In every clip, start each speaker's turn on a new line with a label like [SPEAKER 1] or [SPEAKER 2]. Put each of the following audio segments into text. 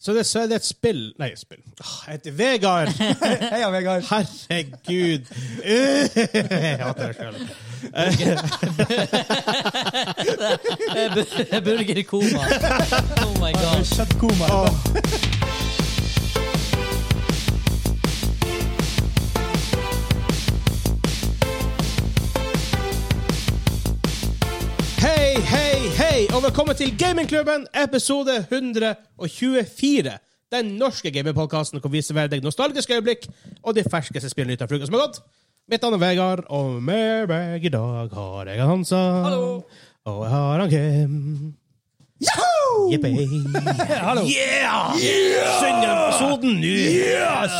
[SPEAKER 1] Så det, så er det et spill Nei, spill. Åh, Jeg heter Vegard!
[SPEAKER 2] Heia, Vegard.
[SPEAKER 1] Herregud! Jeg hater meg sjøl.
[SPEAKER 3] Burger Koma. Oh my god.
[SPEAKER 2] Kjøttkoma.
[SPEAKER 1] Hei, hei, hei, og velkommen til Gamingklubben, episode 124. Den norske gamingpodkasten hvor vi serverer deg nostalgiske øyeblikk og de ferskeste spillene ut av uka som har gått. Mitt navn er Vegard, og med meg i dag har jeg Hansa.
[SPEAKER 3] Hallo.
[SPEAKER 1] Og jeg har han Kim. Yippee.
[SPEAKER 2] Hallo.
[SPEAKER 1] Yeah! Synger episoden nå.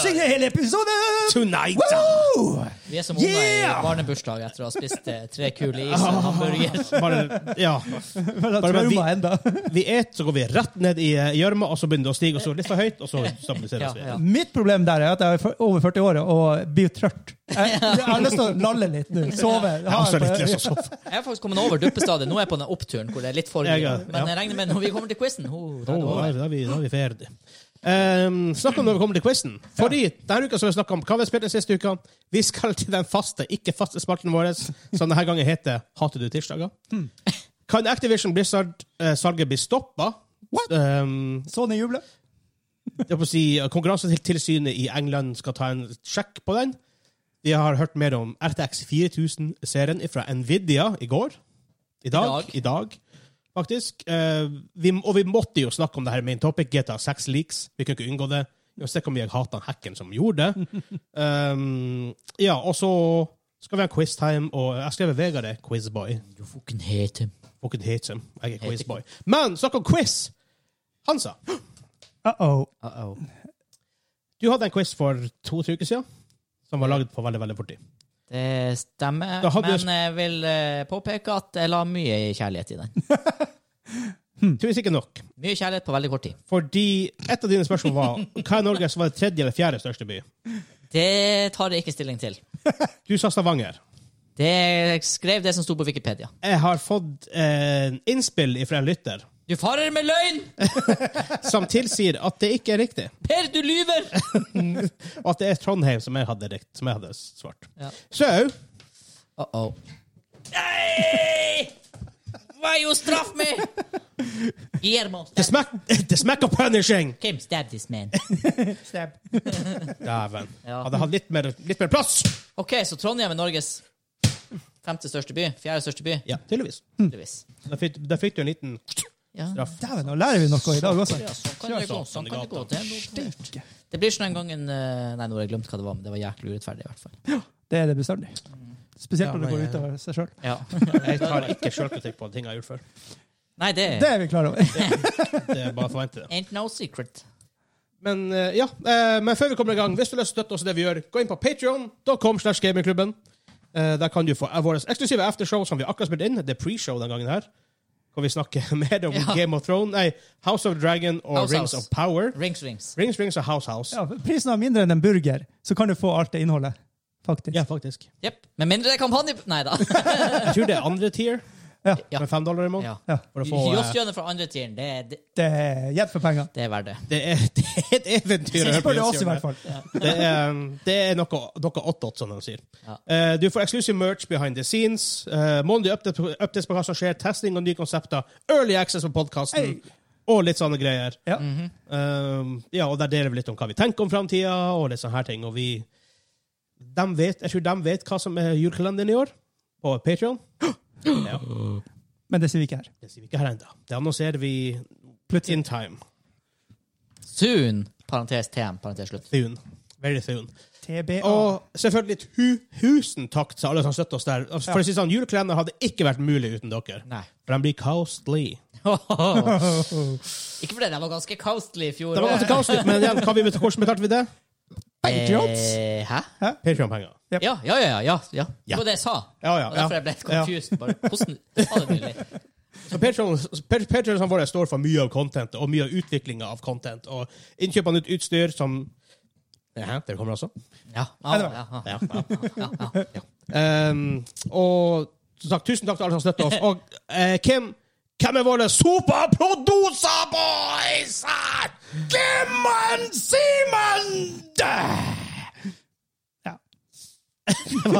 [SPEAKER 2] Synger hele episoden!
[SPEAKER 1] Tonight.
[SPEAKER 2] Woo!
[SPEAKER 3] Vi er som unger
[SPEAKER 2] Yeah!
[SPEAKER 3] i barnebursdag etter å ha spist eh, tre kuler is og en hamburger.
[SPEAKER 1] Ah, Bare, ja.
[SPEAKER 2] Men da
[SPEAKER 1] Bare-
[SPEAKER 2] tror jeg
[SPEAKER 1] vi-
[SPEAKER 2] meg enda.
[SPEAKER 1] Vi et, så går vi rett ned i eh, gjørma, og så begynner det å stige, og så litt for høyt, og så stabiliseres vi.
[SPEAKER 3] Ja, ja.
[SPEAKER 2] Mitt problem der er at jeg er for- over 40 år og blir trøtt. Jeg, jeg har lyst til å lalle litt nå. Sove.
[SPEAKER 1] Jeg har så litt altså. lyst til å sove.
[SPEAKER 3] Jeg har faktisk kommet over duppestadiet. Nå er jeg på den oppturen hvor det er litt for
[SPEAKER 1] Jeg
[SPEAKER 3] mye.
[SPEAKER 1] er- ja.
[SPEAKER 3] Men jeg regner med når vi kommer til quizen oh, da
[SPEAKER 1] Da
[SPEAKER 3] er det over.
[SPEAKER 1] er vi, da er vi ferdig. Um, snakk om når vi kommer til quizen. Fordi denne uka så har vi snakket om hva vi har spilt den siste uka. Vi skal til den faste, ikke faste spalten vår, som denne gangen heter Hater du tirsdager? Kan Activision Blizzard-salget bli stoppa?
[SPEAKER 2] What?
[SPEAKER 1] Um,
[SPEAKER 2] Sony jubler.
[SPEAKER 1] jeg får si, eh, Konkurransetilsynet i England skal ta en sjekk på den. Vi har hørt mer om RTX 4000-serien fra Nvidia i går. I dag.
[SPEAKER 3] dag.
[SPEAKER 1] I dag, faktisk. Eh, vi, og vi måtte jo snakke om det her main topic, GTA 6 leaks. Vi kunne ikke unngå det. Vi har sett hvor mye jeg hater hacken som gjorde det. um, ja, og så skal vi ha quiztime, og jeg skrev Vegard er quizboy.
[SPEAKER 3] Du fucking hete.
[SPEAKER 1] Fucking hates him. Jeg er quizboy. Men snakk om quiz! Hansa,
[SPEAKER 2] Uh-oh.
[SPEAKER 3] Uh-oh.
[SPEAKER 1] Du hadde en quiz for to-tre uker siden, som var laget på veldig veldig fort tid.
[SPEAKER 3] Det stemmer.
[SPEAKER 1] Da hadde jeg-
[SPEAKER 3] Men jeg vil eh, påpeke at jeg la mye kjærlighet i den.
[SPEAKER 1] Tydeligvis ikke nok.
[SPEAKER 3] Mye kjærlighet på veldig kort tid.
[SPEAKER 1] Fordi et av dine spørsmål var hva er Norges var det tredje eller fjerde største by?
[SPEAKER 3] Det tar jeg ikke stilling til.
[SPEAKER 1] Du sa Stavanger.
[SPEAKER 3] Det jeg skrev det som sto på Wikipedia.
[SPEAKER 1] Jeg har fått eh, innspill fra en lytter
[SPEAKER 3] Du farer med løgn!
[SPEAKER 1] som tilsier at det ikke er riktig,
[SPEAKER 3] Per, du lyver!
[SPEAKER 1] og at det er Trondheim som jeg hadde, rikt, som jeg hadde svart.
[SPEAKER 3] Ja.
[SPEAKER 1] Så
[SPEAKER 3] Uh-oh. Nei! Hva er jo straff med? Guillermo.
[SPEAKER 1] det
[SPEAKER 3] Stab.
[SPEAKER 1] smaker det smaker punishing!
[SPEAKER 3] Kim, stab this man.
[SPEAKER 1] Dæven.
[SPEAKER 3] Ja.
[SPEAKER 1] Hadde hatt litt mer, litt mer plass!
[SPEAKER 3] Ok, så Trondheim er Norges femte største by. Fjerde største by.
[SPEAKER 1] Ja, tydeligvis.
[SPEAKER 3] tydeligvis.
[SPEAKER 1] Da fikk, da fikk du en liten
[SPEAKER 3] Ja.
[SPEAKER 1] Mm. straff.
[SPEAKER 2] Dæven, nå lærer vi noe i dag også.
[SPEAKER 3] Ja, sånn kan det gå. Sånn kan det gå. Det, er noe
[SPEAKER 2] Steike.
[SPEAKER 3] for- det blir sånn en gang en eh, Nei, nå har jeg glemt hva det var, men det var jæklig urettferdig, i hvert fall.
[SPEAKER 2] Det er det bestandig. Spesielt
[SPEAKER 1] Ja,
[SPEAKER 2] når det går
[SPEAKER 1] men,
[SPEAKER 2] utover seg sjøl.
[SPEAKER 3] Ja.
[SPEAKER 1] Jeg tar ikke sjølkritikk på ting jeg har gjort før.
[SPEAKER 3] Nei, det
[SPEAKER 2] Det er vi klar over.
[SPEAKER 1] Det er bare å forvente det.
[SPEAKER 3] ain't no secret.
[SPEAKER 1] Men eh, ja, eh, men før vi kommer i gang, hvis du vil støtte oss i det vi gjør, gå inn på patreon.com slash gamingklubben. Eh, der kan du få vårt eksklusive aftershow som vi akkurat spilte inn. Det er pre-show den gangen her. Hvor vi snakker mer om
[SPEAKER 3] Ja.
[SPEAKER 1] Game of Thrones, nei, House of Dragon og
[SPEAKER 3] House
[SPEAKER 1] Rings
[SPEAKER 3] House.
[SPEAKER 1] of Power.
[SPEAKER 3] Rings, rings.
[SPEAKER 1] Rings, Rings og House House.
[SPEAKER 2] Ja, prisen er mindre enn en burger, så kan du få alt det innholdet. Faktisk.
[SPEAKER 1] Ja, faktisk.
[SPEAKER 3] Jepp. Med mindre det er kampanje Nei da.
[SPEAKER 1] Jeg tror det er andre tier,
[SPEAKER 2] Ja.
[SPEAKER 3] Ja.
[SPEAKER 1] med fem dollar i måneden.
[SPEAKER 3] Ja.
[SPEAKER 2] Ja.
[SPEAKER 1] For å få, eh,
[SPEAKER 3] Joss Jønne fra andre tieren, det, er- det,
[SPEAKER 2] Det er hjelp for penger.
[SPEAKER 3] det er verdt det.
[SPEAKER 1] det, er, det er et eventyr. å høre på
[SPEAKER 2] Spør du oss,
[SPEAKER 1] Jens
[SPEAKER 2] i
[SPEAKER 1] Jørgen.
[SPEAKER 2] hvert fall.
[SPEAKER 1] Det er, det er noe, noe attåt, som de sier.
[SPEAKER 3] Ja.
[SPEAKER 1] Eh, du får exclusive merch behind the scenes, uh, månedlig update- updates på hva som skjer, testing og nye konsepter, early access på podkasten og litt sånne greier.
[SPEAKER 2] Ja.
[SPEAKER 1] Um, ja, og der deler vi litt om hva vi tenker om framtida og litt sånne her ting. Og vi dem vet, Jeg tror de vet hva som er julekalenderen i år, på Patreon. Ja,
[SPEAKER 2] Men det sier vi ikke her.
[SPEAKER 1] det sier vi ikke her ennå. Det annonserer vi in time.
[SPEAKER 3] Soon, parentes TM, parentes slutt.
[SPEAKER 1] Soon. Very soon.
[SPEAKER 2] TBA.
[SPEAKER 1] Og selvfølgelig tu tusen takk til alle som støtter oss der. For å si sånn, Julekalender hadde ikke vært mulig uten dere.
[SPEAKER 3] Nei.
[SPEAKER 1] For den blir costly.
[SPEAKER 3] Ikke fordi den var ganske costly i fjor. eh,
[SPEAKER 1] Det var ganske costly, men igjen, hva vi bet- hvordan betalte vi det?
[SPEAKER 2] Patriots.
[SPEAKER 3] Eh, hæ?
[SPEAKER 1] Patreon-penger.
[SPEAKER 3] Ja, ja, ja. ja, ja. Det var det jeg sa.
[SPEAKER 1] Ja, ja,
[SPEAKER 3] Og
[SPEAKER 1] ja.
[SPEAKER 3] derfor jeg ble litt confused. Bare, hvordan sa du det? Billy?
[SPEAKER 1] Så Patreon- Pat- Patreonsene våre står for mye av content, og mye av utviklinga av content, og innkjøp av nytt utstyr som Jaha, det kommer altså. også.
[SPEAKER 3] Ja, ja, ja, ja.
[SPEAKER 1] Ja, ja.
[SPEAKER 3] ja, ja.
[SPEAKER 1] Um, og som sagt, tusen takk til alle som støtter oss. Og eh, hvem, hvem er våre superproducer-boys? her? Kim!
[SPEAKER 4] Simon!
[SPEAKER 2] Ja. Åh, det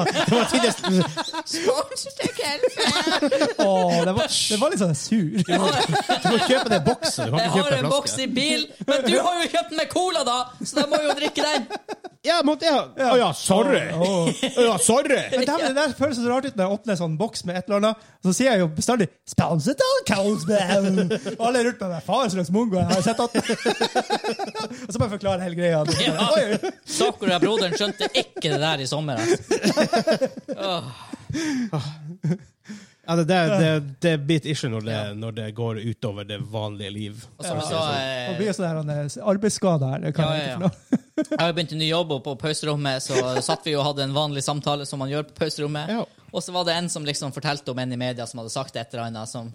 [SPEAKER 2] var, det var litt sånn sur.
[SPEAKER 1] Du må kjøpe den boksen. Du kan
[SPEAKER 3] Jeg
[SPEAKER 1] ikke
[SPEAKER 3] har
[SPEAKER 1] kjøpe
[SPEAKER 3] en
[SPEAKER 1] en
[SPEAKER 3] boks
[SPEAKER 1] flaske.
[SPEAKER 3] i bil, men du har jo kjøpt meg cola, da! Så da må jeg jo drikke den.
[SPEAKER 1] Ja, måtte jeg ha Å ja, sorry!
[SPEAKER 2] Åh.
[SPEAKER 1] Å ja, sorry!
[SPEAKER 2] Men det, det der føles så rart ut når jeg åpner en sånn boks med et eller annet, og så sier jeg jo bestandig «Sponset av Carlsberg!» Og alle er rundt meg med faen slags mongo jeg har sett at Og så bare forklare hele greia.
[SPEAKER 3] Ja. Sakura, broderen, skjønte ikke det der i sommer. Altså. Åh.
[SPEAKER 1] Ja, det, det, det, det blir et issue når det, når det går utover det vanlige liv.
[SPEAKER 3] Og som jeg sa,
[SPEAKER 2] Det
[SPEAKER 3] eh,
[SPEAKER 2] blir jo sånn her eh, arbeidsskade her. Det kan
[SPEAKER 3] Ja,
[SPEAKER 2] jeg
[SPEAKER 3] ja,
[SPEAKER 2] ikke
[SPEAKER 3] ja.
[SPEAKER 2] for noe.
[SPEAKER 3] jeg har jo begynt i ny jobb, og på pauserommet så satt vi og hadde en vanlig samtale, som man gjør på pauserommet.
[SPEAKER 1] Ja.
[SPEAKER 3] Og så var det en som liksom fortalte om en i media som hadde sagt et eller annet som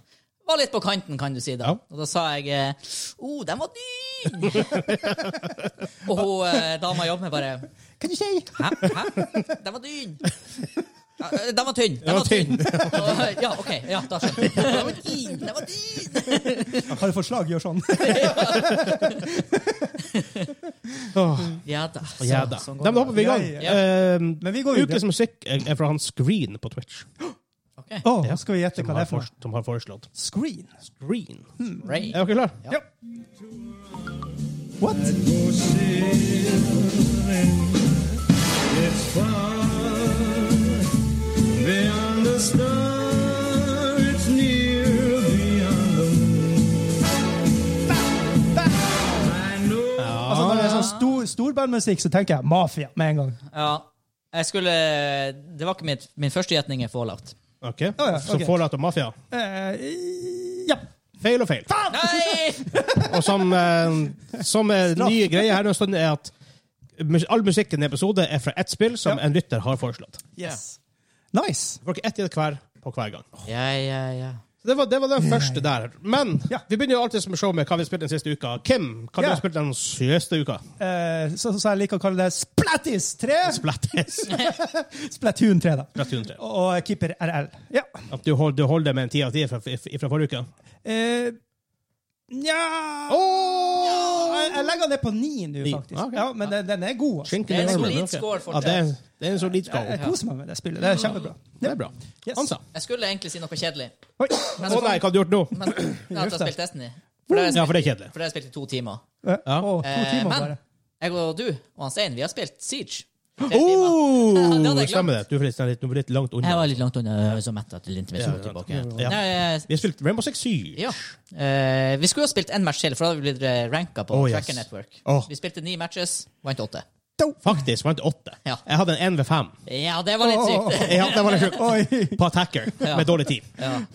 [SPEAKER 3] var litt på kanten, kan du si. da.
[SPEAKER 1] Ja.
[SPEAKER 3] Og da sa jeg eh, 'Å, den var ny!' og hun eh, dama jeg jobber med, bare
[SPEAKER 2] Kan du si?
[SPEAKER 3] Hæ? Hæ? Den var tynn! Ja, eh, Den var tynn! Den
[SPEAKER 1] var
[SPEAKER 3] var tynn. Og- eh, Ja, OK. Ja, da skjønner jeg. Den var tynn! Den var tynn!
[SPEAKER 2] Har du fått slag, gjør sånn.
[SPEAKER 1] Åh,
[SPEAKER 3] Ja da. Så,
[SPEAKER 1] ja da.
[SPEAKER 3] sånn
[SPEAKER 1] Da
[SPEAKER 3] går det.
[SPEAKER 1] hopper vi i gang.
[SPEAKER 2] Ja,
[SPEAKER 3] Mm. ja.
[SPEAKER 1] Ehm,
[SPEAKER 2] Men vi går videre.
[SPEAKER 1] Ukens musikk er fra hans Screen på Twitch,
[SPEAKER 3] Ok.
[SPEAKER 2] Åh, skal vi gjette
[SPEAKER 1] som
[SPEAKER 2] hva
[SPEAKER 1] har,
[SPEAKER 2] det er for
[SPEAKER 1] fors-
[SPEAKER 2] noe?
[SPEAKER 1] som har foreslått.
[SPEAKER 2] Screen.
[SPEAKER 1] Screen.
[SPEAKER 3] Ray.
[SPEAKER 1] Er dere klare?
[SPEAKER 3] Ja.
[SPEAKER 2] What?
[SPEAKER 4] It's far beyond the star, it's near beyond the moon. I know.
[SPEAKER 2] Altså, når det er sånn stor, storbandmusikk, så tenker jeg mafia med en gang.
[SPEAKER 3] Ja. Jeg skulle Det var ikke mitt, min første gjetning er Fallout.
[SPEAKER 1] Ok.
[SPEAKER 2] ja,
[SPEAKER 1] Så
[SPEAKER 2] ok.
[SPEAKER 1] Fallout og Mafia.
[SPEAKER 2] Eh, ja.
[SPEAKER 1] Feil og feil.
[SPEAKER 3] Nei!
[SPEAKER 1] Og som, eh, som eh, nye greie her nå sånn er at mus- all musikken i episode er fra ett spill som
[SPEAKER 2] Ja.
[SPEAKER 1] en lytter har foreslått.
[SPEAKER 3] Yes.
[SPEAKER 2] Nice.
[SPEAKER 1] Folk ett i det hver på hver gang.
[SPEAKER 3] Ja, ja, ja.
[SPEAKER 1] Så det var, det var den første der. Men
[SPEAKER 2] Ja.
[SPEAKER 1] vi begynner jo alltid som show med hva vi har spilt den siste uka. Kim, hva
[SPEAKER 2] Ja.
[SPEAKER 1] du har spilt den siste uka?
[SPEAKER 2] Eh, så, så jeg liker å kalle det Splattis 3.
[SPEAKER 1] Splattis.
[SPEAKER 2] Splatoon 3, da.
[SPEAKER 1] Splatoon 3.
[SPEAKER 2] Og og keeper RL. Ja.
[SPEAKER 1] At du holder, du holder med en ti av ti fra, fra forrige uke?
[SPEAKER 2] Eh, Nja jeg, jeg legger den ned på ni nå,
[SPEAKER 1] Ni.
[SPEAKER 2] faktisk.
[SPEAKER 1] Ok.
[SPEAKER 2] Ja, men den, den er god. Altså.
[SPEAKER 1] Skinken
[SPEAKER 3] Det er en
[SPEAKER 1] i armen,
[SPEAKER 3] solid
[SPEAKER 1] ok.
[SPEAKER 3] score for
[SPEAKER 1] ja, det.
[SPEAKER 3] det.
[SPEAKER 1] Er, det er en solid score.
[SPEAKER 2] Jeg koser meg med det spillet. Det er kjempebra.
[SPEAKER 1] Det er bra.
[SPEAKER 2] Yes.
[SPEAKER 1] Ansa.
[SPEAKER 3] Jeg skulle egentlig si noe kjedelig.
[SPEAKER 2] Oi.
[SPEAKER 1] Å nei, hva har du gjort nå?
[SPEAKER 3] Men jeg har spilt Destiny. For det
[SPEAKER 1] Ja,
[SPEAKER 3] har
[SPEAKER 1] for
[SPEAKER 3] jeg
[SPEAKER 1] det er kjedelig.
[SPEAKER 3] spilt, for det har jeg spilt i to timer.
[SPEAKER 2] Eh,
[SPEAKER 1] Ja.
[SPEAKER 2] å, to
[SPEAKER 3] Eh,
[SPEAKER 2] timer
[SPEAKER 3] men
[SPEAKER 2] bare.
[SPEAKER 3] jeg og du og han Stein, vi har spilt Siege. Tre timer. Ja, det
[SPEAKER 1] Oh,
[SPEAKER 3] hadde jeg
[SPEAKER 1] stemmer det. Du er forresten litt, du er litt langt unna.
[SPEAKER 3] Jeg var litt langt unna, jeg var så mett at jeg lente meg
[SPEAKER 1] Ja,
[SPEAKER 3] så
[SPEAKER 1] ja, ja.
[SPEAKER 3] tilbake.
[SPEAKER 1] Ja.
[SPEAKER 3] Nei, jeg-
[SPEAKER 1] Vi har spilt Rainbow Six 7.
[SPEAKER 3] Ja. Eh, vi skulle jo spilt en match til, for da hadde vi blitt eh, ranka på
[SPEAKER 1] Oh, yes.
[SPEAKER 3] Tracker Network.
[SPEAKER 1] Åh.
[SPEAKER 3] Vi spilte ni matches, vant åtte.
[SPEAKER 1] Faktisk vant jeg åtte.
[SPEAKER 3] Ja.
[SPEAKER 1] Jeg hadde en 1 ved 5.
[SPEAKER 3] Ja, det var litt sykt.
[SPEAKER 1] Ja, det var litt sjukt.
[SPEAKER 2] Oi,
[SPEAKER 1] På attacker,
[SPEAKER 3] Ja.
[SPEAKER 1] med dårlig tid.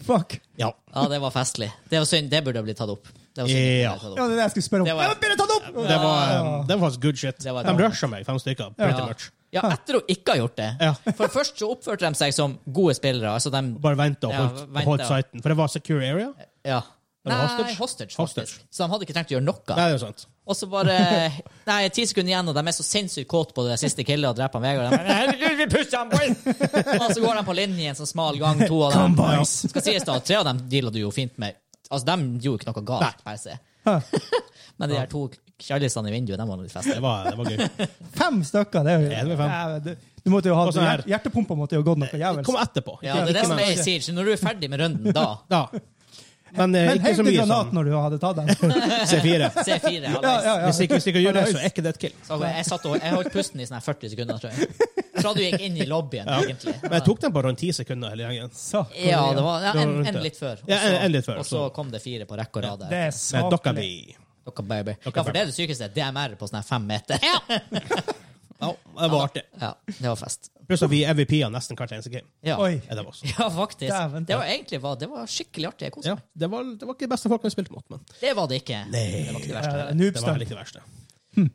[SPEAKER 2] fuck.
[SPEAKER 1] Ja.
[SPEAKER 3] Ja, det var festlig. Det var synd. Det burde ha blitt tatt opp. Det var synd. det
[SPEAKER 1] Ja.
[SPEAKER 3] burde ha blitt
[SPEAKER 2] Ja,
[SPEAKER 3] tatt opp.
[SPEAKER 2] det er det jeg skulle spørre om.
[SPEAKER 3] Det var-
[SPEAKER 2] Ja, begynner å ta den opp!
[SPEAKER 1] Det var, um, det var faktisk good shit.
[SPEAKER 3] Det var
[SPEAKER 1] De
[SPEAKER 3] det.
[SPEAKER 1] rusha meg, fem stykker. Pretty
[SPEAKER 3] Ja.
[SPEAKER 1] much.
[SPEAKER 3] Ja, etter å ikke ha gjort det.
[SPEAKER 1] Ja.
[SPEAKER 3] For først så oppførte de seg som gode spillere. Altså de
[SPEAKER 1] Bare venta og
[SPEAKER 3] Ja,
[SPEAKER 1] holdt,
[SPEAKER 3] venta.
[SPEAKER 1] holdt sighten. For det var secure area.
[SPEAKER 3] Ja.
[SPEAKER 1] Var det
[SPEAKER 3] Nei,
[SPEAKER 1] hostage?
[SPEAKER 3] hostage, faktisk.
[SPEAKER 1] Hostage.
[SPEAKER 3] Så de hadde ikke trengt å gjøre
[SPEAKER 1] Nei,
[SPEAKER 3] noe.
[SPEAKER 1] det er sant.
[SPEAKER 3] Og så bare Nei, ti sekunder igjen, og de er så sinnssykt kåte på det siste killet og dreper han Vegard. De bare, «Herregud, vi pusher han, boys!» Og så går de på linje i en sånn smal gang, to av dem.
[SPEAKER 2] Come, boys.
[SPEAKER 3] Skal sies da, tre av dem dealer du jo fint med. Altså, de gjorde ikke noe
[SPEAKER 1] Nei.
[SPEAKER 3] galt, per se.
[SPEAKER 2] Hæ.
[SPEAKER 3] Men de der to kjallisene i vinduet, de var litt festlige.
[SPEAKER 1] Det var, det var gøy.
[SPEAKER 2] Fem stykker, det er jo
[SPEAKER 1] Ja, det var fem.
[SPEAKER 2] Ja, men du, du måtte jo ha
[SPEAKER 1] Og sånn her.
[SPEAKER 2] hjert- Hjertepumpa måtte jo ha gått noe
[SPEAKER 1] Det
[SPEAKER 2] jævlig.
[SPEAKER 1] kom etterpå.
[SPEAKER 3] Ja, det er det
[SPEAKER 1] Ikke
[SPEAKER 3] som
[SPEAKER 1] mens-
[SPEAKER 3] er i Siege. Når du er ferdig med runden, da
[SPEAKER 1] Ja. Men, eh,
[SPEAKER 2] Men
[SPEAKER 1] ikke så
[SPEAKER 2] helt i
[SPEAKER 1] mye
[SPEAKER 2] granat
[SPEAKER 1] sånn
[SPEAKER 2] når du hadde tatt den.
[SPEAKER 1] C4.
[SPEAKER 3] C4
[SPEAKER 2] Ja,
[SPEAKER 3] halvveis.
[SPEAKER 2] ja, ja.
[SPEAKER 1] Hvis ikke, hvis ikke gjør det, så er ikke det et kill.
[SPEAKER 3] Så jeg, satt og, jeg holdt pusten i sånn her 40 sekunder, tror jeg. Fra du gikk inn i lobbyen, egentlig.
[SPEAKER 1] Men jeg tok den på rundt ti sekunder. hele gjengen.
[SPEAKER 2] Så,
[SPEAKER 3] Ja, det var ja,
[SPEAKER 1] Det var
[SPEAKER 3] en,
[SPEAKER 1] rundt
[SPEAKER 3] en
[SPEAKER 1] det.
[SPEAKER 3] litt før.
[SPEAKER 1] Ja, en- en litt før,
[SPEAKER 3] Og så
[SPEAKER 1] så-
[SPEAKER 3] kom det fire på rekke og rad.
[SPEAKER 2] det
[SPEAKER 3] der.
[SPEAKER 2] er
[SPEAKER 1] Men dere
[SPEAKER 2] saklig.
[SPEAKER 1] blir
[SPEAKER 3] Dere baby. Ja, for det er det sykeste. DMR på sånn her fem meter. Ja.
[SPEAKER 1] Ja, det var artig.
[SPEAKER 3] det var fest.
[SPEAKER 1] Pluss at vi er MVP-er nesten hvert eneste game.
[SPEAKER 3] Ja,
[SPEAKER 2] Oi.
[SPEAKER 1] Ja, det var også.
[SPEAKER 3] ja faktisk.
[SPEAKER 2] Dæven.
[SPEAKER 3] Det var egentlig var, det var skikkelig artig. Jeg koste
[SPEAKER 1] Ja,
[SPEAKER 3] meg.
[SPEAKER 1] det var, det var ikke det beste folk vi spilte mot, men
[SPEAKER 3] Det var det ikke.
[SPEAKER 1] Nei.
[SPEAKER 3] Det var ikke det verste.
[SPEAKER 2] Eh,
[SPEAKER 3] heller.
[SPEAKER 1] det var
[SPEAKER 2] Noobstar.
[SPEAKER 1] heller ikke det verste.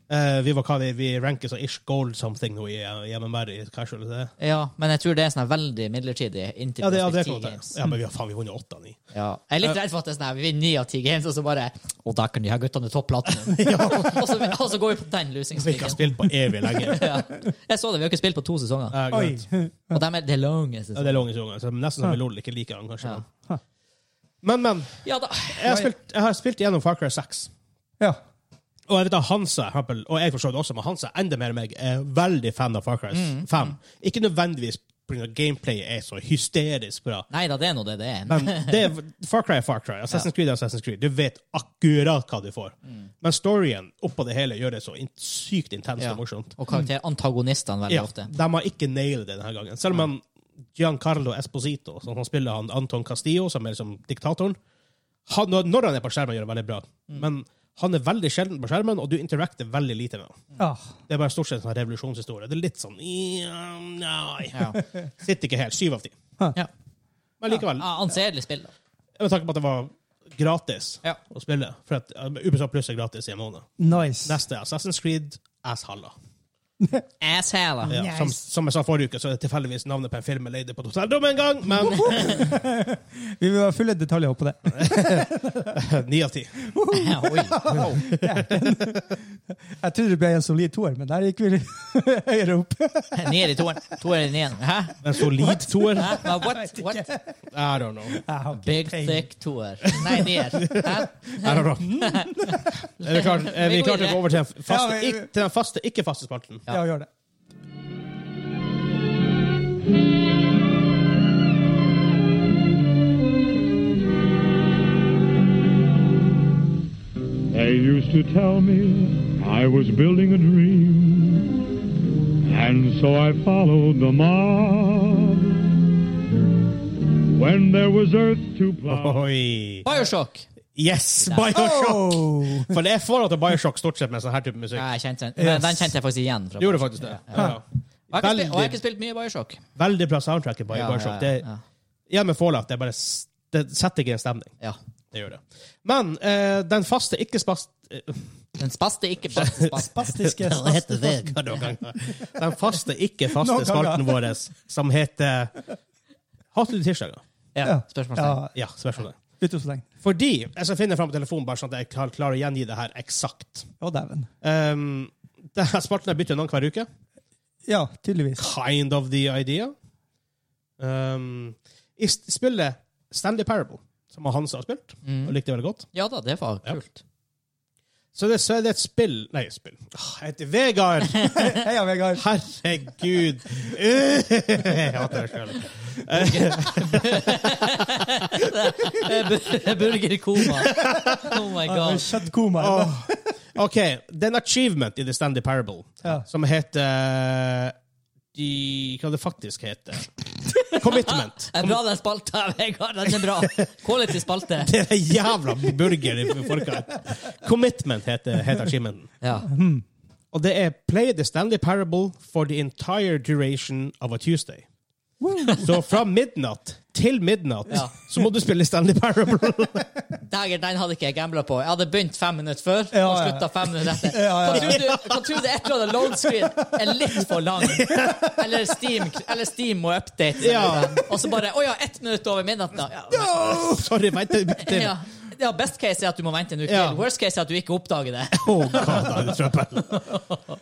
[SPEAKER 1] Eh, vi var hva vi, vi ranker som ish gold something nå i eh, hjemme med i casual. Det.
[SPEAKER 3] Ja, men jeg tror det er sånn her veldig midlertidig inntil
[SPEAKER 1] Ja, det,
[SPEAKER 3] vi
[SPEAKER 1] ja,
[SPEAKER 3] har
[SPEAKER 1] det
[SPEAKER 3] spilt
[SPEAKER 1] kan
[SPEAKER 3] ti
[SPEAKER 1] godt
[SPEAKER 3] games.
[SPEAKER 1] hende. Ja, men vi har faen, vi har vunnet åtte av ni.
[SPEAKER 3] Ja. Jeg er litt redd for at det er sånn her, vi vinner ni av ti games, og så bare Å, der kan de her guttene topplaten. og, så, og så går vi på den
[SPEAKER 1] Vi ikke har
[SPEAKER 3] lusingsstigen.
[SPEAKER 1] spilt på evig lenge.
[SPEAKER 3] Ja. Jeg så det, vi har ikke spilt på to sesonger.
[SPEAKER 1] Eh,
[SPEAKER 2] Oi.
[SPEAKER 1] greit.
[SPEAKER 3] Og dem er det er lange
[SPEAKER 1] Ja,
[SPEAKER 3] sesonger.
[SPEAKER 1] det er lange sesonger, så nesten som vi lol ikke liker han, kanskje.
[SPEAKER 3] Ja.
[SPEAKER 1] Men, men.
[SPEAKER 3] Ja da.
[SPEAKER 1] Jeg har, spilt, jeg har spilt gjennom Far Cry 6.
[SPEAKER 2] Ja.
[SPEAKER 1] Og jeg vet at Hansa, for eksempel, og jeg forstår det også, men Hansa enda mer enn meg, er veldig fan av Far Cry
[SPEAKER 3] Mm,
[SPEAKER 1] 5. Ikke nødvendigvis pga. gameplayet er så hysterisk bra,
[SPEAKER 3] Nei da, det er nå det det er.
[SPEAKER 1] men det er, Far Cry er Far Cry. Assassin's Creed er Assassin's Creed. Du vet akkurat hva du får.
[SPEAKER 3] Mm.
[SPEAKER 1] Men storyen oppå det hele gjør det så in sykt intenst
[SPEAKER 3] Ja.
[SPEAKER 1] og morsomt.
[SPEAKER 3] Og karakter antagonistene veldig
[SPEAKER 1] Ja,
[SPEAKER 3] ofte.
[SPEAKER 1] de har ikke nailet det denne gangen. Selv om han, Giancarlo Esposito, som han spiller han Anton Castillo, som er liksom diktatoren han, når- Når han er på skjermen, gjør han veldig bra.
[SPEAKER 3] Mm.
[SPEAKER 1] Men han er veldig sjelden på skjermen, og du interacter veldig lite med han.
[SPEAKER 2] Ah,
[SPEAKER 1] Det er bare stort sett en sånn revolusjonshistorie. Det er litt sånn ja, Nei.
[SPEAKER 3] Ja.
[SPEAKER 1] Sitter ikke helt. Syv av ti.
[SPEAKER 3] Ja.
[SPEAKER 1] Men likevel,
[SPEAKER 3] Ja, Anseelig spill, da.
[SPEAKER 1] med tanke på at det var gratis
[SPEAKER 3] Ja.
[SPEAKER 1] å spille For at uh, Ubisoft Plus er gratis i en måned.
[SPEAKER 2] nice.
[SPEAKER 1] Neste er Assassin's Creed Asshalla.
[SPEAKER 3] Asshæla.
[SPEAKER 1] Ja,
[SPEAKER 2] Nice.
[SPEAKER 1] som, som jeg sa forrige uke, så er det tilfeldigvis navnet på en film jeg leide på et hotellrom en gang, men
[SPEAKER 2] Vi vil ha fulle detaljer på det.
[SPEAKER 1] Ni av ti.
[SPEAKER 3] Ja, Oi. Wow.
[SPEAKER 2] Jeg trodde det ble en solid toer, men der gikk vi høyere opp.
[SPEAKER 3] Ned i toeren. Toeren igjen. Hæ?
[SPEAKER 1] En solid toer.
[SPEAKER 3] Hæ? Hva- What? What?
[SPEAKER 1] I don't know.
[SPEAKER 2] Ah, ok.
[SPEAKER 3] Big thick toer. Nei, ned. Hæ?
[SPEAKER 1] I don't
[SPEAKER 3] Mm.
[SPEAKER 1] know. Er vi klart, er vi klart å gå over til den
[SPEAKER 2] Ja,
[SPEAKER 1] faste,
[SPEAKER 2] vi-
[SPEAKER 1] ikk- til den faste ikke-faste spalten?
[SPEAKER 2] Ja, gjør det.
[SPEAKER 5] They used to tell me I was building a dream, and so I followed the mob. When there was earth to plow.
[SPEAKER 1] Oi.
[SPEAKER 3] Bioshock.
[SPEAKER 1] Yes, Bioshock!
[SPEAKER 2] Oh.
[SPEAKER 1] For det er forhold til Bioshock stort sett med sånn her type musikk.
[SPEAKER 3] Ja, jeg kjente den. Nei, Den kjente jeg faktisk igjen. Fra.
[SPEAKER 1] Du gjorde faktisk det. Ja.
[SPEAKER 3] Og jeg har ikke spilt- og jeg har ikke
[SPEAKER 1] Veldig,
[SPEAKER 3] spilt mye Bioshock.
[SPEAKER 1] veldig bra soundtrack i Bi-
[SPEAKER 3] Ja,
[SPEAKER 1] Bioshock.
[SPEAKER 3] ja,
[SPEAKER 1] Det,
[SPEAKER 3] ja.
[SPEAKER 1] igjen med Fallout, det, er bare, s- det setter ikke en stemning.
[SPEAKER 3] Ja.
[SPEAKER 1] Det gjør det. Men eh, den faste ikke-spast...
[SPEAKER 3] Den spaste ikke spaste, spaste.
[SPEAKER 2] Spastiske
[SPEAKER 1] Hva heter det? Hva noen ganger? Den faste ikke-faste
[SPEAKER 2] Noen ganger.
[SPEAKER 1] spalten vår som heter Hater du tirsdager?
[SPEAKER 3] Ja, spørsmålstegn.
[SPEAKER 2] Ja,
[SPEAKER 1] Ja, spørsmål det.
[SPEAKER 2] ute hos lenge.
[SPEAKER 1] Fordi Jeg skal finne fram på telefonen, bare sånn at jeg kan klare å gjengi det her eksakt.
[SPEAKER 2] Å, dæven.
[SPEAKER 1] Um, denne spalten her bytter jeg navn hver uke.
[SPEAKER 2] Ja, tydeligvis.
[SPEAKER 1] Kind of the idea. Um, I st- spillet Stanley Parable, som Hansa har spilt, og likte veldig godt,
[SPEAKER 3] Ja da, det var
[SPEAKER 1] Ja.
[SPEAKER 3] kult.
[SPEAKER 1] så, det, så er det et spill Nei, spill. Ah, Jeg heter Vegard!
[SPEAKER 2] Heia, Vegard.
[SPEAKER 1] Herregud! Jeg hater meg sjøl.
[SPEAKER 3] Burgerkoma. Oh my god.
[SPEAKER 2] Kjøttkoma. eller?
[SPEAKER 1] Åh. OK. Det er en achievement i The Stanley Parable
[SPEAKER 2] Ja.
[SPEAKER 1] som heter de, Hva det faktisk heter? Commitment.
[SPEAKER 3] Det er bra den spalta, Vegard. Den er bra. Quality spalte.
[SPEAKER 1] Det er en jævla burger i forkant. Commitment heter, heter achievementen.
[SPEAKER 3] Ja.
[SPEAKER 1] Og det er Play the Stanley Parable for the entire duration of a Tuesday. Så fra midnatt til midnatt
[SPEAKER 3] Ja.
[SPEAKER 1] så må du spille Stanley Parable.
[SPEAKER 3] Dager, den hadde ikke jeg gambla på. Jeg hadde begynt fem minutter før
[SPEAKER 2] Ja,
[SPEAKER 3] og
[SPEAKER 2] ja.
[SPEAKER 3] slutta fem minutter etter.
[SPEAKER 2] Ja, ja, ja.
[SPEAKER 3] Hva tror du- Hva tror du et eller annet load screen er litt for lang? Eller Steam, eller Steam må update.
[SPEAKER 1] Ja.
[SPEAKER 3] Og så bare Å ja, ett minutt over midnatt, da. Ja.
[SPEAKER 1] Sorry, vent litt.
[SPEAKER 3] Ja. ja, best case er at du må vente en uke
[SPEAKER 1] Ja.
[SPEAKER 3] til. Worst case er at du ikke oppdager det.
[SPEAKER 1] Å, God, da er det trøbbel.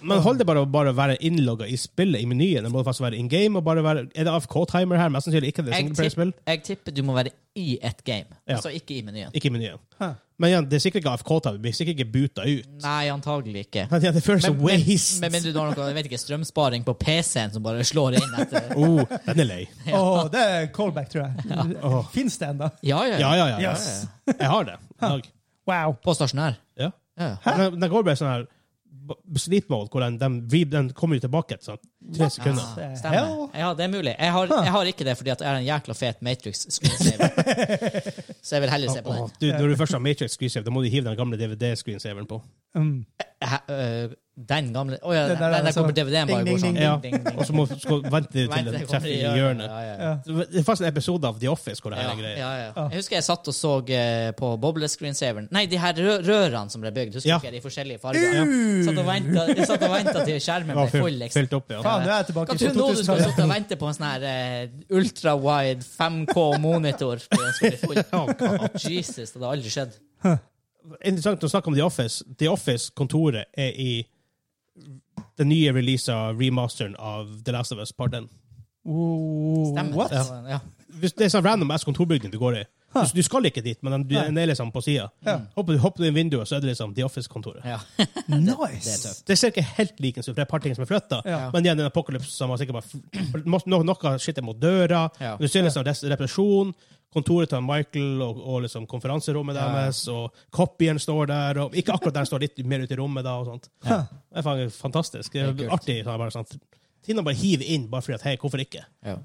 [SPEAKER 1] Men hold det bare å bare være innlogga i spillet, i menyen. Det må faktisk være in game. og bare være... Er det AFK-timer her? Mest sannsynlig ikke. det er
[SPEAKER 3] Jeg, tipp,
[SPEAKER 1] singleplayerspill.
[SPEAKER 3] jeg tipper du må være i et game,
[SPEAKER 1] Ja.
[SPEAKER 3] altså ikke i menyen.
[SPEAKER 1] Ikke i menyen. Men igjen, det er sikkert ikke AFK-timer. Vi blir sikkert ikke buta ut.
[SPEAKER 3] Nei, antagelig ikke.
[SPEAKER 1] Men ja, det føles som
[SPEAKER 3] Med-
[SPEAKER 1] waste.
[SPEAKER 3] Med mindre du har noe jeg vet ikke, strømsparing på PC-en som bare slår inn etter
[SPEAKER 1] Oh, den er lei.
[SPEAKER 2] Åh, det er callback, tror jeg. Fins det ennå?
[SPEAKER 3] Ja, ja.
[SPEAKER 1] Ja, ja, ja. ja.
[SPEAKER 2] Yes.
[SPEAKER 1] Jeg har det. i dag.
[SPEAKER 2] Wow.
[SPEAKER 3] På stasjonær.
[SPEAKER 1] Ja.
[SPEAKER 3] Ja.
[SPEAKER 1] Den, den går bare sånn her b- sleep mode, hvor den, den, vri- den kommer jo tilbake etter sånn tre sekunder.
[SPEAKER 2] the
[SPEAKER 3] Stemmer.
[SPEAKER 2] hell?
[SPEAKER 3] Ja, det er mulig. Jeg har, jeg har ikke det fordi at jeg er en jækla fet Matrix. screensaver. Så jeg vil heller se på
[SPEAKER 1] Åh,
[SPEAKER 3] den.
[SPEAKER 1] du, når du først har Matrix screensaver, da må du hive den gamle DVD-screensaveren på.
[SPEAKER 2] Mm.
[SPEAKER 3] Hæ, øh, Den gamle Å ja,
[SPEAKER 2] Det
[SPEAKER 3] den
[SPEAKER 2] der er
[SPEAKER 3] den der
[SPEAKER 2] sånn-
[SPEAKER 3] kommer på DVD-en bare
[SPEAKER 2] ding,
[SPEAKER 3] går
[SPEAKER 2] ding,
[SPEAKER 3] sånn.
[SPEAKER 2] ding,
[SPEAKER 1] Ja.
[SPEAKER 3] Ding, ding, ding.
[SPEAKER 1] Og så må skal vente til
[SPEAKER 3] Vent,
[SPEAKER 1] den
[SPEAKER 3] det
[SPEAKER 1] treffer
[SPEAKER 3] kommer
[SPEAKER 1] i
[SPEAKER 3] i hjørnet.
[SPEAKER 1] hjørnet.
[SPEAKER 3] Ja, ja, ja.
[SPEAKER 2] Ja.
[SPEAKER 1] Det er faktisk en episode av The Office hvor det her
[SPEAKER 3] Ja,
[SPEAKER 1] er greia.
[SPEAKER 3] ja, ja. Jeg husker jeg satt og så eh, på boble-screensaveren Nei, de her rø rørene som ble bygd. Husker
[SPEAKER 1] Ja.
[SPEAKER 3] ja. ikke de forskjellige fargene?
[SPEAKER 2] Uh!
[SPEAKER 3] Satt og ventet- Jeg satt og venta til skjermen
[SPEAKER 1] Ja,
[SPEAKER 3] ble
[SPEAKER 1] fylt,
[SPEAKER 3] full. liksom.
[SPEAKER 1] fylt opp, ja.
[SPEAKER 2] Faen, nå er jeg tilbake
[SPEAKER 3] Hva
[SPEAKER 2] i
[SPEAKER 3] tror du nå du skal
[SPEAKER 2] 2000-tallet.
[SPEAKER 3] sitte og vente på en sånn her eh, ultra-wide 5K-monitor? for den skal bli full? Jesus, det hadde aldri skjedd.
[SPEAKER 1] Interessant å snakke om The Office. The Office-kontoret er i den nye releasen av remasteren av The Last of Us Part 1.
[SPEAKER 2] Oh,
[SPEAKER 3] Stemmer.
[SPEAKER 2] what?
[SPEAKER 3] Ja.
[SPEAKER 1] Hvis Det er sånn random ass kontorbygning du går i. Du, du skal ikke dit, men de- den er liksom på sida. Hopper, hopper du inn vinduet, så er det liksom The Office-kontoret.
[SPEAKER 3] Ja.
[SPEAKER 2] Nice!
[SPEAKER 3] tøft.
[SPEAKER 1] Det ser ikke helt likens ut, for det er et par ting som er flytta.
[SPEAKER 2] Ja.
[SPEAKER 1] Men igjen, den apocalypse som har sikkert bare no, no, Noe skittet mot døra.
[SPEAKER 3] Ja.
[SPEAKER 1] Du ser liksom res- represjon. Kontoret til Michael og, og liksom konferanserommet deres, og kopieren står der. Og, ikke akkurat der står litt mer ute i rommet, da. og sånt. Det er faen fantastisk. Det er
[SPEAKER 3] Det er kult.
[SPEAKER 1] artig. Sånn, bare sånn, Tina bare hiver inn bare fordi at hei, hvorfor ikke?
[SPEAKER 3] Ja.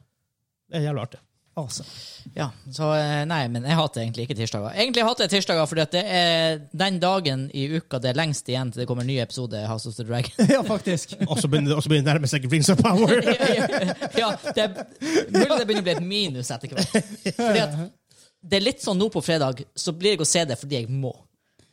[SPEAKER 1] Det er jævlig artig.
[SPEAKER 2] Awesome.
[SPEAKER 3] Ja, så eh, nei, men jeg hater egentlig ikke tirsdager. Egentlig hater jeg tirsdager fordi at det er den dagen i uka det er lengst igjen til det kommer en ny episode av House of the Dragon.
[SPEAKER 2] Ja, faktisk.
[SPEAKER 1] Og så begynner det- og så begynner det å nærme seg Rings of Power.
[SPEAKER 3] ja, det er, mulig det begynner å bli et minus etter hvert. Fordi at det er litt sånn nå på fredag, så blir jeg å se det fordi jeg må.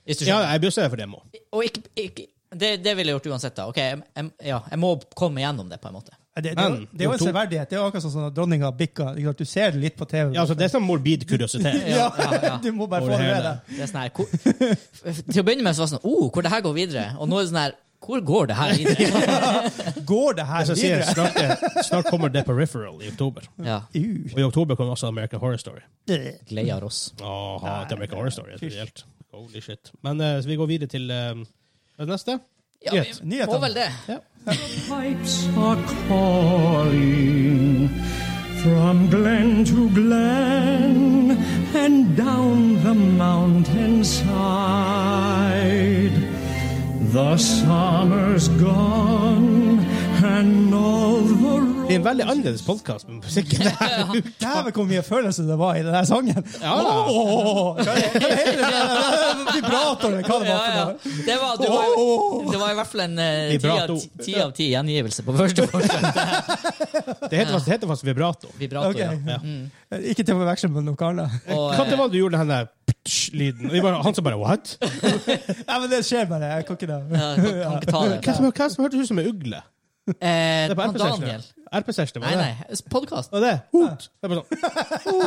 [SPEAKER 3] Hvis du
[SPEAKER 1] Ja,
[SPEAKER 3] skjønner.
[SPEAKER 1] jeg blir å se det for dem òg.
[SPEAKER 3] Og ikke, ikke, det, det ville jeg gjort uansett, da. Ok, jeg, jeg, ja, jeg må komme gjennom det, på en måte.
[SPEAKER 2] Det, det,
[SPEAKER 1] Men,
[SPEAKER 2] det er jo en
[SPEAKER 1] to-
[SPEAKER 2] severdighet. Det er jo akkurat sånn som når dronninga bikka. ikke sant? Du ser det litt på TV.
[SPEAKER 1] Ja, altså, det er sånn morbid kuriositet.
[SPEAKER 2] Ja,
[SPEAKER 3] Ja, ja, ja.
[SPEAKER 2] Du må bare
[SPEAKER 1] Over
[SPEAKER 2] få det
[SPEAKER 1] hele.
[SPEAKER 2] med deg.
[SPEAKER 3] Det er sånn her, hvor, til å begynne med så var det sånn oh, hvor det her går videre. Og nå er det sånn her Hvor går det her videre?
[SPEAKER 2] Går det her
[SPEAKER 1] Altså, sier,
[SPEAKER 2] videre?
[SPEAKER 1] snart, snart kommer The Peripheral i oktober.
[SPEAKER 3] Ja.
[SPEAKER 2] Uh,
[SPEAKER 1] Og i oktober kommer også American Horror Story.
[SPEAKER 2] det-
[SPEAKER 3] Gleder oss.
[SPEAKER 1] Åh, til American Horror Story er spesielt. Holy shit. Men eh, så vi går videre til eh, det neste.
[SPEAKER 3] Ja,
[SPEAKER 1] Nyhet.
[SPEAKER 3] vi må vel det.
[SPEAKER 4] pipes are calling from glen to glen and down the mountainside. The summer's gone and all the
[SPEAKER 1] Det er en veldig annerledes podkast med musikken.
[SPEAKER 2] Dæven, hvor mye følelse det var i den der sangen!
[SPEAKER 1] Ja, da.
[SPEAKER 2] Åh, hva er- hva heter det? Vibrator, eller hva det var
[SPEAKER 3] Ja,
[SPEAKER 2] for
[SPEAKER 3] ja.
[SPEAKER 2] noe?
[SPEAKER 3] Det, var, det, var, det var i hvert fall en eh, ti av
[SPEAKER 1] Vibrato.
[SPEAKER 3] ti- ti av ti gjengivelse på første forsøk.
[SPEAKER 1] Det heter, faktisk- det heter faktisk vibrato.
[SPEAKER 3] Vibrato,
[SPEAKER 2] Ok. Mm.
[SPEAKER 3] ja.
[SPEAKER 1] Ja.
[SPEAKER 2] Ikke til å forveksle med noe annet.
[SPEAKER 3] Og, eh,
[SPEAKER 1] Hva det var du gjorde den der ptsj-lyden? Og vi bare- Han som bare What?
[SPEAKER 2] Nei, men det skjer bare. Jeg kan ikke det.
[SPEAKER 3] Ja, kan, kan ikke ta
[SPEAKER 1] Hva
[SPEAKER 3] det.
[SPEAKER 1] som, hva som hørtes ut som en ugle?
[SPEAKER 3] Eh,
[SPEAKER 1] Det er på
[SPEAKER 3] han
[SPEAKER 1] RP-session.
[SPEAKER 3] Daniel.
[SPEAKER 1] RP-session, var
[SPEAKER 3] Nei,
[SPEAKER 1] det
[SPEAKER 3] nei.
[SPEAKER 1] det?
[SPEAKER 3] Podkast.
[SPEAKER 1] Var det det? Hot! Det er bare sånn.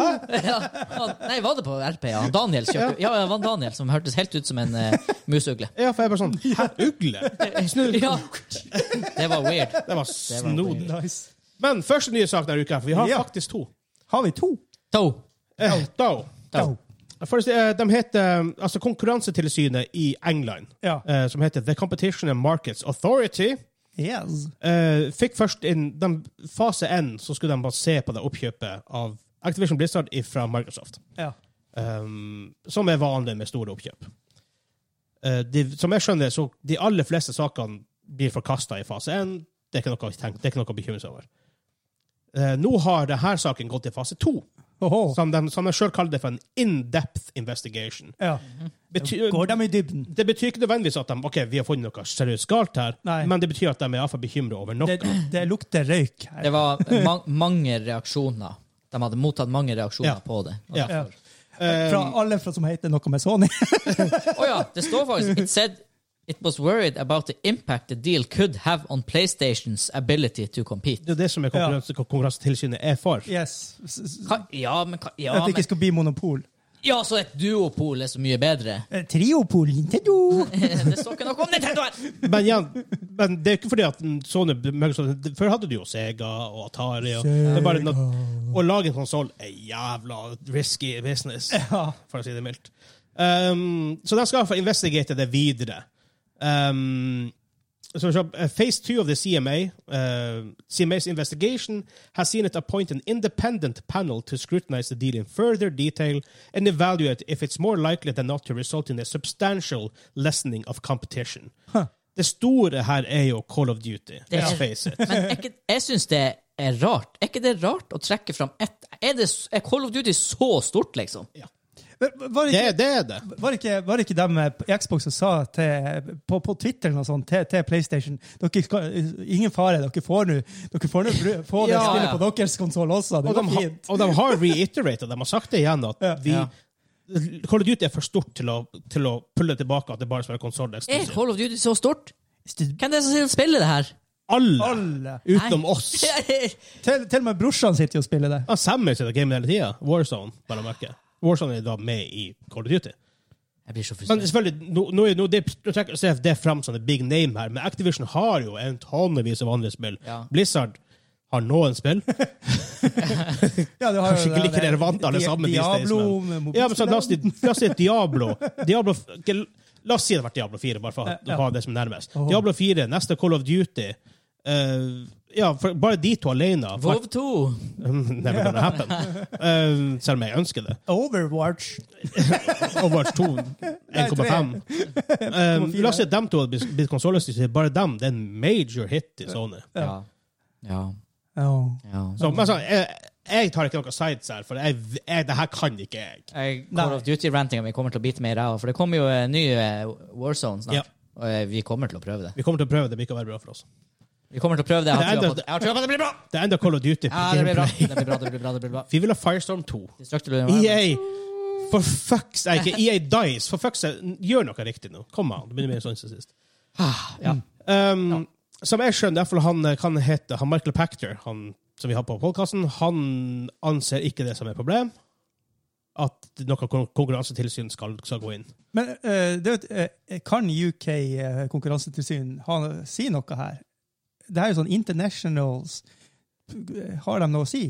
[SPEAKER 3] Ja. han- Nei, var det på RP? Ja, han Daniel kjørte. Ja, det var han Daniel som hørtes helt ut som en eh, musugle.
[SPEAKER 1] Ja, for jeg er bare sånn Hæ, ugle? Snu.
[SPEAKER 3] Ja. Det var weird.
[SPEAKER 1] Det var snodig.
[SPEAKER 2] Nice.
[SPEAKER 1] Men første nye sak denne uka, for vi har
[SPEAKER 2] Ja.
[SPEAKER 1] faktisk to.
[SPEAKER 2] Har vi to?
[SPEAKER 3] To.
[SPEAKER 1] Eh, da.
[SPEAKER 2] To.
[SPEAKER 1] Først, eh, de heter eh, altså Konkurransetilsynet i England,
[SPEAKER 2] Ja.
[SPEAKER 1] eh, som heter The Competition and Markets Authority,
[SPEAKER 2] Yes.
[SPEAKER 1] eh, fikk først inn de, fase én, så skulle de bare se på det oppkjøpet av Activision Blizzard fra Microsoft.
[SPEAKER 2] Ja.
[SPEAKER 1] Um, som er vanlig med store oppkjøp. Eh, de, som jeg skjønner, så de aller fleste sakene blir forkasta i fase 1. Det er ikke noe, å tenke- det er ikke noe å bekymre seg over. Eh, nå har denne saken gått til fase 2,
[SPEAKER 2] Oho.
[SPEAKER 1] som de, som de sjøl kaller det for en in-depth investigation.
[SPEAKER 2] ja.
[SPEAKER 3] Mm-hmm.
[SPEAKER 1] Betyr,
[SPEAKER 2] Går de i dybden?
[SPEAKER 1] det betyr ikke nødvendigvis at de, ok, vi har funnet noe seriøst galt her,
[SPEAKER 2] Nei.
[SPEAKER 1] men det betyr at de er iallfall bekymra over noe.
[SPEAKER 2] Det, det lukter røyk her.
[SPEAKER 3] Det var ma mange reaksjoner. De hadde mottatt mange reaksjoner
[SPEAKER 1] Ja.
[SPEAKER 3] på det. Å
[SPEAKER 1] Ja.
[SPEAKER 2] Ja. Fra alle fra, som heter noe med Sony.
[SPEAKER 3] ja, det står faktisk It said it was worried about the impact the deal could have on PlayStation's ability to compete.
[SPEAKER 1] Det er det som er konkurranse, Konkurransetilsynet er for.
[SPEAKER 2] Yes. S- s-
[SPEAKER 3] Hva? Ja, men hva? Ja,
[SPEAKER 2] At det
[SPEAKER 3] men,
[SPEAKER 2] ikke skulle bli monopol.
[SPEAKER 3] ja, så et duopol er så mye bedre.
[SPEAKER 2] Eh, Triopol, Nintendo!
[SPEAKER 3] Det står ikke noe om Nintendo her!
[SPEAKER 1] Men igjen, men det er ikke fordi at Sony Microsoft, Før hadde du jo Sega og Atari. Og, det er bare noe, å lage en konsoll er jævla risky business, for å si det mildt. Um, så de skal få investigate det videre. Um, so, uh, phase two of the CMA, uh, CMA's investigation, has seen it appoint an independent panel to scrutinize the deal in further detail and evaluate if it's more likely than not to result in a substantial lessening of competition. Det store her er jo Call of Duty. Let's
[SPEAKER 3] er-
[SPEAKER 1] face it.
[SPEAKER 3] Men er ikke, jeg syns det er rart. Er ikke det rart å trekke fram ett Er, det, s- er Call of Duty så stort, liksom?
[SPEAKER 2] Men Var det
[SPEAKER 1] Det,
[SPEAKER 2] ikke,
[SPEAKER 1] det er det.
[SPEAKER 2] var det ikke, var det ikke dem eh, på Xbox som sa til, på, på Twitter eller noe sånt, til, til PlayStation dere skal, Ingen fare, dere får nå Dere får nå bru- få det
[SPEAKER 3] Ja, ja.
[SPEAKER 2] spillet på deres konsoll også. Det
[SPEAKER 1] Og de,
[SPEAKER 2] går
[SPEAKER 1] har-
[SPEAKER 2] fint.
[SPEAKER 1] og de har reiterated, de har sagt det igjen, at vi
[SPEAKER 3] Ja.
[SPEAKER 1] Call of Duty er for stort til å, til å pulle tilbake at det bare skal være konsoll.
[SPEAKER 3] Er Call of Duty så stort? Hvem er det som spiller det her?
[SPEAKER 1] Alle,
[SPEAKER 2] Alle.
[SPEAKER 1] utenom
[SPEAKER 3] Nei.
[SPEAKER 1] oss.
[SPEAKER 2] Til, til og med brorsan sitter jo og spiller det.
[SPEAKER 1] Ja, Sammy sitter og gamer hele tida. Warzone, bare å merke. Warzone er da med i Call of Duty.
[SPEAKER 3] Jeg blir så
[SPEAKER 1] Men
[SPEAKER 3] frustrert.
[SPEAKER 1] selvfølgelig, nå, nå, nå, det, nå trekker jeg det fram som en big name her, men Activision har jo en tonnevis av andre spill.
[SPEAKER 3] Ja.
[SPEAKER 1] Blizzard har noen spill.
[SPEAKER 2] Ja, du har jo
[SPEAKER 1] Kanskje ikke
[SPEAKER 2] det-
[SPEAKER 1] like relevant alle
[SPEAKER 2] Di-
[SPEAKER 1] sammen. these days,
[SPEAKER 2] Diablo
[SPEAKER 1] men-
[SPEAKER 2] med
[SPEAKER 1] sånn. ja, men så, la, oss, la oss si et Diablo. Diablo ikke- la oss si det har vært Diablo 4, bare for å ha-
[SPEAKER 2] Ja.
[SPEAKER 1] ha det som nærmest. Diablo 4, neste Call of Duty. Eh, ja, for bare de to alene.
[SPEAKER 3] Vov 2.
[SPEAKER 1] Never gonna happen. Eh, selv om jeg ønsker det.
[SPEAKER 2] Overwatch.
[SPEAKER 1] Overwatch 2, 1,5. Um, la oss si at dem to hadde blitt- blitt konsolløse. Bare dem. Det er en major hit i Sony.
[SPEAKER 3] Ja. Ja.
[SPEAKER 2] Ja.
[SPEAKER 3] ja.
[SPEAKER 1] Så, men altså, jeg, jeg tar ikke noe sides her, for jeg, jeg, det her kan ikke jeg.
[SPEAKER 3] Jeg- Call of Duty-rantinga mi kommer til å bite meg i ræva, for det kommer jo en ny eh, Warzone snart.
[SPEAKER 1] Ja.
[SPEAKER 3] Og eh, vi kommer til å prøve det.
[SPEAKER 1] Vi kommer til å prøve det, men det vil ikke være bra for oss.
[SPEAKER 3] Vi kommer til å prøve det. Jeg har
[SPEAKER 1] Det er
[SPEAKER 3] trua
[SPEAKER 1] det-
[SPEAKER 3] på det. Jeg har trua på at det blir bra!
[SPEAKER 1] Det er enda Call of Duty. på
[SPEAKER 3] Ja, det blir bra.
[SPEAKER 1] gameplay.
[SPEAKER 3] Det blir bra, det blir bra. det blir bra.
[SPEAKER 1] Vi vil ha Firestorm 2.
[SPEAKER 3] Destructible Environment.
[SPEAKER 1] EA, for fucks sake. Ikke EA Dice, for fucks sake. Gjør noe riktig nå. Kom an. Det begynner å bli sånn som sist.
[SPEAKER 3] Ah, Ja.
[SPEAKER 1] Um, Som jeg skjønner, derfor han eh, kan hete han Michael Pachter, han som vi har på podkasten, han anser ikke det som et problem. At noe kon- konkurransetilsyn skal, skal gå inn.
[SPEAKER 2] Men eh, det, er jo et, eh, kan UK eh, konkurransetilsyn ha- si noe her? Det er jo sånn internationals. eh, Har de noe å si?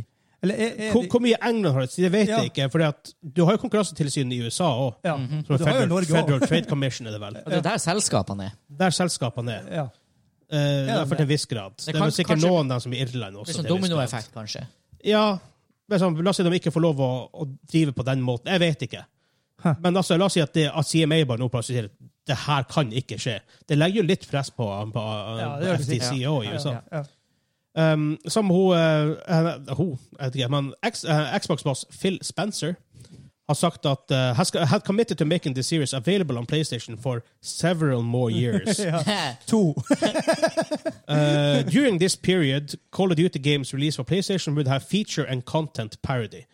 [SPEAKER 2] Eller er, er
[SPEAKER 1] Hvor,
[SPEAKER 2] de-
[SPEAKER 1] hvor mye England har det, det vet
[SPEAKER 2] Ja.
[SPEAKER 1] jeg ikke. Fordi at du har jo konkurransetilsyn i USA òg.
[SPEAKER 2] ja.
[SPEAKER 1] Som
[SPEAKER 2] Du har jo
[SPEAKER 1] Federal,
[SPEAKER 2] Norge også.
[SPEAKER 1] Federal Trade Commission er det vel.
[SPEAKER 3] Og det er der selskapene er.
[SPEAKER 1] Der selskapene er.
[SPEAKER 2] Ja.
[SPEAKER 1] Uh, derfor til en viss grad. Det,
[SPEAKER 3] Det
[SPEAKER 1] er vel
[SPEAKER 3] kan-
[SPEAKER 1] sikkert
[SPEAKER 3] kanskje-
[SPEAKER 1] noen der som er i Irland også.
[SPEAKER 3] Litt sånn
[SPEAKER 1] til en viss grad.
[SPEAKER 3] dominoeffekt, kanskje.
[SPEAKER 1] Ja, men sånn, La oss si de ikke får lov å, å drive på den måten. Jeg vet ikke. Men altså, la oss si at, det, at CMA bare nå plutselig sier at det her kan ikke skje. Det legger jo litt press på, på,
[SPEAKER 2] Ja,
[SPEAKER 1] på
[SPEAKER 2] det gjør det sikkert.
[SPEAKER 1] FTC
[SPEAKER 3] Ja.
[SPEAKER 1] også i USA.
[SPEAKER 2] Ja, ja.
[SPEAKER 1] Um, som hun, eh, henne- hun jeg vet ikke, men X- eh, Xbox-boss Phil Spencer har sagt at eh, has, had committed to making the series available on PlayStation for several more years.
[SPEAKER 2] To.
[SPEAKER 1] Uh, during this period, Call of Duty games released for PlayStation would have feature and content parody.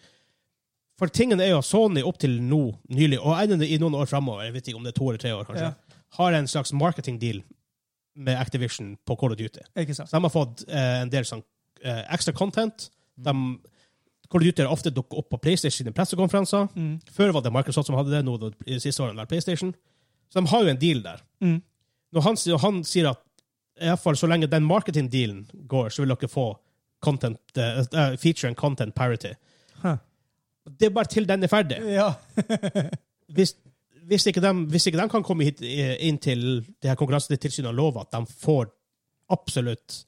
[SPEAKER 1] For tingen er jo at Sony opp til nå, nylig, og enda i noen år fremover, jeg vet ikke om det er to eller tre år kanskje,
[SPEAKER 2] Ja.
[SPEAKER 1] har en slags marketing deal med Activision på Call of Duty.
[SPEAKER 2] Ikke sant?
[SPEAKER 1] Så de har fått eh, en del sånn eh, ekstra content. De, Call of Duty har ofte dukket opp på PlayStation sine pressekonferanser. Før var det Microsoft som hadde det, nå er det de siste årene der PlayStation. Så de har jo en deal der.
[SPEAKER 2] Mm.
[SPEAKER 1] Når han, sier- han sier at i hvert fall så lenge den marketing-dealen går, så vil dere få content, eh, eh, feature and content parity.
[SPEAKER 2] Huh.
[SPEAKER 1] Det er bare til den er ferdig.
[SPEAKER 2] Ja.
[SPEAKER 1] Hvis, hvis, ikke de, hvis ikke de kan komme hit, eh, inn til det her konkurransetilsynet og love at de får absolutt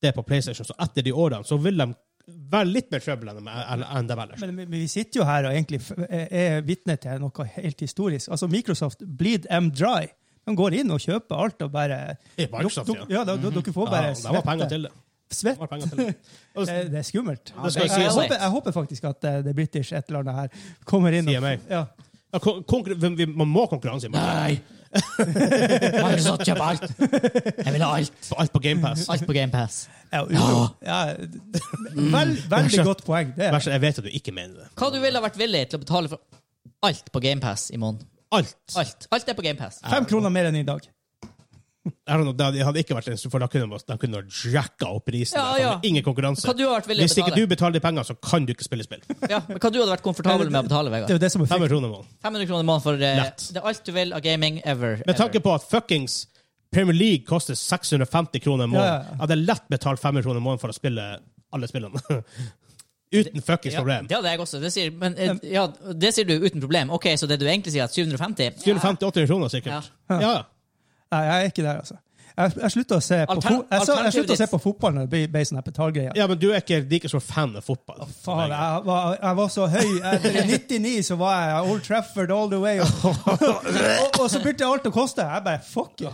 [SPEAKER 1] det på PlayStation, så etter de årene så vil de være litt mer trøbbel enn de enn- enn de ellers.
[SPEAKER 2] Men, men vi sitter jo her og egentlig f- er- er vitne til noe helt historisk. Altså, Microsoft bleed them dry. De går inn og kjøper alt og bare
[SPEAKER 1] I Microsoft,
[SPEAKER 2] Dok-
[SPEAKER 1] ja. Mhm.
[SPEAKER 2] ja. da- da- Dere får
[SPEAKER 1] Ja,
[SPEAKER 2] bare
[SPEAKER 1] de har penger til det.
[SPEAKER 2] Svett.
[SPEAKER 1] De har penger til det. Og
[SPEAKER 2] Det, det er skummelt.
[SPEAKER 1] det skal
[SPEAKER 2] jeg,
[SPEAKER 1] jeg si.
[SPEAKER 2] jeg, håper, jeg håper faktisk at eh, det british et eller annet her kommer inn
[SPEAKER 1] CMA.
[SPEAKER 2] og ja.
[SPEAKER 1] Ja, kon- konkurr- vi- vi- Man må ha konkurranse i markedet.
[SPEAKER 3] Nei! Microsoft kjøper alt. Jeg vil ha alt.
[SPEAKER 1] På Alt på GamePass.
[SPEAKER 3] Alt på GamePass.
[SPEAKER 2] Ja,
[SPEAKER 1] Ah.
[SPEAKER 2] uro- ja, vel, veldig godt poeng. Det er.
[SPEAKER 1] Jeg vet at du ikke mener det.
[SPEAKER 3] Hva du ville vært villig til å betale for alt på GamePass i måneden?
[SPEAKER 1] Alt.
[SPEAKER 3] Alt. Alt er på GamePass.
[SPEAKER 2] fem kroner mer enn i dag.
[SPEAKER 1] I don't know, Det hadde ikke vært en for da kunne man- de kunne ha jacka opp prisen.
[SPEAKER 3] Ja,
[SPEAKER 1] der.
[SPEAKER 3] ja.
[SPEAKER 1] Det var Ingen konkurranse.
[SPEAKER 3] Hva du har vært villig
[SPEAKER 1] Hvis
[SPEAKER 3] til å
[SPEAKER 1] ikke
[SPEAKER 3] betale?
[SPEAKER 1] du betaler de pengene, så kan du ikke spille spill.
[SPEAKER 3] Ja, men Hva du hadde vært komfortabel med å betale,
[SPEAKER 2] Det er
[SPEAKER 3] Vegard?
[SPEAKER 2] jo det som er
[SPEAKER 1] Fem
[SPEAKER 2] fint.
[SPEAKER 1] kroner i måneden.
[SPEAKER 3] 500 kroner i måneden for eh,
[SPEAKER 1] Lett.
[SPEAKER 3] det er alt du vil av gaming ever.
[SPEAKER 1] Med tanke
[SPEAKER 3] ever.
[SPEAKER 1] på at fuckings Premier League koster 650 kroner i måneden,
[SPEAKER 2] Ja, ja, ja.
[SPEAKER 1] hadde jeg lett betalt 500 kroner i måneden for å spille alle spillene. Uten fuckings
[SPEAKER 3] ja,
[SPEAKER 1] problem.
[SPEAKER 3] det hadde jeg også. Det sier, men, eh, ja, det sier du uten problem. Ok, Så det du egentlig sier, er at 750
[SPEAKER 1] 750-800 kroner, sikkert. Ja, ja.
[SPEAKER 2] Nei, jeg er ikke der, altså. Jeg, jeg slutta å, se på
[SPEAKER 3] Altern-
[SPEAKER 2] fo- jeg så- jeg sluttet å
[SPEAKER 3] alternativet
[SPEAKER 2] se på fotball når det ble- ble sånn her betalgreier.
[SPEAKER 1] ja, men du er ikke like stor fan av fotball.
[SPEAKER 2] Faen, jeg var, jeg var så høy. Etter 99 så var jeg Old Trafford all the way. Og, og, og så begynte alt å koste. Jeg bare fuck it.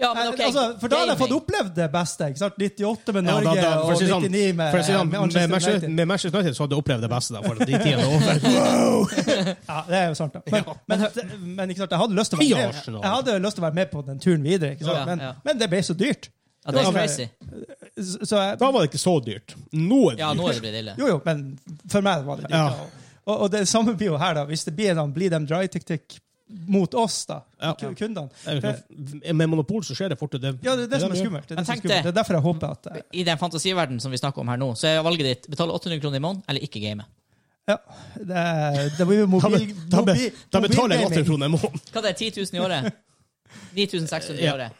[SPEAKER 3] Ja, men ok,
[SPEAKER 2] altså, for da hadde jeg fått
[SPEAKER 3] gaming.
[SPEAKER 2] opplevd det beste. ikke sant? 98 med
[SPEAKER 1] Ja,
[SPEAKER 2] Norge
[SPEAKER 1] da- da- for å
[SPEAKER 2] og
[SPEAKER 1] si
[SPEAKER 2] 99
[SPEAKER 1] sånn-
[SPEAKER 2] med,
[SPEAKER 1] for å si sånn, Med
[SPEAKER 2] med Manchester
[SPEAKER 1] Manchester-
[SPEAKER 2] United.
[SPEAKER 1] med Manchester United så hadde du opplevd det beste, da, for de tidene er over.
[SPEAKER 2] Ja, det er jo sant, da. Men, men, men ikke sant, jeg hadde lyst til å
[SPEAKER 1] Fy
[SPEAKER 2] være med,
[SPEAKER 1] Arsenal.
[SPEAKER 2] jeg hadde lyst til å være med på den turen videre, ikke sant?
[SPEAKER 3] Ja,
[SPEAKER 2] Men,
[SPEAKER 3] ja.
[SPEAKER 2] men det ble så dyrt.
[SPEAKER 3] Ja, det
[SPEAKER 1] Ja,
[SPEAKER 3] er
[SPEAKER 1] men-
[SPEAKER 3] crazy.
[SPEAKER 2] Så så jeg,
[SPEAKER 1] Da var det ikke så dyrt. Nå er det
[SPEAKER 3] Ja, nå
[SPEAKER 1] dyrt.
[SPEAKER 3] er det blitt ille.
[SPEAKER 2] Jo, jo, men for meg var det dyrt.
[SPEAKER 1] Ja.
[SPEAKER 2] da. Og, og det samme blir jo her, da. Hvis det blir en blir dem dry-tikk-tikk mot oss, da.
[SPEAKER 1] Ja.
[SPEAKER 2] ku- Kundene.
[SPEAKER 1] Det
[SPEAKER 2] Det,
[SPEAKER 1] er jo- Eh, Med monopol så skjer det fort. og Det,
[SPEAKER 2] ja, det er det som er
[SPEAKER 1] de gjør.
[SPEAKER 2] skummelt. Det er, det
[SPEAKER 3] Men
[SPEAKER 2] som er
[SPEAKER 3] tenk
[SPEAKER 2] skummelt.
[SPEAKER 3] det.
[SPEAKER 2] det er derfor jeg håper at eh,
[SPEAKER 3] I den fantasiverdenen som vi snakker om her nå, så er valget ditt betale 800 kroner i måneden eller ikke game.
[SPEAKER 2] Ja. Det, er- det blir jo
[SPEAKER 1] Da,
[SPEAKER 2] mobil...
[SPEAKER 1] be, da, be,
[SPEAKER 2] mobil-
[SPEAKER 1] da betaler jeg 80
[SPEAKER 2] mobilgaming.
[SPEAKER 1] kroner i måneden.
[SPEAKER 3] Hva det er 10 000 i året? 9600 i
[SPEAKER 1] Ja.
[SPEAKER 3] året.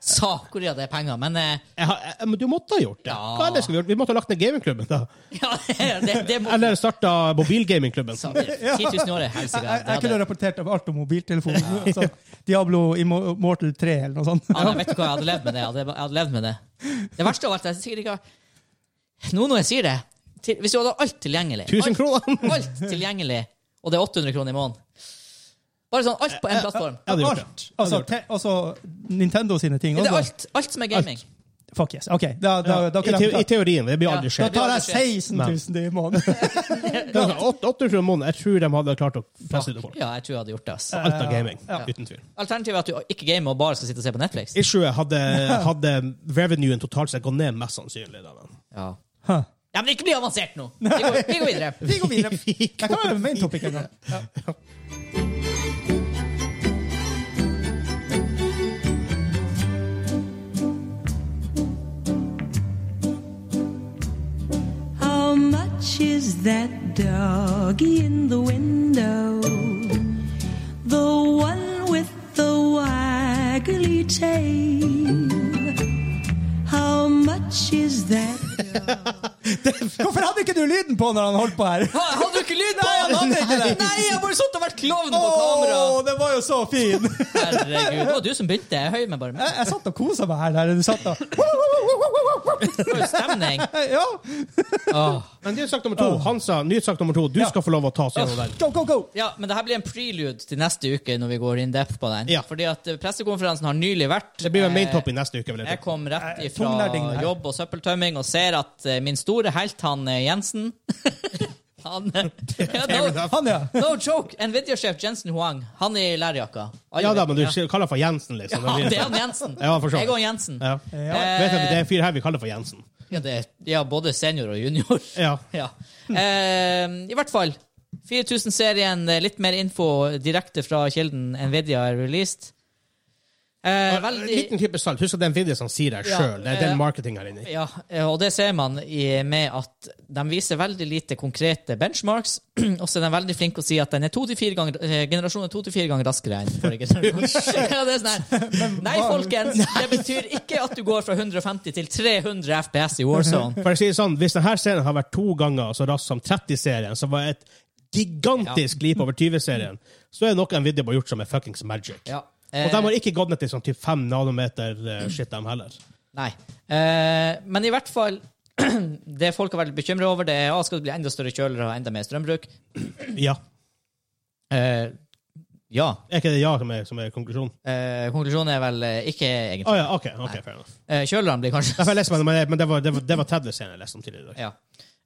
[SPEAKER 3] Sa Korea det er penger, men eh,
[SPEAKER 1] Jeg har, jeg, men du måtte ha gjort det.
[SPEAKER 3] Ja.
[SPEAKER 1] Hva ellers skulle vi gjort? Vi måtte ha lagt ned gamingklubben, da.
[SPEAKER 3] ja, det, det må
[SPEAKER 1] Eller starta mobilgamingklubben.
[SPEAKER 3] sa det. 10 000 i året, helsike.
[SPEAKER 2] Jeg, jeg,
[SPEAKER 3] det
[SPEAKER 2] jeg kunne
[SPEAKER 3] hadde-
[SPEAKER 2] rapportert om alt om mobiltelefonen. Altså, Diablo Immo- Immortal 3 eller noe sånt.
[SPEAKER 3] Ja, men Ah, vet du hva, jeg hadde levd med det. Jeg hadde, jeg hadde levd med det. Det verste av alt, jeg sikkert ikke har- Nå når jeg sier det, til, hvis du hadde alt tilgjengelig
[SPEAKER 1] 1000 kroner.
[SPEAKER 3] alt, alt tilgjengelig, og det er 800 kroner i måneden Bare sånn alt på én plattform.
[SPEAKER 1] Jeg hadde gjort det.
[SPEAKER 2] Alt. Altså, te, altså Nintendo sine ting.
[SPEAKER 3] Det er
[SPEAKER 2] Også.
[SPEAKER 3] alt, alt som er gaming.
[SPEAKER 2] Fuck yes. OK, da, da, da,
[SPEAKER 1] I,
[SPEAKER 2] kunne
[SPEAKER 1] te, I
[SPEAKER 2] jeg-
[SPEAKER 1] teorien. Det blir aldri
[SPEAKER 3] Ja,
[SPEAKER 2] da
[SPEAKER 1] skjedd.
[SPEAKER 2] tar jeg 16 000 i måneden.
[SPEAKER 1] Det er sånn, åt- 800 kroner i måneden. Jeg tror de hadde klart å presse ut av folk.
[SPEAKER 3] Ja, jeg tror jeg hadde gjort det. ass.
[SPEAKER 1] Alt av gaming. Uten tvil.
[SPEAKER 3] Alternativet er at du ikke gamer og bare skal sitte og se på Netflix.
[SPEAKER 1] Issuet hadde, hadde revenuen totalt sett gått ned, mest sannsynlig. Da. men.
[SPEAKER 3] Ja. ja, men ikke bli avansert nå! Vi går, vi går videre.
[SPEAKER 2] Vi går videre. Det kan være en main topic en gang.
[SPEAKER 6] How much is that doggy in the window? The one with the waggly tail. How much is that?
[SPEAKER 2] Hvorfor hadde ikke du lyden på når han holdt på her?
[SPEAKER 3] Ha, hadde du ikke lyd på?
[SPEAKER 2] Nei, han hadde ikke det.
[SPEAKER 3] Nei, jeg har bare sittet og vært klovn på kamera!
[SPEAKER 2] Åh, det var jo så fin! Jeg,
[SPEAKER 3] Herregud, det var du som begynte. Jeg høy meg bare med.
[SPEAKER 2] jeg satt og kosa meg her. Der. Du satt og
[SPEAKER 3] Det var jo stemning.
[SPEAKER 2] Ja!
[SPEAKER 3] Åh.
[SPEAKER 1] Men det er sak nummer to. Hansa, nyhetssak nummer to. Du skal få lov å ta oss gjennom den.
[SPEAKER 2] Go, go, go!
[SPEAKER 3] Ja, men det her blir en prelude til neste uke når vi går in depth på den.
[SPEAKER 1] Ja.
[SPEAKER 3] Fordi at eh, pressekonferansen har nylig vært
[SPEAKER 1] Det blir vel main
[SPEAKER 3] eh,
[SPEAKER 1] topping neste uke. vil jeg
[SPEAKER 3] Jeg
[SPEAKER 1] tro.
[SPEAKER 3] kom rett
[SPEAKER 2] Eh,
[SPEAKER 3] ifra
[SPEAKER 2] tungnerding der.
[SPEAKER 3] jobb og søppeltømming og ser at eh, min store helt, han eh, Jensen Han eh, ja, no,
[SPEAKER 2] Han, ja.
[SPEAKER 3] no joke! Nvidia-sjef Jensen Huang, han i lærjakka. Alle
[SPEAKER 1] Ja da,
[SPEAKER 3] vet-
[SPEAKER 1] men du kaller han for Jensen, liksom.
[SPEAKER 3] Ja,
[SPEAKER 1] blir-
[SPEAKER 3] det er han Jensen.
[SPEAKER 1] Ja, for så vidt.
[SPEAKER 3] Jeg og Jensen.
[SPEAKER 1] Ja. Vet du, det er en fyr her vi kaller for Jensen.
[SPEAKER 3] Ja, det, ja, både senior og junior.
[SPEAKER 1] Ja.
[SPEAKER 3] Ja. Eh, I hvert fall. 4000-serien, eh, litt mer info direkte fra kilden Nvidia er released. Eh, veldig,
[SPEAKER 1] Liten type salt. Husk at det er en video som sier det
[SPEAKER 3] Ja,
[SPEAKER 1] sjøl. Det er
[SPEAKER 3] eh,
[SPEAKER 1] den marketinga her inne.
[SPEAKER 3] ja, eh, og det ser man i, med at de viser veldig lite konkrete benchmarks, og så er de veldig flinke å si at den er 2-4 ganger, eh, generasjonen er 2-4 ganger raskere enn forrige generasjon. ja, det er sånn her. Nei, folkens, det betyr ikke at du går fra 150 til 300 FPS i Warzone.
[SPEAKER 1] For å si det sånn, Hvis denne serien har vært to ganger så rask som 30-serien, som var et gigantisk leap over 20-serien, så er det noe Nvidia har gjort som er fuckings magic.
[SPEAKER 3] Ja.
[SPEAKER 1] Og de har ikke gått ned til sånn typ 5 nanometer eh, shit, dem heller.
[SPEAKER 3] Nei. Eh, men i hvert fall Det folk er veldig bekymra over, det er at skal det bli enda større kjølere og enda mer strømbruk.
[SPEAKER 1] Ja.
[SPEAKER 3] Eh, ja.
[SPEAKER 1] Er ikke det ja som er, som er konklusjonen?
[SPEAKER 3] Eh, konklusjonen er vel eh, ikke
[SPEAKER 1] Å
[SPEAKER 3] egentlig.
[SPEAKER 1] ja, OK. ok, fair enough.
[SPEAKER 3] Eh, kjølerne blir
[SPEAKER 1] Ja, for
[SPEAKER 3] kanskje
[SPEAKER 1] Jeg leser meg, men det- men det var, det var, det var Tedler-serien jeg leste om tidligere i dag.
[SPEAKER 3] ja.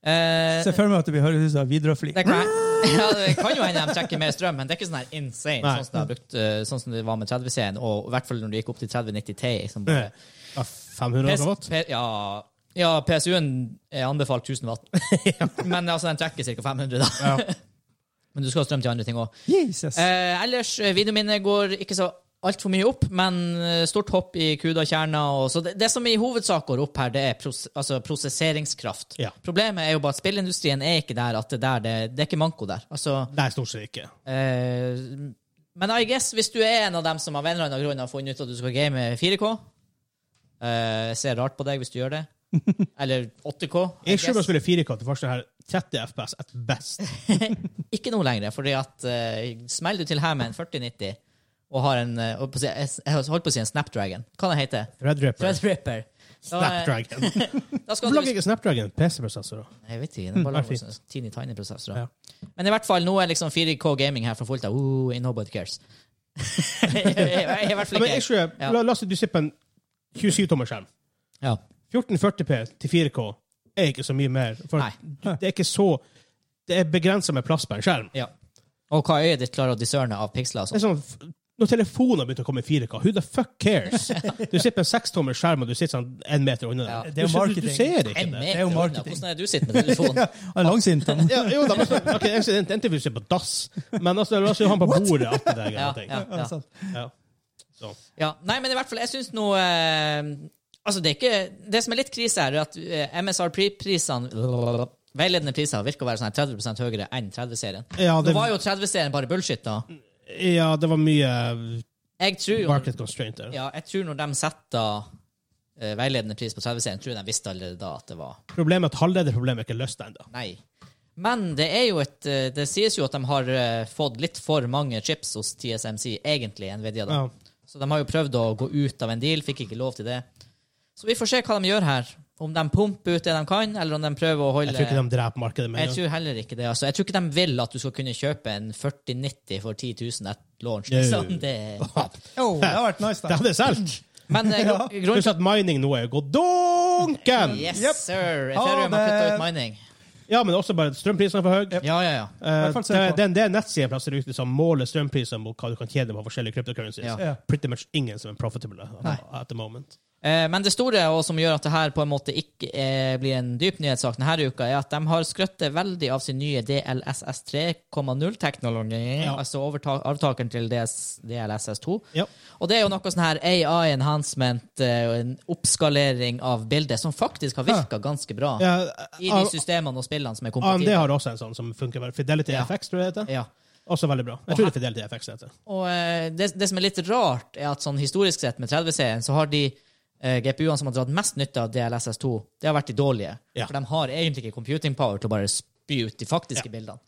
[SPEAKER 3] Eh,
[SPEAKER 2] Se for meg at det blir høres ut som Widerøe-fly.
[SPEAKER 3] det, kan, ja, det kan jo hende de trekker mer strøm, men det er ikke sånn her insane,
[SPEAKER 1] Nei.
[SPEAKER 3] sånn som, det har brukt, eh, sånn som det var med 30-serien, og i hvert fall når det gikk opp til 3090 Ti. Som bare,
[SPEAKER 1] Ja, 500
[SPEAKER 3] PS,
[SPEAKER 1] megawatt?
[SPEAKER 3] P, ja, ja, PSU-en er anbefalt 1000 watt, men altså, den trekker ca. 500, da.
[SPEAKER 1] Ja.
[SPEAKER 3] Men du skal ha strøm til andre ting òg.
[SPEAKER 2] Jesus.
[SPEAKER 3] Eh, ellers, eh, videoen min går ikke så altfor mye opp, men eh, stort hopp i kuda kjerna. Og, så det, det som i hovedsak går opp her, det er pros altså prosesseringskraft.
[SPEAKER 1] Ja.
[SPEAKER 3] Problemet er jo bare at spillindustrien er ikke der at det der, det, det er ikke manko der. Altså,
[SPEAKER 1] Nei, stort sett ikke.
[SPEAKER 3] eh, men I guess hvis du er en av dem som av en eller annen grunn har funnet ut at du skal game 4K eh, Jeg ser rart på deg hvis du gjør det. Eller 8K. I
[SPEAKER 1] Jeg tror man
[SPEAKER 3] guess.
[SPEAKER 1] skulle 4K til første her 30 FPS at best.
[SPEAKER 3] Ikke nå lenger, fordi at eh, smeller du til her med en 4090 og har en eh, holdt på å si- Jeg holdt på å si en Snapdragon. Hva den heter den?
[SPEAKER 1] Threadripper.
[SPEAKER 3] Threadripper. Da, eh,
[SPEAKER 1] Snapdragon.
[SPEAKER 3] Da skal
[SPEAKER 1] Hvorfor lager
[SPEAKER 3] du,
[SPEAKER 1] ikke Snapdragon PC-prosessorer?
[SPEAKER 3] jeg vet ikke, den bare
[SPEAKER 1] det er
[SPEAKER 3] lager sånn teeny tiny prosessorer. Men i hvert fall, nå er liksom 4K gaming her for fullt av uh, nobody cares. jeg, jeg, jeg, jeg, er i hvert
[SPEAKER 1] Ja,
[SPEAKER 3] fall
[SPEAKER 1] men
[SPEAKER 3] ikke-
[SPEAKER 1] jeg tror,
[SPEAKER 3] Ja.
[SPEAKER 1] la, la oss si du sitter på en 27-tommerskjerm.
[SPEAKER 3] Ja.
[SPEAKER 1] 1440p til 4K er ikke så mye mer. For
[SPEAKER 3] Nei.
[SPEAKER 1] det er ikke så Det er begrensa med plass på en skjerm.
[SPEAKER 3] ja. Og hva øyet ditt klarer å discerne av piksler og
[SPEAKER 1] Det er
[SPEAKER 3] sånn.
[SPEAKER 1] sånn, f- når telefoner begynte å komme i 4K, who the fuck cares? Du sitter på en 6-tommers skjerm, og du sitter sånn en meter unna
[SPEAKER 3] Ja.
[SPEAKER 1] den.
[SPEAKER 2] Det er
[SPEAKER 1] Du-
[SPEAKER 2] jo
[SPEAKER 1] Du,
[SPEAKER 2] marketing.
[SPEAKER 1] du ser ikke
[SPEAKER 3] En
[SPEAKER 1] det.
[SPEAKER 3] meter
[SPEAKER 2] jo
[SPEAKER 3] unna.
[SPEAKER 2] marketing.
[SPEAKER 3] Hvordan er det du sitter med telefonen?
[SPEAKER 2] Han er langsynt. han.
[SPEAKER 1] Ja, jo da, men så- ok, jeg sier- Enten vil du sitte på dass, men altså, la oss si han på bordet attmed deg.
[SPEAKER 3] Ja,
[SPEAKER 1] eller noe.
[SPEAKER 3] ja, ja.
[SPEAKER 2] Altså,
[SPEAKER 1] Ja. Så.
[SPEAKER 3] Ja, nei, men i hvert fall, jeg syns nå eh, Altså, det er ikke Det som er litt krise her, er at eh, MSR-prisene Veiledende priser virker å være sånn her 30 høyere enn 30-serien.
[SPEAKER 1] Ja, det-
[SPEAKER 3] Nå var jo 30-serien bare bullshit, da.
[SPEAKER 1] ja, det var mye
[SPEAKER 3] Jeg tror, jo-
[SPEAKER 1] Market constraint der.
[SPEAKER 3] ja, jeg tror når de setter eh, veiledende pris på 30 tror jeg de visste allerede da at det var
[SPEAKER 1] Problemet er at halvlederproblemet er ikke løst ennå.
[SPEAKER 3] nei. Men det er jo et eh, Det sies jo at de har eh, fått litt for mange chips hos TSMC, egentlig, Nvidia. Da.
[SPEAKER 1] Ja.
[SPEAKER 3] Så de har jo prøvd å gå ut av en deal, fikk ikke lov til det. Så vi får se hva de gjør her. Om de pumper ut det de kan, eller om de prøver å holde
[SPEAKER 1] Jeg tror ikke de dreper markedet med
[SPEAKER 3] Jeg
[SPEAKER 1] en gang.
[SPEAKER 3] tror heller ikke det. Altså. Jeg tror ikke de vil at du skal kunne kjøpe en 4090 for 10 000 at launch.
[SPEAKER 1] Nei.
[SPEAKER 3] Liksom. Det...
[SPEAKER 2] Oh, det har vært nice,
[SPEAKER 1] Det
[SPEAKER 2] da.
[SPEAKER 1] hadde jeg solgt!
[SPEAKER 3] Men eh, gro- grunnen
[SPEAKER 1] Pluss at mining nå er jo gått donken!
[SPEAKER 3] Yes,
[SPEAKER 2] Yep.
[SPEAKER 3] sir!
[SPEAKER 2] Ha
[SPEAKER 3] Ethereum har putta
[SPEAKER 2] det.
[SPEAKER 3] ut mining.
[SPEAKER 1] Ja, men også bare strømprisene er for høye.
[SPEAKER 3] Ja, ja, ja.
[SPEAKER 1] Eh,
[SPEAKER 2] hvert fall
[SPEAKER 1] det,
[SPEAKER 2] sørpå.
[SPEAKER 1] det, det er nettsider plasser ute som måler strømpriser mot hva du kan tjene på forskjellige cryptocurrencies.
[SPEAKER 3] Ja.
[SPEAKER 2] Ja.
[SPEAKER 1] Pretty much ingen som er profitable at the moment.
[SPEAKER 3] Eh, Men det store, og som gjør at det her på en måte ikke eh, blir en dyp nyhetssak denne uka, er at de har skrøttet veldig av sin nye DLSS 3.0-teknologi,
[SPEAKER 1] Ja.
[SPEAKER 3] altså overta- arvtakeren til DS, DLSS 2.
[SPEAKER 1] Ja.
[SPEAKER 3] Og det er jo noe sånn her AI enhancement eh, og en oppskalering av bildet som faktisk har virka ganske bra
[SPEAKER 1] Eh,
[SPEAKER 3] i de systemene og spillene som er
[SPEAKER 1] AMD
[SPEAKER 3] kompatible.
[SPEAKER 1] har også en sånn som funker. vel. Fidelity
[SPEAKER 3] Ja.
[SPEAKER 1] FX, tror jeg det heter.
[SPEAKER 3] Ja.
[SPEAKER 1] Også veldig bra. Jeg tror det er Fidelity FX det heter.
[SPEAKER 3] Og eh, det, det som er litt rart, er at sånn historisk sett med 30-serien, så har de eh, GPU-ene som har dratt mest nytte av DLSS2, det har vært de dårlige.
[SPEAKER 1] Ja.
[SPEAKER 3] For de har egentlig ikke computing power til å bare spy ut de faktiske bildene.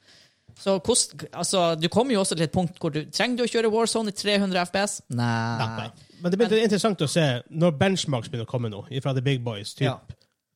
[SPEAKER 3] Så kost, altså, du kommer jo også til et punkt hvor du trenger du å kjøre Warzone i 300 FPS. Nei.
[SPEAKER 1] Nei. Eh, Men det blir det er interessant å se når benchmarks begynner å komme nå, fra The Big Boys. Typ.
[SPEAKER 3] Ja.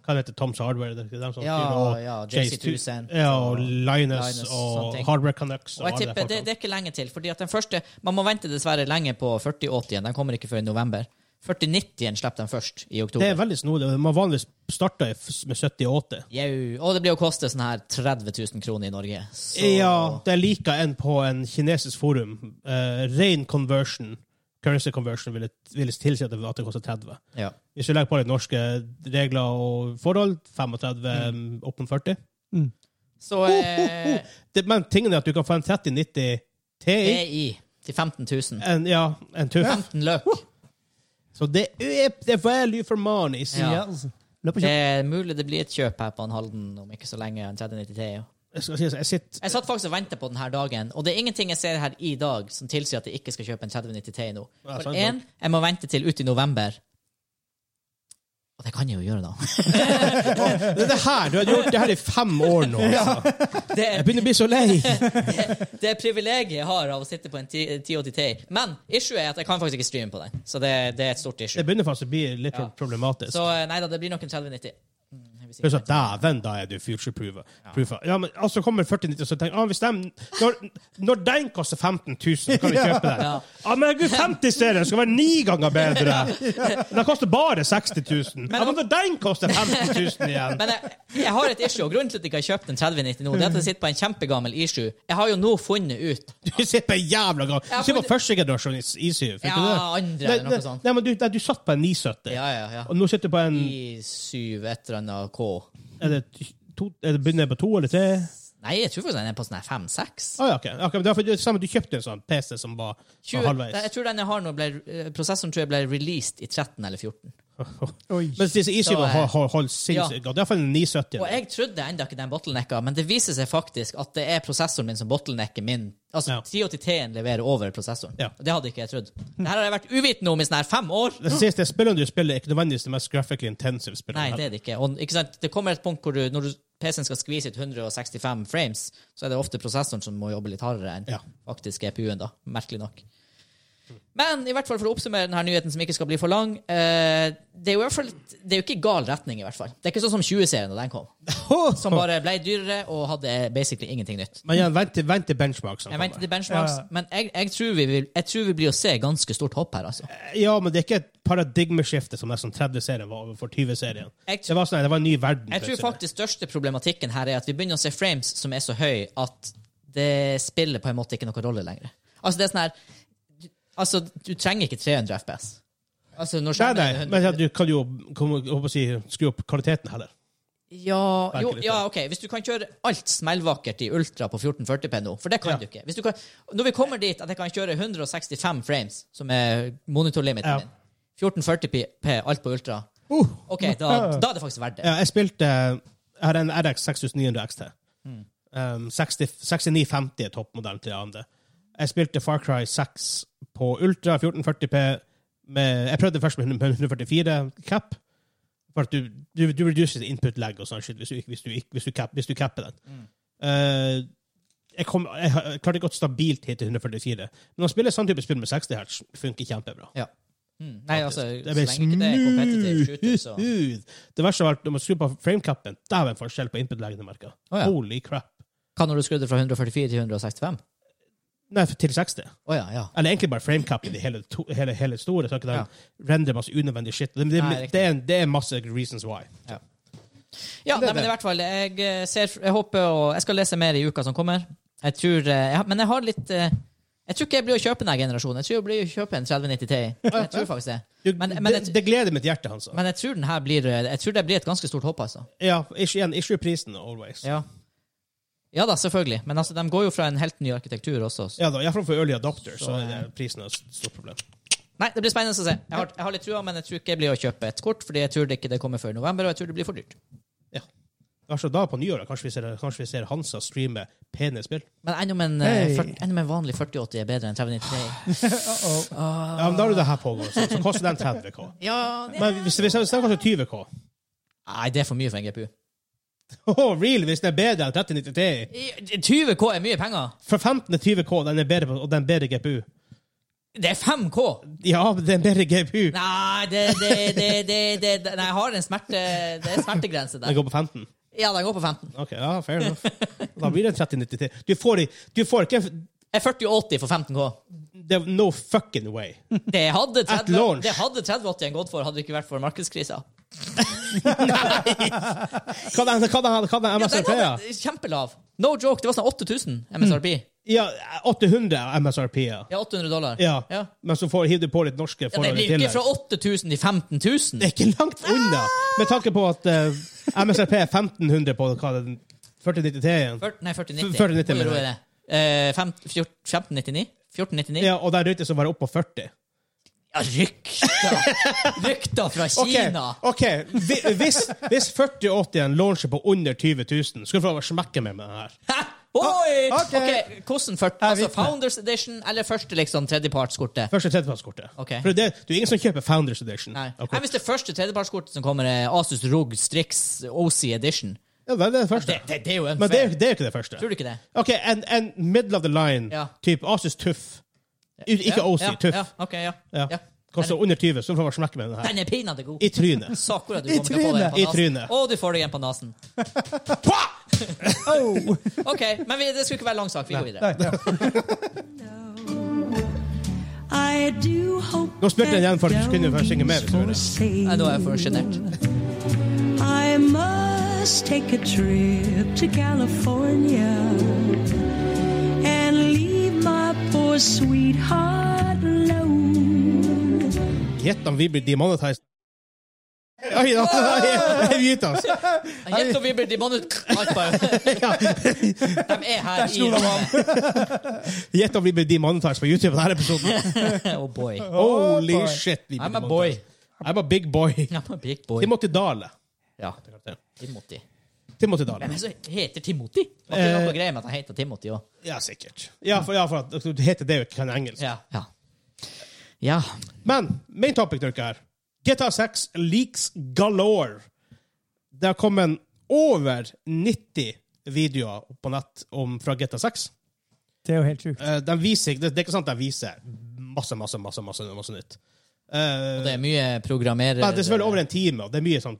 [SPEAKER 1] Hva heter det, Toms Hardware? Det er de som
[SPEAKER 3] Ja,
[SPEAKER 1] styrer, og
[SPEAKER 3] ja,
[SPEAKER 1] Chase
[SPEAKER 3] JC
[SPEAKER 1] Tu-
[SPEAKER 3] Tucson,
[SPEAKER 1] Ja, og
[SPEAKER 3] og
[SPEAKER 1] Linus,
[SPEAKER 3] Linus, sånne
[SPEAKER 1] og
[SPEAKER 3] ting.
[SPEAKER 1] Hardware Canucks.
[SPEAKER 3] Og jeg
[SPEAKER 1] alle de
[SPEAKER 3] tipper det,
[SPEAKER 1] folkene.
[SPEAKER 3] det er ikke lenge til. fordi at den første, Man må vente dessverre lenge på 4080-en. Den kommer ikke før i november. 4090-en slipper den først i oktober.
[SPEAKER 1] Det er veldig snodig. Man vanligvis starter med 78.
[SPEAKER 3] Jau. Og det blir å koste sånn her 30 000 kroner i Norge. Så
[SPEAKER 1] Ja, det er like en på en kinesisk forum. Uh, Rein conversion, currency conversion, ville, ville tilsi at det, at det koster 30.
[SPEAKER 3] Ja.
[SPEAKER 1] Hvis du legger på litt norske regler og forhold, 35 mm. opp mot 40.
[SPEAKER 3] Så eh,
[SPEAKER 1] Det, men tingen er at du kan få en 3090 Ti,
[SPEAKER 3] DI til 15 000.
[SPEAKER 1] en, ja, en tuff.
[SPEAKER 3] 15 løk.
[SPEAKER 1] Så det er, det er value for money.
[SPEAKER 3] Ja.
[SPEAKER 2] Yes. Løp og
[SPEAKER 3] Det
[SPEAKER 1] Eh,
[SPEAKER 2] kjøp.
[SPEAKER 3] er mulig det blir et kjøp her på en Halden om ikke så lenge. en 3093.
[SPEAKER 1] Jeg skal si, jeg sitter
[SPEAKER 3] Jeg satt faktisk og ventet på denne dagen, og det er ingenting jeg ser her i dag som tilsier at jeg ikke skal kjøpe en 3093 nå.
[SPEAKER 1] Ja,
[SPEAKER 3] For
[SPEAKER 1] sant
[SPEAKER 3] én, jeg må vente til ut i november. Og det kan jeg jo gjøre, da.
[SPEAKER 1] Det er det her! Du har gjort det her i fem år nå. Altså.
[SPEAKER 3] Det
[SPEAKER 1] Jeg
[SPEAKER 3] er
[SPEAKER 1] begynner å bli så lei.
[SPEAKER 3] det privilegiet jeg har av å sitte på en 1080T. Men issue er at jeg kan faktisk ikke streame på den. Så det, det er et stort
[SPEAKER 1] Det
[SPEAKER 3] issue.
[SPEAKER 1] begynner faktisk å bli litt
[SPEAKER 3] Ja.
[SPEAKER 1] problematisk.
[SPEAKER 3] Så eh, nei da, det blir nok en 3090. Mm, jeg vil si
[SPEAKER 1] Pluss at
[SPEAKER 3] det.
[SPEAKER 1] dæven, da er du future-proofa. Ja. men altså kommer 4090, så tenker jeg ah, hvis dem, når, når den koster 15 000, så kan vi kjøpe den. Ja,
[SPEAKER 3] Ja.
[SPEAKER 1] men gud, 50-serien skal være ni ganger bedre! Den koster bare 60 000. ja, men når den koster 50 000 igjen!
[SPEAKER 3] Men jeg, jeg har et issue, og grunnen til at jeg ikke har kjøpt en 3090 nå, det er at jeg sitter på en kjempegammel i7. Jeg har jo nå funnet ut
[SPEAKER 1] Du sitter på en jævla gang. Du
[SPEAKER 3] Ja,
[SPEAKER 1] sitter på
[SPEAKER 3] men-
[SPEAKER 1] første generasjon i i syv. fikk du
[SPEAKER 3] Ja,
[SPEAKER 1] det?
[SPEAKER 3] andre
[SPEAKER 1] Nei,
[SPEAKER 3] eller noe
[SPEAKER 1] nei,
[SPEAKER 3] sånt.
[SPEAKER 1] Nei, men du, nei, du satt på en 970,
[SPEAKER 3] Ja, ja, ja.
[SPEAKER 1] og nå sitter du på en
[SPEAKER 3] I7 E et eller annet K.
[SPEAKER 1] er det, to, er det Begynner jeg på to eller tre?
[SPEAKER 3] Nei, jeg tror faktisk den er på sånn her 5-6.
[SPEAKER 1] Ah, ja, ok. Ok, men det er for- det er samme, Du kjøpte en sånn PC som var, var halvveis.
[SPEAKER 3] Jeg tror den jeg har nå, ble, eh, prosessoren tror jeg ble released i 13 eller 14.
[SPEAKER 2] Oi.
[SPEAKER 1] Mens disse
[SPEAKER 3] Så,
[SPEAKER 1] isskivene
[SPEAKER 3] eh,
[SPEAKER 1] har har holdt sinnssykt godt. Iallfall 970.
[SPEAKER 3] Og jeg trodde enda ikke den bottlenecka, men det viser seg faktisk at det er prosessoren min som bottlenecker min. Altså
[SPEAKER 1] Ja.
[SPEAKER 3] 1080T-en leverer over prosessoren.
[SPEAKER 1] Ja.
[SPEAKER 3] Og Det hadde ikke jeg trodd. Det her har jeg vært uvitende om i sånn her fem år.
[SPEAKER 1] Det siste spillene du spiller, er ikke nødvendigvis det mest graphically intensive spillet.
[SPEAKER 3] Nei, det er det ikke. Og ikke sant? det kommer et punkt hvor du, når du, PC-en skal skvise ut 165 frames, så er det ofte prosessoren som må jobbe litt hardere enn
[SPEAKER 1] Ja.
[SPEAKER 3] faktisk GPU-en, da. Merkelig nok. Men i hvert fall for å oppsummere denne nyheten som ikke skal bli for lang eh, Det er jo i hvert fall Det er jo ikke i gal retning, i hvert fall. Det er ikke sånn som 20-serien da den kom, som bare ble dyrere og hadde basically ingenting nytt.
[SPEAKER 1] Men igjen, vent til, vent til benchmarksene
[SPEAKER 3] Jeg venter
[SPEAKER 1] kommer.
[SPEAKER 3] til benchmarks,
[SPEAKER 2] Ja.
[SPEAKER 3] men jeg, jeg, tror vi vil, jeg tror vi blir å se ganske stort hopp her, altså.
[SPEAKER 1] Ja, men det er ikke et paradigmeskifte som nesten 30-serien var overfor 20-serien.
[SPEAKER 3] Jeg-
[SPEAKER 1] Det var sånn, det var en ny verden.
[SPEAKER 3] Jeg tror
[SPEAKER 1] plutselig.
[SPEAKER 3] faktisk største problematikken her er at vi begynner å se frames som er så høy at det spiller på en måte ikke noen rolle lenger. Altså, det er sånn her du- Altså, du trenger ikke 300 FPS. Altså, når
[SPEAKER 1] Nei,
[SPEAKER 3] skjermen er
[SPEAKER 1] nei,
[SPEAKER 3] 100
[SPEAKER 1] men ja, du kan jo kom, håper å si, skru opp kvaliteten heller.
[SPEAKER 3] Ja,
[SPEAKER 1] Tenker
[SPEAKER 3] jo,
[SPEAKER 1] litt sånn.
[SPEAKER 3] ja, OK. Hvis du kan kjøre alt smellvakkert i ultra på 1440p nå, for det kan du ikke Hvis du kan, Når vi kommer dit at jeg kan kjøre 165 frames, som er monitorlimiten
[SPEAKER 1] Ja.
[SPEAKER 3] min 1440p, alt på ultra
[SPEAKER 1] Uh,
[SPEAKER 3] OK, da, da er det faktisk verdt det.
[SPEAKER 1] ja, jeg spilte Jeg har en Mm. RX 6900 XT. Um, 60, 6950 er toppmodellen til AMD. Jeg spilte Far Cry 6 på Ultra 1440p. Med, jeg prøvde først med 144 cap. For at du, du, du reducer input lag og sånn shit hvis du, ikke- hvis du, ikke- hvis du, cap, hvis du capper den. Eh, jeg, kom, jeg, har- jeg klarte ikke å gå stabilt hit til 144, men å spille sånn type spill med 60 hertz funker kjempebra.
[SPEAKER 3] Ja. Mm. Nei, altså,
[SPEAKER 1] Det
[SPEAKER 3] så
[SPEAKER 1] ble
[SPEAKER 3] lenge ikke det er competitive shooter, så
[SPEAKER 1] smooth! Det verste var at når man skrur på framecappen, der var en forskjell på input lagene merka.
[SPEAKER 3] Å, ja.
[SPEAKER 1] Holy crap.
[SPEAKER 3] Hva når du skrudde fra 144 til 165?
[SPEAKER 1] Nei, til 60.
[SPEAKER 3] Å ja, ja.
[SPEAKER 1] Eller egentlig bare framecappen i hele, to, hele, hele store. Så ikke den
[SPEAKER 3] Ja.
[SPEAKER 1] render masse unødvendig shit. Det, det,
[SPEAKER 3] Nei, riktig.
[SPEAKER 1] det, er, en- det er masse reasons why.
[SPEAKER 3] Ja,
[SPEAKER 1] Det er
[SPEAKER 3] nei, men
[SPEAKER 1] det.
[SPEAKER 3] i hvert fall, jeg eh, ser Jeg håper å Jeg skal lese mer i uka som kommer. Jeg tror eh, jeg, har- Men jeg har litt eh, Jeg tror ikke jeg blir å kjøpe denne generasjonen. Jeg tror jeg blir å kjøpe en 3090 Ti. Jeg tror faktisk det.
[SPEAKER 1] Du,
[SPEAKER 3] Men, men,
[SPEAKER 1] det,
[SPEAKER 3] jeg,
[SPEAKER 1] det gleder mitt hjerte, han sa.
[SPEAKER 3] men jeg tror den her blir eh, Jeg tror det blir et ganske stort hopp, altså.
[SPEAKER 1] Ja, ikke igjen, ikke prisen, always. Ja,
[SPEAKER 3] Ja. Ja da, selvfølgelig. Men altså, de går jo fra en helt ny arkitektur også. Så.
[SPEAKER 1] da, Iallfall for early adopter, så,
[SPEAKER 3] Så,
[SPEAKER 1] er
[SPEAKER 3] eh,
[SPEAKER 1] det- prisen er et stort problem.
[SPEAKER 3] Nei, det blir spennende å se. Jeg har, jeg har litt trua, men jeg tror ikke jeg blir å kjøpe et kort, fordi jeg tror det ikke det kommer før i november, og jeg tror det blir for dyrt.
[SPEAKER 1] Altså, da på nyåret kanskje vi ser, kanskje vi ser Hansa streame pene spill.
[SPEAKER 3] Men enda med en, eh,
[SPEAKER 2] Hei.
[SPEAKER 3] 40 enda med en vanlig 4080 er bedre enn 3090 Ti.
[SPEAKER 1] Ja, men da har du det her pågående, så, så koster den 30 K.
[SPEAKER 3] Ja, det...
[SPEAKER 1] Men hvis hvis- hvis den koster 20 K
[SPEAKER 3] Nei, det er for mye for en GPU.
[SPEAKER 1] Oh, really? Hvis den er bedre enn 3090 Ti?
[SPEAKER 3] I- 20K er mye penger!
[SPEAKER 1] For 15 er 20 K, den er bedre, på- og den er bedre GPU.
[SPEAKER 3] Det er 5K!
[SPEAKER 1] Ja, det er en bedre GPU.
[SPEAKER 3] Nei, det, det, det, det, det, det Nei, jeg har en smerte, det er en smertegrense
[SPEAKER 1] Den
[SPEAKER 3] der.
[SPEAKER 1] går på 15.
[SPEAKER 3] Ja, den går på 15.
[SPEAKER 1] Ok, ja, fair enough. Da blir det 3090 Ti. Du får, i- du får ikke
[SPEAKER 3] Jeg er 4080 for 15K.
[SPEAKER 1] det er No fucking way.
[SPEAKER 3] Det hadde 30,
[SPEAKER 1] At launch.
[SPEAKER 3] Det hadde 3080 gått for, hadde det ikke vært for markedskrisa.
[SPEAKER 1] Hva er den- hva er den- hva sånn er den
[SPEAKER 3] Ja, sånn den
[SPEAKER 1] MSRP? Ja,
[SPEAKER 3] var kjempelav. No joke, det var sånn 8000 MSRP.
[SPEAKER 1] ja 800 MSRP, ja.
[SPEAKER 3] Ja, 800 dollar.
[SPEAKER 1] Ja.
[SPEAKER 3] Ja.
[SPEAKER 1] Men så får, hiver du på litt norske
[SPEAKER 3] Ja, det
[SPEAKER 1] forhold i
[SPEAKER 3] blir ikke
[SPEAKER 1] tillegg.
[SPEAKER 3] fra Ah! 8000 til 15 000.
[SPEAKER 1] Det er ikke langt unna, med tanke på at eh, MSRP er 1500 på hva er det 4093 igjen.
[SPEAKER 3] Fyrt- nei, 4090.
[SPEAKER 1] 4090,
[SPEAKER 3] Hvor
[SPEAKER 1] mener
[SPEAKER 3] er
[SPEAKER 1] jeg.
[SPEAKER 3] det? Eh, fem- fjort- 1599? 1499?
[SPEAKER 1] Ja, og den røyte som var oppe på 40.
[SPEAKER 3] Ja, rykter! Rykter fra
[SPEAKER 1] Ok,
[SPEAKER 3] Kina!
[SPEAKER 1] ok. Hvi- Hvis, hvis 4080 launcher på under 20 000, skal du få lov å smekke meg med den her.
[SPEAKER 3] Hæ? Oi!
[SPEAKER 2] Ok.
[SPEAKER 3] ok, hvordan ført? Altså,
[SPEAKER 2] vitne.
[SPEAKER 3] Founders Edition eller første liksom tredjepartskortet?
[SPEAKER 1] Første tredjepartskortet.
[SPEAKER 3] Ok.
[SPEAKER 1] For det, det er ingen som kjøper Founders Edition.
[SPEAKER 3] Nei.
[SPEAKER 1] Ok.
[SPEAKER 3] Nei, hvis det første tredjepartskortet som kommer, er Asus ROG Strix OC Edition
[SPEAKER 1] Ja, det er det første.
[SPEAKER 3] Det, det, det er jo en
[SPEAKER 1] Men det er,
[SPEAKER 3] fair.
[SPEAKER 1] det er jo ikke det første.
[SPEAKER 3] Tror du ikke det?
[SPEAKER 1] Ok, en, en middle of the line,
[SPEAKER 3] Ja.
[SPEAKER 1] type Asus Tuff. U- Ikke
[SPEAKER 3] Ja,
[SPEAKER 1] OC,
[SPEAKER 3] ja,
[SPEAKER 1] Tuff.
[SPEAKER 3] Ja, ok, ja.
[SPEAKER 1] Ja.
[SPEAKER 3] ja.
[SPEAKER 1] Koster under 20, så du får lov å smekke meg med den her.
[SPEAKER 3] Den er pinadø god.
[SPEAKER 1] I trynet.
[SPEAKER 3] Sakura, du
[SPEAKER 2] I
[SPEAKER 3] kommer til å få den
[SPEAKER 2] trynet.
[SPEAKER 3] på
[SPEAKER 1] I
[SPEAKER 3] nasen.
[SPEAKER 1] trynet.
[SPEAKER 3] Og du får deg en på nasen.
[SPEAKER 2] Oh.
[SPEAKER 3] Ok, men vi, det skulle ikke være lang sak. Vi går videre.
[SPEAKER 2] Nei, ja.
[SPEAKER 6] I do hope
[SPEAKER 1] Nå spilte jeg
[SPEAKER 6] that
[SPEAKER 1] igjen for at du skulle kunne
[SPEAKER 6] doggies
[SPEAKER 1] synge med, hvis du ville.
[SPEAKER 6] forsake
[SPEAKER 3] Nei, nå er jeg for sjenert.
[SPEAKER 6] I must take a trip to California and leave my poor sweetheart alone.
[SPEAKER 1] Gjett om vi blir demonetized. Oi, da, jeg myter oss.
[SPEAKER 3] Gjett om vi blir demonet... Alt bare. De er her i
[SPEAKER 2] slo de
[SPEAKER 3] rommet.
[SPEAKER 1] Gjett om vi blir demonetized på YouTube på denne episoden.
[SPEAKER 3] Oh boy.
[SPEAKER 1] Holy
[SPEAKER 2] boy.
[SPEAKER 1] shit. vi blir
[SPEAKER 3] I'm a boy.
[SPEAKER 1] demonetized. I'm a big boy.
[SPEAKER 3] Ja, men big boy.
[SPEAKER 1] Timothy Dale.
[SPEAKER 3] Ja. Timothy.
[SPEAKER 1] Timothy
[SPEAKER 3] Hvem
[SPEAKER 1] Dale.
[SPEAKER 3] er det som heter Timothy? Var ikke
[SPEAKER 1] Eh.
[SPEAKER 3] noe greie med at han heter Timothy òg?
[SPEAKER 1] Ja, sikkert. Ja, for, ja, for at du heter det jo ikke kan engelsk.
[SPEAKER 3] Ja. ja. Ja.
[SPEAKER 1] Men main topic dere her. GTA 6 leaks galore. Det har kommet over 90 videoer på nett om, fra GTA 6.
[SPEAKER 2] Det er jo helt sjukt.
[SPEAKER 1] Eh, den viser, det, det er ikke sant at den viser masse, masse, masse, masse, masse nytt. Eh,
[SPEAKER 3] Det er mye programmerer...
[SPEAKER 1] men det er selvfølgelig over en time, og det er mye sånn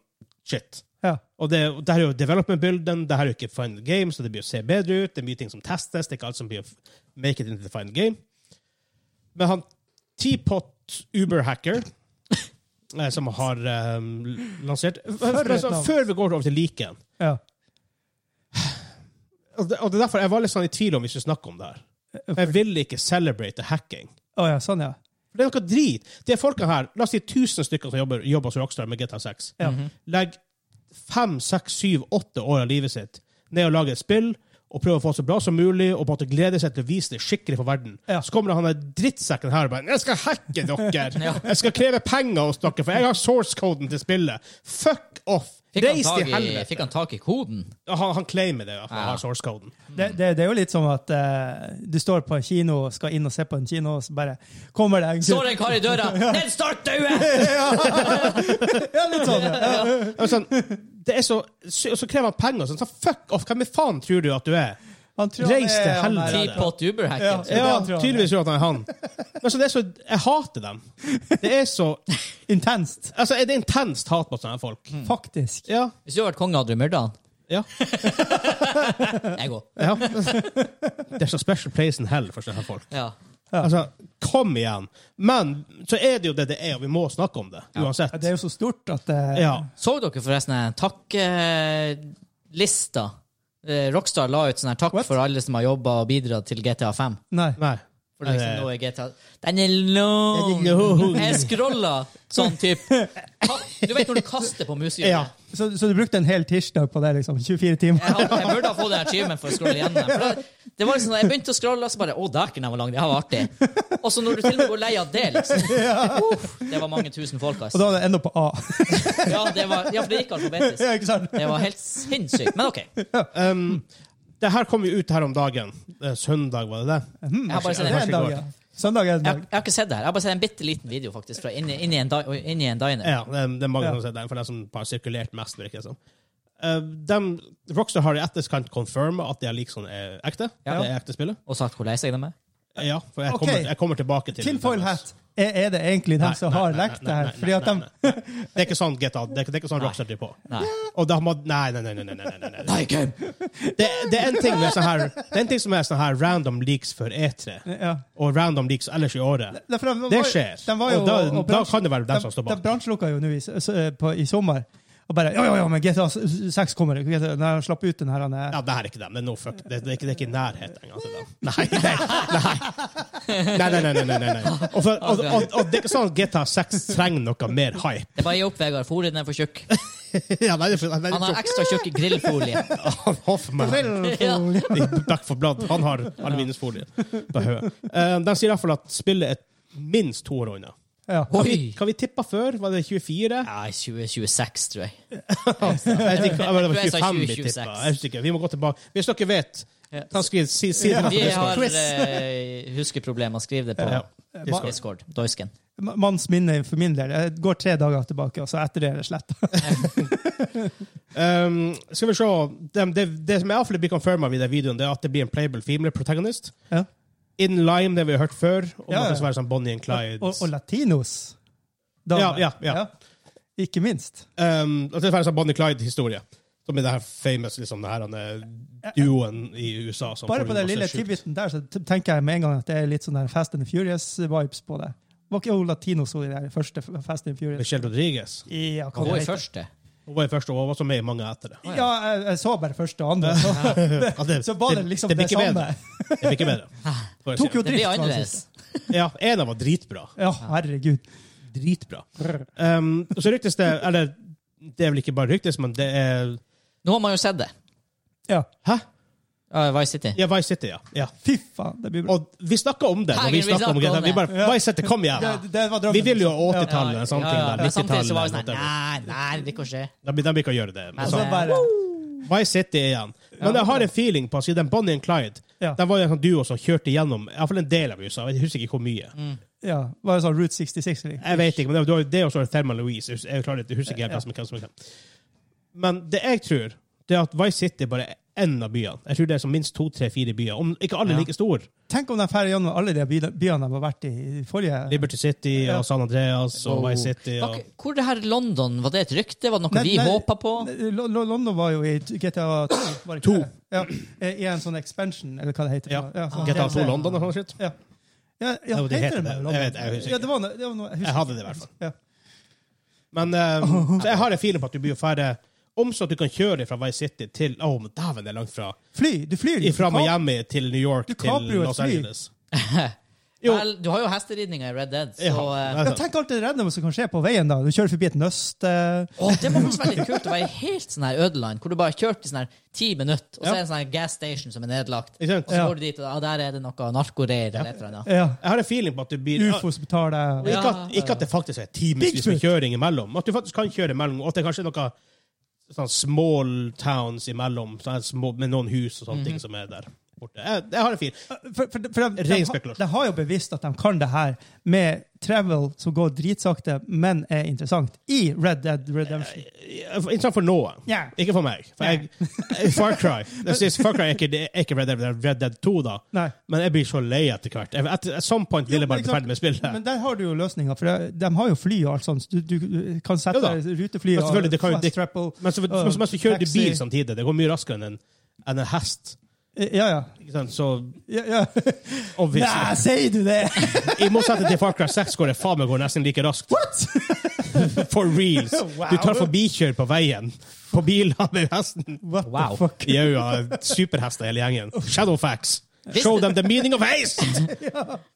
[SPEAKER 1] shit.
[SPEAKER 2] Ja.
[SPEAKER 1] Og det, og det her er jo development-bilden, det her er jo ikke final game, så det blir å se bedre ut, det er mye ting som testes, det er ikke alt som blir å f- make it into the final game. Men han Teapot Uber-hacker, eh, som har eh, lansert
[SPEAKER 2] et navn.
[SPEAKER 1] Før vi går over til liken,
[SPEAKER 2] Ja.
[SPEAKER 1] og det, og det er derfor jeg var litt sånn i tvil om vi skulle snakke om det her. Jeg ville ikke celebrate hacking.
[SPEAKER 2] Å ja, sånn, ja.
[SPEAKER 1] For det er noe drit. Det er folka her, la oss si 1000 stykker som jobber, jobber som rockstar med GTA 6.
[SPEAKER 2] Ja.
[SPEAKER 1] Legg 5, 6, 7, 8 år av livet sitt ned og lage et spill og prøve å få det så bra som mulig og på en måte glede seg til å vise det skikkelig for verden.
[SPEAKER 2] Ja.
[SPEAKER 1] Så kommer han der drittsekken her og bare 'Jeg skal hacke dere! Jeg skal kreve penger hos dere, for jeg har source-koden til spillet!' Fuck off!
[SPEAKER 3] Fikk han,
[SPEAKER 1] Reis
[SPEAKER 3] tak
[SPEAKER 1] til
[SPEAKER 3] i,
[SPEAKER 1] helvete.
[SPEAKER 3] fikk han tak i koden?
[SPEAKER 1] Han, han claimer det, i hvert fall.
[SPEAKER 3] Ja.
[SPEAKER 1] Har source-koden.
[SPEAKER 2] Det, det, det er jo litt som at eh, du står på en kino og skal inn og se på en kino, og så bare kommer det en
[SPEAKER 3] Står det en kar i døra? Ned start dauet!
[SPEAKER 2] Ja, litt sånn. Ja.
[SPEAKER 1] Og Sånn, det er så, sy- og så krever han penger. og Sånn, så fuck off! Hvem i faen tror du at du er?
[SPEAKER 2] Han tror han
[SPEAKER 1] Reis
[SPEAKER 2] er
[SPEAKER 1] til
[SPEAKER 2] han der,
[SPEAKER 1] helvete.
[SPEAKER 3] Teapot Uber-hacken.
[SPEAKER 2] Ja, det
[SPEAKER 1] Ja,
[SPEAKER 2] han tror han
[SPEAKER 1] tydeligvis tror jeg at han er han. Men så det er så, jeg hater dem. Det er så
[SPEAKER 2] Intenst,
[SPEAKER 1] Altså, er det intenst hat mot sånne folk?
[SPEAKER 2] Mm. faktisk.
[SPEAKER 1] Ja.
[SPEAKER 3] Hvis du hadde vært konge, hadde du myrda han?
[SPEAKER 1] ja,
[SPEAKER 3] Jeg òg.
[SPEAKER 1] ja. Det er så special place in hell for sånne folk.
[SPEAKER 3] Ja.
[SPEAKER 1] Altså, kom igjen! Men så er det jo det det er, og vi må snakke om det. Uansett.
[SPEAKER 2] Det er jo så stort at eh,
[SPEAKER 1] Ja.
[SPEAKER 3] Så dere forresten den takkelista? Eh, Rockstar la ut sånn her takk
[SPEAKER 2] What?
[SPEAKER 3] for alle som har jobba og bidratt til GTA 5.
[SPEAKER 2] Nei.
[SPEAKER 1] Nei.
[SPEAKER 3] For det liksom,
[SPEAKER 1] Eh.
[SPEAKER 3] nå er GTA Den er lang!
[SPEAKER 1] Den er lang.
[SPEAKER 3] Jeg scrolla sånn type Du vet når du kaster på musehjulet?
[SPEAKER 1] Ja.
[SPEAKER 2] Så, så du brukte en hel tirsdag på det, liksom? 24
[SPEAKER 3] Jeg,
[SPEAKER 2] timer?
[SPEAKER 3] hadde, jeg burde ha fått en achievement for å scrolle gjennom. den, For det, det var liksom, sånn, jeg begynte å scrolle, og så bare Å, dæken, den var lang. Det her var artig. Og så når du til og med går lei av det, liksom. Uff, det var mange tusen folk,
[SPEAKER 2] Og
[SPEAKER 3] altså.
[SPEAKER 2] da var det enda på A.
[SPEAKER 3] Ja, det var, ja, for det gikk alfabetisk.
[SPEAKER 2] ja, ikke sant?
[SPEAKER 3] Det var helt sinnssykt. Men OK. Jeg
[SPEAKER 1] Um, det her kom jo ut her om dagen. Eh, Søndag, var det det?
[SPEAKER 3] har bare sett
[SPEAKER 2] Det er en
[SPEAKER 3] en,
[SPEAKER 2] dag, ja. Søndag er en
[SPEAKER 3] jeg, har-
[SPEAKER 2] dag.
[SPEAKER 3] jeg har ikke sett det her. Jeg har bare sett en bitte liten video faktisk fra inni, inni, en, di- inni en diner.
[SPEAKER 1] Ja, det, det er mange
[SPEAKER 2] Ja.
[SPEAKER 1] som har sett den, for det er som har sirkulert mest, virker det som. Eh, dem- Rockstar har i etterkant confirma at de er liksom er ekte.
[SPEAKER 3] Ja.
[SPEAKER 1] Det er ekte spillet.
[SPEAKER 3] Og sagt hvor lei seg de er.
[SPEAKER 1] Eh, Ja, for jeg
[SPEAKER 2] Ok.
[SPEAKER 1] kommer, jeg kommer tilbake til
[SPEAKER 2] Tinfoil hat. Er, er det egentlig dem
[SPEAKER 1] Nei,
[SPEAKER 2] som
[SPEAKER 1] nei,
[SPEAKER 2] har
[SPEAKER 1] nei,
[SPEAKER 2] lekt
[SPEAKER 1] nei,
[SPEAKER 2] det her?
[SPEAKER 1] nei,
[SPEAKER 2] Fordi at
[SPEAKER 1] nei,
[SPEAKER 2] dem
[SPEAKER 1] nei, nei. Det er ikke sånn GTA, det er ikke, det er ikke sånn Rockstar driver på.
[SPEAKER 3] Nei.
[SPEAKER 1] Og da må, nei, nei, nei, nei, nei, nei, nei, nei, nei. Det, det er en ting med sånn her Det er en ting som er sånn her random leaks for E3,
[SPEAKER 2] Ja.
[SPEAKER 1] og random leaks ellers i året.
[SPEAKER 2] Nei, for de var-
[SPEAKER 1] Det skjer.
[SPEAKER 2] de var jo-
[SPEAKER 1] Og da-
[SPEAKER 2] og
[SPEAKER 1] da
[SPEAKER 2] bransje-
[SPEAKER 1] kan det være dem
[SPEAKER 2] de-
[SPEAKER 1] som står bak.
[SPEAKER 2] De bransjelukka jo nå i, s- s- på- i sommer. Og bare Ja, ja, ja, men GTA 6 kommer. GTA, nei, jeg slapp ut den her. Han er,
[SPEAKER 1] Ja, det her er ikke dem. Det er, no fuck. Det, det er, ikke, det er ikke i nærheten engang til dem. Nei, nei, nei. Nei, nei, nei, nei, nei, nei. Og, for, og, og, og det er ikke sånn at GTA 6 trenger noe mer hype.
[SPEAKER 3] Det er bare gi opp, Vegard. Fôret den er for tjukk.
[SPEAKER 1] Ja, nei, det er for- nei, det
[SPEAKER 3] Han
[SPEAKER 1] er
[SPEAKER 3] har
[SPEAKER 1] ikke-
[SPEAKER 3] ekstra tjukk grillfolie.
[SPEAKER 1] Han har for meg-
[SPEAKER 3] Ja.
[SPEAKER 1] I Back for Blood. Han har aluminiumsfolie på hodet. Eh, De sier i hvert fall at spillet er minst to år unna.
[SPEAKER 2] ja.
[SPEAKER 3] Oi!
[SPEAKER 1] Hva vi tippa før? Var det 24?
[SPEAKER 3] Nei, 2026, tror jeg.
[SPEAKER 1] Jeg vet ikke, eller det var
[SPEAKER 3] Jeg tror jeg sa
[SPEAKER 1] 25 vi
[SPEAKER 3] 26.
[SPEAKER 1] tippa. Jeg husker ikke. Vi må gå tilbake. Hvis dere vet, ta skriv si, si det på
[SPEAKER 3] Vi har
[SPEAKER 1] Discord.
[SPEAKER 3] eh, huskeproblemer. Skriv det på
[SPEAKER 1] Ja. Discord.
[SPEAKER 3] Discord. Doisken.
[SPEAKER 2] Ma- Manns minne for min del. Jeg går tre dager tilbake, og så etter det er det slett.
[SPEAKER 1] Um, skal vi se. Det, det, det som iallfall blir confirma i den videoen, det er at det blir en playable female protagonist.
[SPEAKER 2] Ja.
[SPEAKER 1] In Lime, det vi har hørt før. Om
[SPEAKER 2] Ja,
[SPEAKER 1] at
[SPEAKER 2] ja.
[SPEAKER 1] det skal være sånn Bonnie and Clyde.
[SPEAKER 2] Og, og latinos. damer.
[SPEAKER 1] Ja, ja, ja.
[SPEAKER 2] Ikke minst.
[SPEAKER 1] um, at det skal være sånn Bonnie and Clyde-historie. Som i det her famous liksom, det her, han, eh, duoen i USA. Som
[SPEAKER 2] Bare
[SPEAKER 1] får
[SPEAKER 2] på den
[SPEAKER 1] masse
[SPEAKER 2] lille
[SPEAKER 1] sjukt.
[SPEAKER 2] tidbiten der så t- tenker jeg med en gang at det er litt sånn der Fast and Furious-vibes på det. Var ikke hun latinos hun i den første f- Fast and Furious?
[SPEAKER 1] Michelle Rodriguez.
[SPEAKER 2] Ja, hva
[SPEAKER 3] Gå
[SPEAKER 2] det
[SPEAKER 3] i
[SPEAKER 2] heter.
[SPEAKER 3] første.
[SPEAKER 1] Hun var i første og var også med i mange etter det.
[SPEAKER 2] ja jeg, jeg så bare første og andre. Så,
[SPEAKER 1] Ja, det,
[SPEAKER 2] så var det liksom det,
[SPEAKER 1] blir ikke
[SPEAKER 2] samme.
[SPEAKER 1] bedre. Det blir ikke bedre. Får jeg
[SPEAKER 2] Tok
[SPEAKER 1] si.
[SPEAKER 2] jo
[SPEAKER 3] Det
[SPEAKER 2] drift.
[SPEAKER 3] blir
[SPEAKER 2] var det
[SPEAKER 3] annerledes.
[SPEAKER 2] siste.
[SPEAKER 1] Ja, en av var dritbra.
[SPEAKER 2] Ja, herregud.
[SPEAKER 1] Dritbra. Um, og så ryktes det Eller det er vel ikke bare ryktes, men det er
[SPEAKER 3] Nå har man jo sett det.
[SPEAKER 2] Ja.
[SPEAKER 1] Hæ?
[SPEAKER 3] Ja, Vice City.
[SPEAKER 1] Ja, Vice City, ja. ja.
[SPEAKER 2] Fy faen, det blir bra.
[SPEAKER 1] Og vi snakka om det. Når
[SPEAKER 3] Herregud,
[SPEAKER 1] vi
[SPEAKER 3] vi
[SPEAKER 1] snakket om
[SPEAKER 3] snakket
[SPEAKER 1] GTA.
[SPEAKER 3] om
[SPEAKER 1] Vi
[SPEAKER 3] det.
[SPEAKER 1] bare, Vice City, kom igjen!
[SPEAKER 2] Det, det var drømmen.
[SPEAKER 1] Vi vil jo
[SPEAKER 2] liksom.
[SPEAKER 1] 80-tallet, en sånn ting der.
[SPEAKER 3] Men samtidig så var det
[SPEAKER 1] 90-tallet.
[SPEAKER 3] sånn
[SPEAKER 1] whatever.
[SPEAKER 3] her, Nei, nei, det går ikke.
[SPEAKER 1] De, de vil ikke gjøre det.
[SPEAKER 3] Nei,
[SPEAKER 2] Og så
[SPEAKER 3] Ja.
[SPEAKER 2] bare
[SPEAKER 1] Vice City igjen. Men jeg har en feeling på at siden Bonnie and Clyde
[SPEAKER 2] Ja.
[SPEAKER 1] De var jo en sånn duo som kjørte gjennom i hvert fall en del av USA. Jeg husker ikke hvor mye.
[SPEAKER 2] Ja, var det sånn Route 66? eller?
[SPEAKER 1] Jeg vet ikke, men det var det og så var det Thelma Louise. Jeg hus- Jeg klarer ikke, jeg husker ikke helt hvem som hvem som hvem. Men det jeg tror, det er at Vice City bare er én av byene. Jeg tror det er som minst to, tre, fire byer. Om ikke alle er like store.
[SPEAKER 2] Tenk om de drar gjennom alle de by- byene de har vært i i forrige
[SPEAKER 1] Liberty City og San Andreas og Vice City
[SPEAKER 3] Var
[SPEAKER 1] og
[SPEAKER 3] ikke- Hvor det her London, var det et rykte? Var det noe
[SPEAKER 2] Nei,
[SPEAKER 3] vi
[SPEAKER 2] nei,
[SPEAKER 3] håpa på?
[SPEAKER 2] Lo- Lo- London var jo i GTA 2. var det ikke
[SPEAKER 1] To.
[SPEAKER 2] det? Ja, I en sånn expansion, eller hva det heter.
[SPEAKER 1] Ja.
[SPEAKER 2] sånn
[SPEAKER 1] GTA
[SPEAKER 2] DLC.
[SPEAKER 1] 2 London og sånn shit.
[SPEAKER 2] Ja, ja, ja
[SPEAKER 1] Ja, det
[SPEAKER 2] heter
[SPEAKER 1] heter
[SPEAKER 2] det
[SPEAKER 1] det.
[SPEAKER 2] bare London?
[SPEAKER 1] Jeg vet- jeg husker
[SPEAKER 2] ja, det var noe, det var noe, husker
[SPEAKER 1] Jeg hadde det i
[SPEAKER 2] ikke.
[SPEAKER 1] hvert fall.
[SPEAKER 2] Ja.
[SPEAKER 1] Men eh, så jeg har en feeling på at du blir ferdig om så at du kan kjøre fra Vice City til Å, men dæven, det er langt fra.
[SPEAKER 2] Fly! Du flyr! du
[SPEAKER 1] Fra
[SPEAKER 2] kap-
[SPEAKER 1] Miami til New York
[SPEAKER 2] Du kaprer
[SPEAKER 1] til
[SPEAKER 2] jo et
[SPEAKER 1] Los
[SPEAKER 2] fly.
[SPEAKER 1] Angeles. Jo.
[SPEAKER 3] Vel, du har jo hesteridninga i Red Dead, så
[SPEAKER 1] Ja,
[SPEAKER 3] eh,
[SPEAKER 1] det er
[SPEAKER 2] Ja,
[SPEAKER 1] sant.
[SPEAKER 2] tenk alt det reddende som kan skje på veien. da. Du kjører forbi et nøst. eh,
[SPEAKER 3] Å, Det må faktisk være litt kult å være helt sånn her ødeland, hvor du bare har kjørt i sånn her ti minutter, og så
[SPEAKER 1] Ja.
[SPEAKER 3] er det en sånn her gas station som er nedlagt, og
[SPEAKER 1] Ikke sant?
[SPEAKER 3] så går du dit, og ah, der er det noe narkoreir eller et eller annet.
[SPEAKER 2] Ja.
[SPEAKER 1] Jeg har en feeling på at du blir
[SPEAKER 2] Ufos betaler
[SPEAKER 1] Og Ikke at, ikke at det faktisk er timevis med
[SPEAKER 2] Bigfoot.
[SPEAKER 1] kjøring imellom, men at du faktisk kan kjøre imellom, og at det kanskje er noe sånn small towns imellom, sånn her små, med noen hus og sånne ting som er der borte. Jeg, jeg har det fint.
[SPEAKER 2] For, for, for de,
[SPEAKER 1] Ren
[SPEAKER 2] de, har-
[SPEAKER 1] spekulasjon.
[SPEAKER 2] de har jo bevisst at de kan det her med travel som går dritsakte, men er interessant, i Red Dead Redemption.
[SPEAKER 1] Interessant for noen.
[SPEAKER 2] Ja.
[SPEAKER 1] Ikke for meg. For jeg, Far Cry Jeg synes Far Cry er ikke, det er ikke Red, Dead, Red Dead 2, da.
[SPEAKER 2] Nei.
[SPEAKER 1] Men jeg blir så lei etter hvert. Jeg- Etter, at some point vil jeg bare
[SPEAKER 2] Jo,
[SPEAKER 1] bli
[SPEAKER 2] men
[SPEAKER 1] ferdig med spillet.
[SPEAKER 2] Men der har du jo løsninga, for de, de har jo fly og alt sånt. Du, du kan sette
[SPEAKER 1] Jo da.
[SPEAKER 2] rutefly
[SPEAKER 1] Ja, selvfølgelig, det kan jo-
[SPEAKER 2] fast
[SPEAKER 1] det-
[SPEAKER 2] travel.
[SPEAKER 1] Men så,
[SPEAKER 2] øh,
[SPEAKER 1] men så, men så kjører du
[SPEAKER 2] taxi.
[SPEAKER 1] bil samtidig. Det går mye raskere enn en, enn en hest.
[SPEAKER 2] Ja, ja.
[SPEAKER 1] Ikke sant? Så
[SPEAKER 2] ja, ja. Nei,
[SPEAKER 1] obviously.
[SPEAKER 2] sier du det?!
[SPEAKER 1] I motsetning til Far Cry 6 går det faen meg går nesten like raskt.
[SPEAKER 2] What?!
[SPEAKER 1] For reals.
[SPEAKER 2] Wow.
[SPEAKER 1] Du tar forbikjør på veien. På biler med hesten.
[SPEAKER 2] What
[SPEAKER 3] Wow.
[SPEAKER 2] the fuck?
[SPEAKER 1] Jaua. Superhester hele gjengen. Shadowfax.
[SPEAKER 3] Visst-
[SPEAKER 1] Show them the meaning of haste!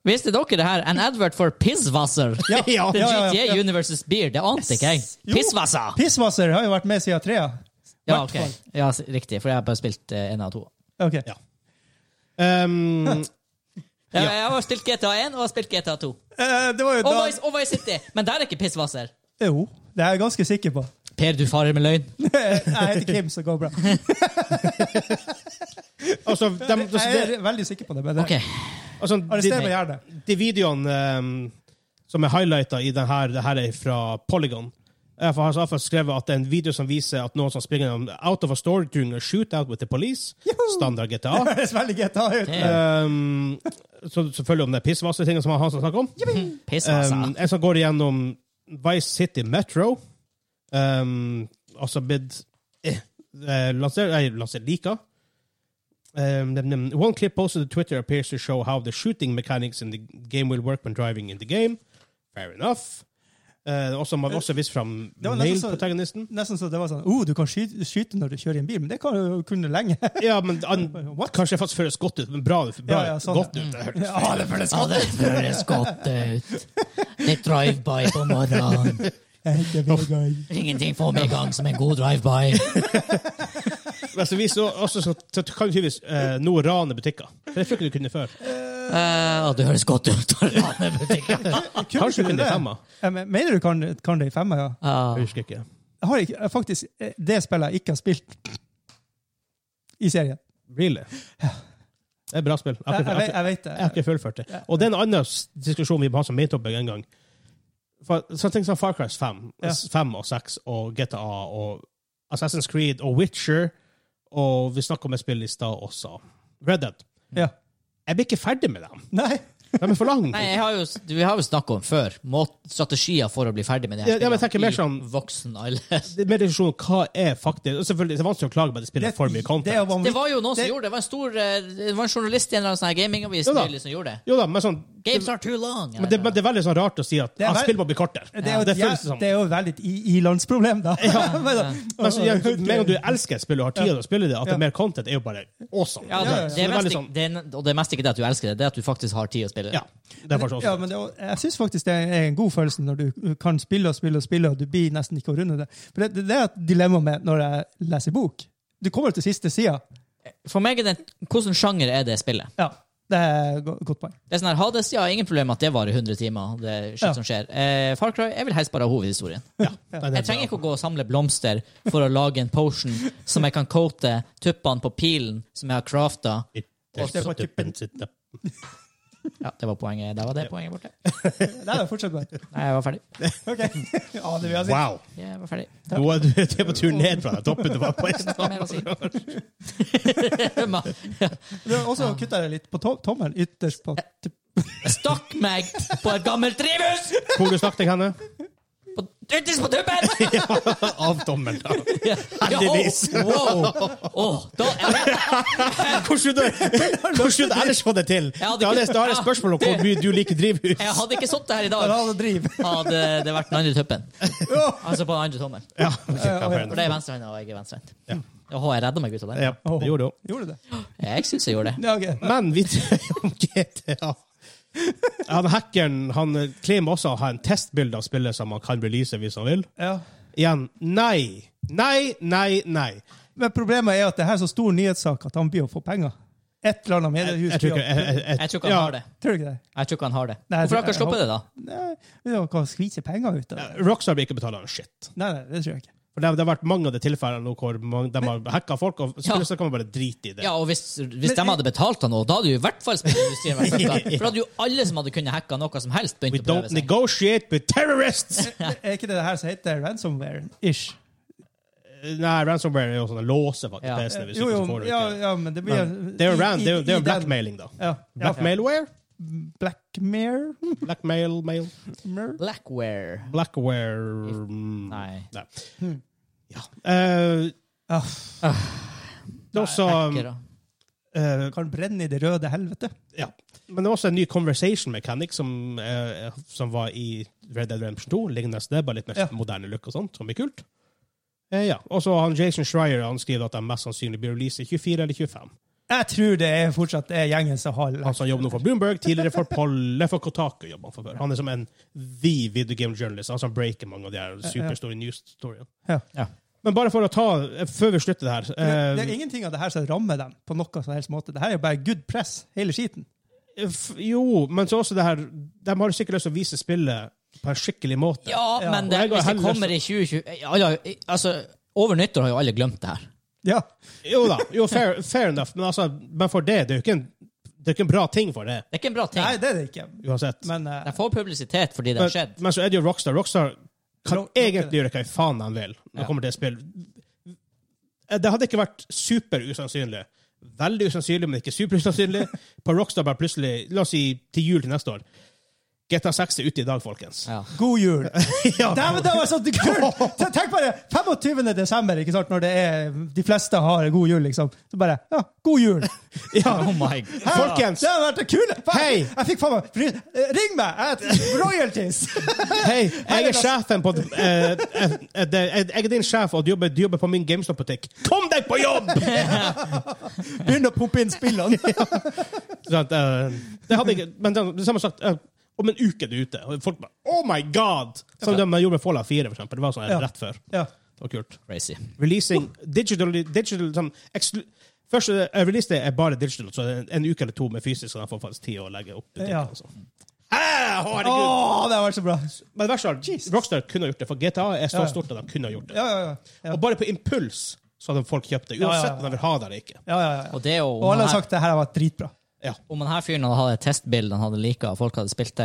[SPEAKER 3] Visste dere det her? An advert for Pisswasser.
[SPEAKER 1] Ja, ja,
[SPEAKER 3] The
[SPEAKER 1] ja.
[SPEAKER 2] ja, ja.
[SPEAKER 3] GTA Universes Beer. Det ante ikke jeg.
[SPEAKER 2] Jo.
[SPEAKER 3] Pisswasser!
[SPEAKER 2] Pisswasser har jo vært med siden trea.
[SPEAKER 3] Ja, ok. Ja, s- riktig, for jeg har bare spilt eh, en av to.
[SPEAKER 2] Ok.
[SPEAKER 1] Ja. Um,
[SPEAKER 3] Ja, Jeg har spilt GTA 1 og jeg har spilt GTA 2.
[SPEAKER 2] Eh, det var jo
[SPEAKER 3] Og
[SPEAKER 2] da
[SPEAKER 3] Vice, og Vice City! Men der er ikke Pisswasser.
[SPEAKER 2] Jo, det er jeg ganske sikker på.
[SPEAKER 3] Per, du farer med løgn.
[SPEAKER 2] jeg heter Kim, så det går bra.
[SPEAKER 1] altså, dem-
[SPEAKER 2] Jeg
[SPEAKER 1] altså, de,
[SPEAKER 2] er veldig sikker på det. Men det.
[SPEAKER 3] Ok.
[SPEAKER 1] altså,
[SPEAKER 2] Arrester
[SPEAKER 1] de,
[SPEAKER 2] meg gjerne.
[SPEAKER 1] de videoene ehm, som er highlighta i den her, det her er fra Polygon. Jeg har iallfall skrevet at det er en video som viser at noen som springer gjennom out of a store during a shootout with the police. Standard GTA.
[SPEAKER 2] Det høres veldig GTA ut.
[SPEAKER 3] Det er
[SPEAKER 1] Ehm, så selvfølgelig om det er pissvassetinga som han som snakker om.
[SPEAKER 2] Altså.
[SPEAKER 3] Pisswasser.
[SPEAKER 1] Um, en som går igjennom Vice City Metro. Um, altså blitt eh, eh, lansert Nei, lansert lika. Um, nem- nem- one clip posted to Twitter appears to show how the shooting mechanics in the game will work when driving in the game. Fair enough. Uh, også, man har også vist fram
[SPEAKER 2] Det var nesten så-
[SPEAKER 1] male-protagonisten.
[SPEAKER 2] Nesten så det var sånn oh, du kan skyte, skyte når du kjører i en bil, men det kan du jo kunne lenge.
[SPEAKER 1] Ja, men han,
[SPEAKER 2] What?
[SPEAKER 1] Kanskje det faktisk føles godt ut. Men bra, bra
[SPEAKER 2] Ja, ja, sånn.
[SPEAKER 1] godt ut. Det hørtes
[SPEAKER 2] Ja, det føles
[SPEAKER 3] Ja, det høres godt ut. Det er drive-by på morgenen. Ingenting får meg i gang som en god drive-by.
[SPEAKER 1] Men så vi så også så, så kan du tydeligvis eh, nå rane butikker. For det tror jeg ikke du kunne før.
[SPEAKER 3] Uh, det høres godt ut å rane butikker.
[SPEAKER 1] Kanskje du kunne det i femma.
[SPEAKER 2] Ja, Eh, men Mener du kan, kan det i femma, ja?
[SPEAKER 3] Ah,
[SPEAKER 1] Jeg husker ikke.
[SPEAKER 2] Har jeg, ikke- faktisk, eh, det spillet jeg ikke har spilt i serien.
[SPEAKER 1] Really? Det er et bra spill. Jeg har
[SPEAKER 2] Jeg,
[SPEAKER 1] ikke-
[SPEAKER 2] jeg, vet-
[SPEAKER 1] jeg
[SPEAKER 2] jeg vet
[SPEAKER 1] har
[SPEAKER 2] det.
[SPEAKER 1] ikke fullført det. Og det er en annen s- diskusjon vi må ha som main topic en gang. For, så ting som Far Cry 5,
[SPEAKER 2] Ja.
[SPEAKER 1] 5 og 6 og GTA og Assassin's Creed og Witcher, og vi snakket om et spill i stad også. Red Dead.
[SPEAKER 2] Ja.
[SPEAKER 1] Jeg blir ikke ferdig med dem.
[SPEAKER 2] Nei.
[SPEAKER 1] De er for lange.
[SPEAKER 3] Nei, jeg har jo, vi har jo snakket om før må- strategier for å bli ferdig med det
[SPEAKER 1] Ja, ja, men jeg tenker mer sånn-
[SPEAKER 3] i voksen alder.
[SPEAKER 1] Det er mer diskusjon om hva er faktisk og Selvfølgelig, det er vanskelig å klage på at de spiller for mye content.
[SPEAKER 2] det er vanvittig.
[SPEAKER 3] Det var jo noen som
[SPEAKER 2] Det-
[SPEAKER 3] gjorde det. Det var en, stor, eh, det var en journalist i en eller annen sånn her gamingavis
[SPEAKER 1] Jo da.
[SPEAKER 3] nylig som gjorde det.
[SPEAKER 1] Jo da, men sånn
[SPEAKER 3] Games are too long.
[SPEAKER 1] Men det, men det er veldig sånn rart å si at
[SPEAKER 2] er
[SPEAKER 1] ah,
[SPEAKER 2] vel-
[SPEAKER 1] spill må bli kortere.
[SPEAKER 2] Det er jo,
[SPEAKER 1] det
[SPEAKER 2] ja,
[SPEAKER 1] føles som.
[SPEAKER 2] det er jo veldig et i- i-landsproblem, da. Men da-
[SPEAKER 1] Men så, ja, med en gang du elsker et spill og har tid til å spille det, at det
[SPEAKER 2] Ja.
[SPEAKER 1] er mer content, er jo bare awesome.
[SPEAKER 3] ja, det,
[SPEAKER 2] ja, ja.
[SPEAKER 1] Så
[SPEAKER 3] det, er
[SPEAKER 1] veldig
[SPEAKER 3] mest, ikke-
[SPEAKER 1] sånn-
[SPEAKER 3] det er, og det er mest ikke det at du elsker det, det er at du faktisk har tid å spille. det.
[SPEAKER 1] Ja, det er bare
[SPEAKER 2] Ja,
[SPEAKER 1] sånn.
[SPEAKER 2] men det, er- jeg syns faktisk det er en god følelse når du kan spille og spille og spille, og du blir nesten ikke å runde det. For det, det er et dilemma med når jeg leser bok. Du kommer til siste sida.
[SPEAKER 3] For meg er det Hvilken sjanger er det spillet?
[SPEAKER 2] Ja, det er et go- godt poeng.
[SPEAKER 3] Det er sånn her, Hades, ja, ingen problem at det varer 100 timer. det er shit
[SPEAKER 2] Ja.
[SPEAKER 3] som skjer. Eh, Far Cry, jeg vil helst bare ha hovedhistorien. Jeg trenger ikke å gå og samle blomster for å lage en potion som jeg kan coate tuppene på pilen som jeg har crafta.
[SPEAKER 1] ikke
[SPEAKER 3] Ja, det var poenget. Der var det poenget borte.
[SPEAKER 2] Nei, nei, fortsett med det.
[SPEAKER 3] Nei, jeg var ferdig.
[SPEAKER 2] Ok. Ja, det vil jeg si.
[SPEAKER 1] Wow!
[SPEAKER 3] Jeg var ferdig. Det
[SPEAKER 1] Nå er du du er på tur ned fra den toppen du var på i stad.
[SPEAKER 3] var mer å si. Man
[SPEAKER 2] Og så kutta jeg litt på to tommelen ytterst på typ,
[SPEAKER 3] Stakk meg på et gammelt drivhus!
[SPEAKER 1] Hvor du snakket henne?
[SPEAKER 3] På, ytterst på tuppen!
[SPEAKER 1] Av tommelen, da.
[SPEAKER 3] Ja,
[SPEAKER 1] Heldigvis.
[SPEAKER 3] Ja, wow. Åh, da, jeg,
[SPEAKER 1] Hvordan du- hvordan du ellers få det til?
[SPEAKER 3] Jeg hadde
[SPEAKER 1] Da er det
[SPEAKER 3] ikke-
[SPEAKER 1] da er det spørsmål om hvor mye du liker drivhus.
[SPEAKER 3] jeg hadde ikke sittet her i dag.
[SPEAKER 2] Rad og driv.
[SPEAKER 3] hadde det vært den andre tuppen. Altså på den andre tommelen.
[SPEAKER 1] Ja, fair
[SPEAKER 3] For det
[SPEAKER 1] enough.
[SPEAKER 3] er venstrehånda, og jeg er venstrehendt. Ja. jeg redda meg ut av det.
[SPEAKER 1] ja, det gjorde hun.
[SPEAKER 2] Gjorde du det?
[SPEAKER 3] Jeg syns jeg gjorde det.
[SPEAKER 2] Ja, ok.
[SPEAKER 1] Men vi om GTA. Han hackeren han claimer også å ha en testbilde av spillet som han kan release hvis han vil.
[SPEAKER 2] Ja.
[SPEAKER 1] Igjen, nei. Nei, nei, nei.
[SPEAKER 2] Men problemet er at det her er så stor nyhetssak at han blir å få penger. Et eller annet
[SPEAKER 1] Jeg,
[SPEAKER 2] mediehus
[SPEAKER 1] jeg, tror
[SPEAKER 2] blir
[SPEAKER 1] ikke-
[SPEAKER 2] å
[SPEAKER 1] jeg, jeg, jeg,
[SPEAKER 3] Jeg tror ikke han
[SPEAKER 1] ja,
[SPEAKER 3] har det.
[SPEAKER 2] Tror du ikke det?
[SPEAKER 3] Jeg tror ikke han har det.
[SPEAKER 2] Nei, jeg
[SPEAKER 3] Hvorfor har
[SPEAKER 2] tror-
[SPEAKER 3] dere sluppet det, da?
[SPEAKER 2] Nei, vi kan skvise penger ut av det.
[SPEAKER 1] Rockstar vil ikke betale han shit.
[SPEAKER 2] Nei, nei, det tror jeg ikke.
[SPEAKER 1] For det, har- det har vært mange av de tilfellene nå hvor man, de har hacka folk, og
[SPEAKER 3] Ja.
[SPEAKER 1] så kan man bare drite i det.
[SPEAKER 3] Ja, og hvis, hvis de hadde betalt han noe, da hadde jo i hvert fall spillindustrien vært fucka. For da hadde jo alle som hadde kunnet hacka noe som helst,
[SPEAKER 1] We
[SPEAKER 3] begynt å
[SPEAKER 1] don't
[SPEAKER 3] prøve seg.
[SPEAKER 1] negotiate with terrorists!
[SPEAKER 2] Er ikke det det her som heter ransomware-ish?
[SPEAKER 1] Nei, ransomware er jo sånn en låse, faktisk.
[SPEAKER 3] Ja.
[SPEAKER 1] PC-ene, hvis
[SPEAKER 2] Jo,
[SPEAKER 1] ikke
[SPEAKER 2] jo,
[SPEAKER 1] så får du
[SPEAKER 2] ja,
[SPEAKER 1] ikke.
[SPEAKER 2] ja, men det blir
[SPEAKER 1] Det er jo
[SPEAKER 2] i-
[SPEAKER 1] ran- det er jo-
[SPEAKER 2] i-
[SPEAKER 1] det er jo
[SPEAKER 2] i den-
[SPEAKER 1] blackmailing, da.
[SPEAKER 2] Ja. ja.
[SPEAKER 1] Blackmailware?
[SPEAKER 2] Blackmare?
[SPEAKER 1] Blackmail, mail
[SPEAKER 2] Mer?
[SPEAKER 3] Blackware.
[SPEAKER 1] Blackware mm,
[SPEAKER 3] Nei.
[SPEAKER 1] Ja. Eh,
[SPEAKER 2] Hmm. Ah,
[SPEAKER 1] det er også
[SPEAKER 3] Hacker, da.
[SPEAKER 1] eh,
[SPEAKER 2] kan brenne i det røde helvete.
[SPEAKER 1] Ja. Men det var også en ny conversation mechanic som, eh, som var i Red Dead Redemption 2. Lignende så det, er bare litt mer
[SPEAKER 2] Ja.
[SPEAKER 1] moderne look og sånt, som blir kult. Eh, ja. Og så han Jason Schreier han skriver at de mest sannsynlig blir release i 24 eller 25.
[SPEAKER 2] Jeg tror det er fortsatt er gjengen som har
[SPEAKER 1] Han som jobber nå for Bloomberg, tidligere for Polle, for Kotaku jobber han for før. Han er som en the video game journalist, han som breaker mange av de her superstore news storyene.
[SPEAKER 2] Ja.
[SPEAKER 3] Ja.
[SPEAKER 1] Men bare for å ta, eh, før vi slutter det her
[SPEAKER 2] Det er- det
[SPEAKER 1] eh,
[SPEAKER 2] er ingenting av det her som rammer dem på noe som helst måte. Det her er jo bare good press, hele skiten.
[SPEAKER 1] f- Jo, men så også det her De har sikkert lyst til å vise spillet på en skikkelig måte.
[SPEAKER 3] Ja, men det,
[SPEAKER 1] Og jeg går
[SPEAKER 3] hvis det
[SPEAKER 1] heller-
[SPEAKER 3] kommer i 2020 alle, Altså, over nyttår har jo alle glemt det her.
[SPEAKER 2] Ja.
[SPEAKER 1] Jo da, jo, fair, fair enough, men, altså, men for det, det er jo ikke en, det er ikke en bra ting for det,
[SPEAKER 3] Det er ikke en bra ting.
[SPEAKER 2] Nei, det er det ikke.
[SPEAKER 1] uansett. Men,
[SPEAKER 2] Men eh,
[SPEAKER 3] De får publisitet fordi det har
[SPEAKER 1] men,
[SPEAKER 3] skjedd.
[SPEAKER 1] så er det jo Rockstar. Rockstar kan
[SPEAKER 2] Ro-
[SPEAKER 1] egentlig gjøre hva i faen han vil når det
[SPEAKER 3] Ja.
[SPEAKER 1] kommer til spill. Det hadde ikke vært super usannsynlig. Veldig usannsynlig, men ikke super usannsynlig. På Rockstar bare plutselig, la oss si til jul til neste år, GTA 6 er ute i dag, folkens.
[SPEAKER 3] Ja.
[SPEAKER 2] god jul! Dæven, det var så kult! Så Tenk bare 25. desember, ikke sant, når det er, de fleste har god jul, liksom. Så bare Ja, god jul!
[SPEAKER 3] Oh my god.
[SPEAKER 1] Folkens,
[SPEAKER 2] Det har vært det kule! Faen,
[SPEAKER 1] Hei!
[SPEAKER 2] Jeg fikk faen meg fri- eh, Ring meg! Jeg er royalties!
[SPEAKER 1] hei, jeg er sjefen på eh, eh, eh, det- Jeg jeg er din sjef, og du jobber, du jobber på min GameStop-butikk. Kom deg på jobb!
[SPEAKER 2] Begynn å pumpe inn spillene.
[SPEAKER 1] Så at, eh, det hadde ikke, men det, det samme sagt, eh, om en uke er det ute. Og folk bare Oh my God! Som de gjorde med Fallout 4, for eksempel. Det var sånn
[SPEAKER 2] Ja.
[SPEAKER 1] rett før.
[SPEAKER 2] Ja.
[SPEAKER 1] Det var kult.
[SPEAKER 3] Crazy.
[SPEAKER 1] Releasing digital, digital sånn, exclu- Først eh, release det er bare digital, så en, en uke eller to med fysisk, så de får faktisk tid å legge opp. butikken
[SPEAKER 2] Ja.
[SPEAKER 1] og sånn. Ah,
[SPEAKER 2] Å,
[SPEAKER 1] herregud!
[SPEAKER 2] det har vært så bra!
[SPEAKER 1] Men det verste er at Rockstar kunne ha gjort det, for GTA er så
[SPEAKER 2] Ja, ja.
[SPEAKER 1] stort at de kunne ha gjort det.
[SPEAKER 2] Ja, ja, ja. Ja,
[SPEAKER 1] Og bare på impuls så hadde folk kjøpt det,
[SPEAKER 2] Ja, ja, ja.
[SPEAKER 1] uansett om de vil ha det eller ikke.
[SPEAKER 2] ja, ja, ja.
[SPEAKER 3] Og det er jo
[SPEAKER 2] Og
[SPEAKER 3] om
[SPEAKER 2] alle
[SPEAKER 3] han
[SPEAKER 2] har
[SPEAKER 3] her,
[SPEAKER 2] sagt det her har vært dritbra.
[SPEAKER 1] Ja.
[SPEAKER 3] om han her fyren hadde hatt et testbilde han hadde lika, og folk hadde spilt det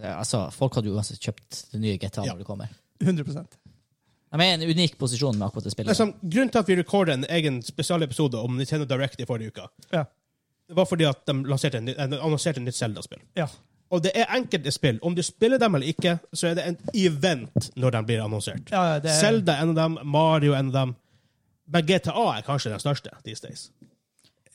[SPEAKER 3] eh, Altså, folk hadde jo uansett kjøpt det nye GTA
[SPEAKER 1] Ja.
[SPEAKER 3] når det kommer.
[SPEAKER 2] 100
[SPEAKER 3] De er i en unik posisjon med akkurat det spillet.
[SPEAKER 1] Liksom, grunnen til at vi recordet en egen spesialepisode om Nintendo Direct i forrige uke,
[SPEAKER 2] Ja.
[SPEAKER 1] Det var fordi at de lanserte en, ny- en, annonserte et nytt Zelda-spill.
[SPEAKER 2] ja.
[SPEAKER 1] Og det er enkelte spill. Om du spiller dem eller ikke, så er det en event når de blir annonsert.
[SPEAKER 2] Ja, ja, det er-
[SPEAKER 1] Zelda er en av dem, Mario er en av dem. Men GTA er kanskje den største these days.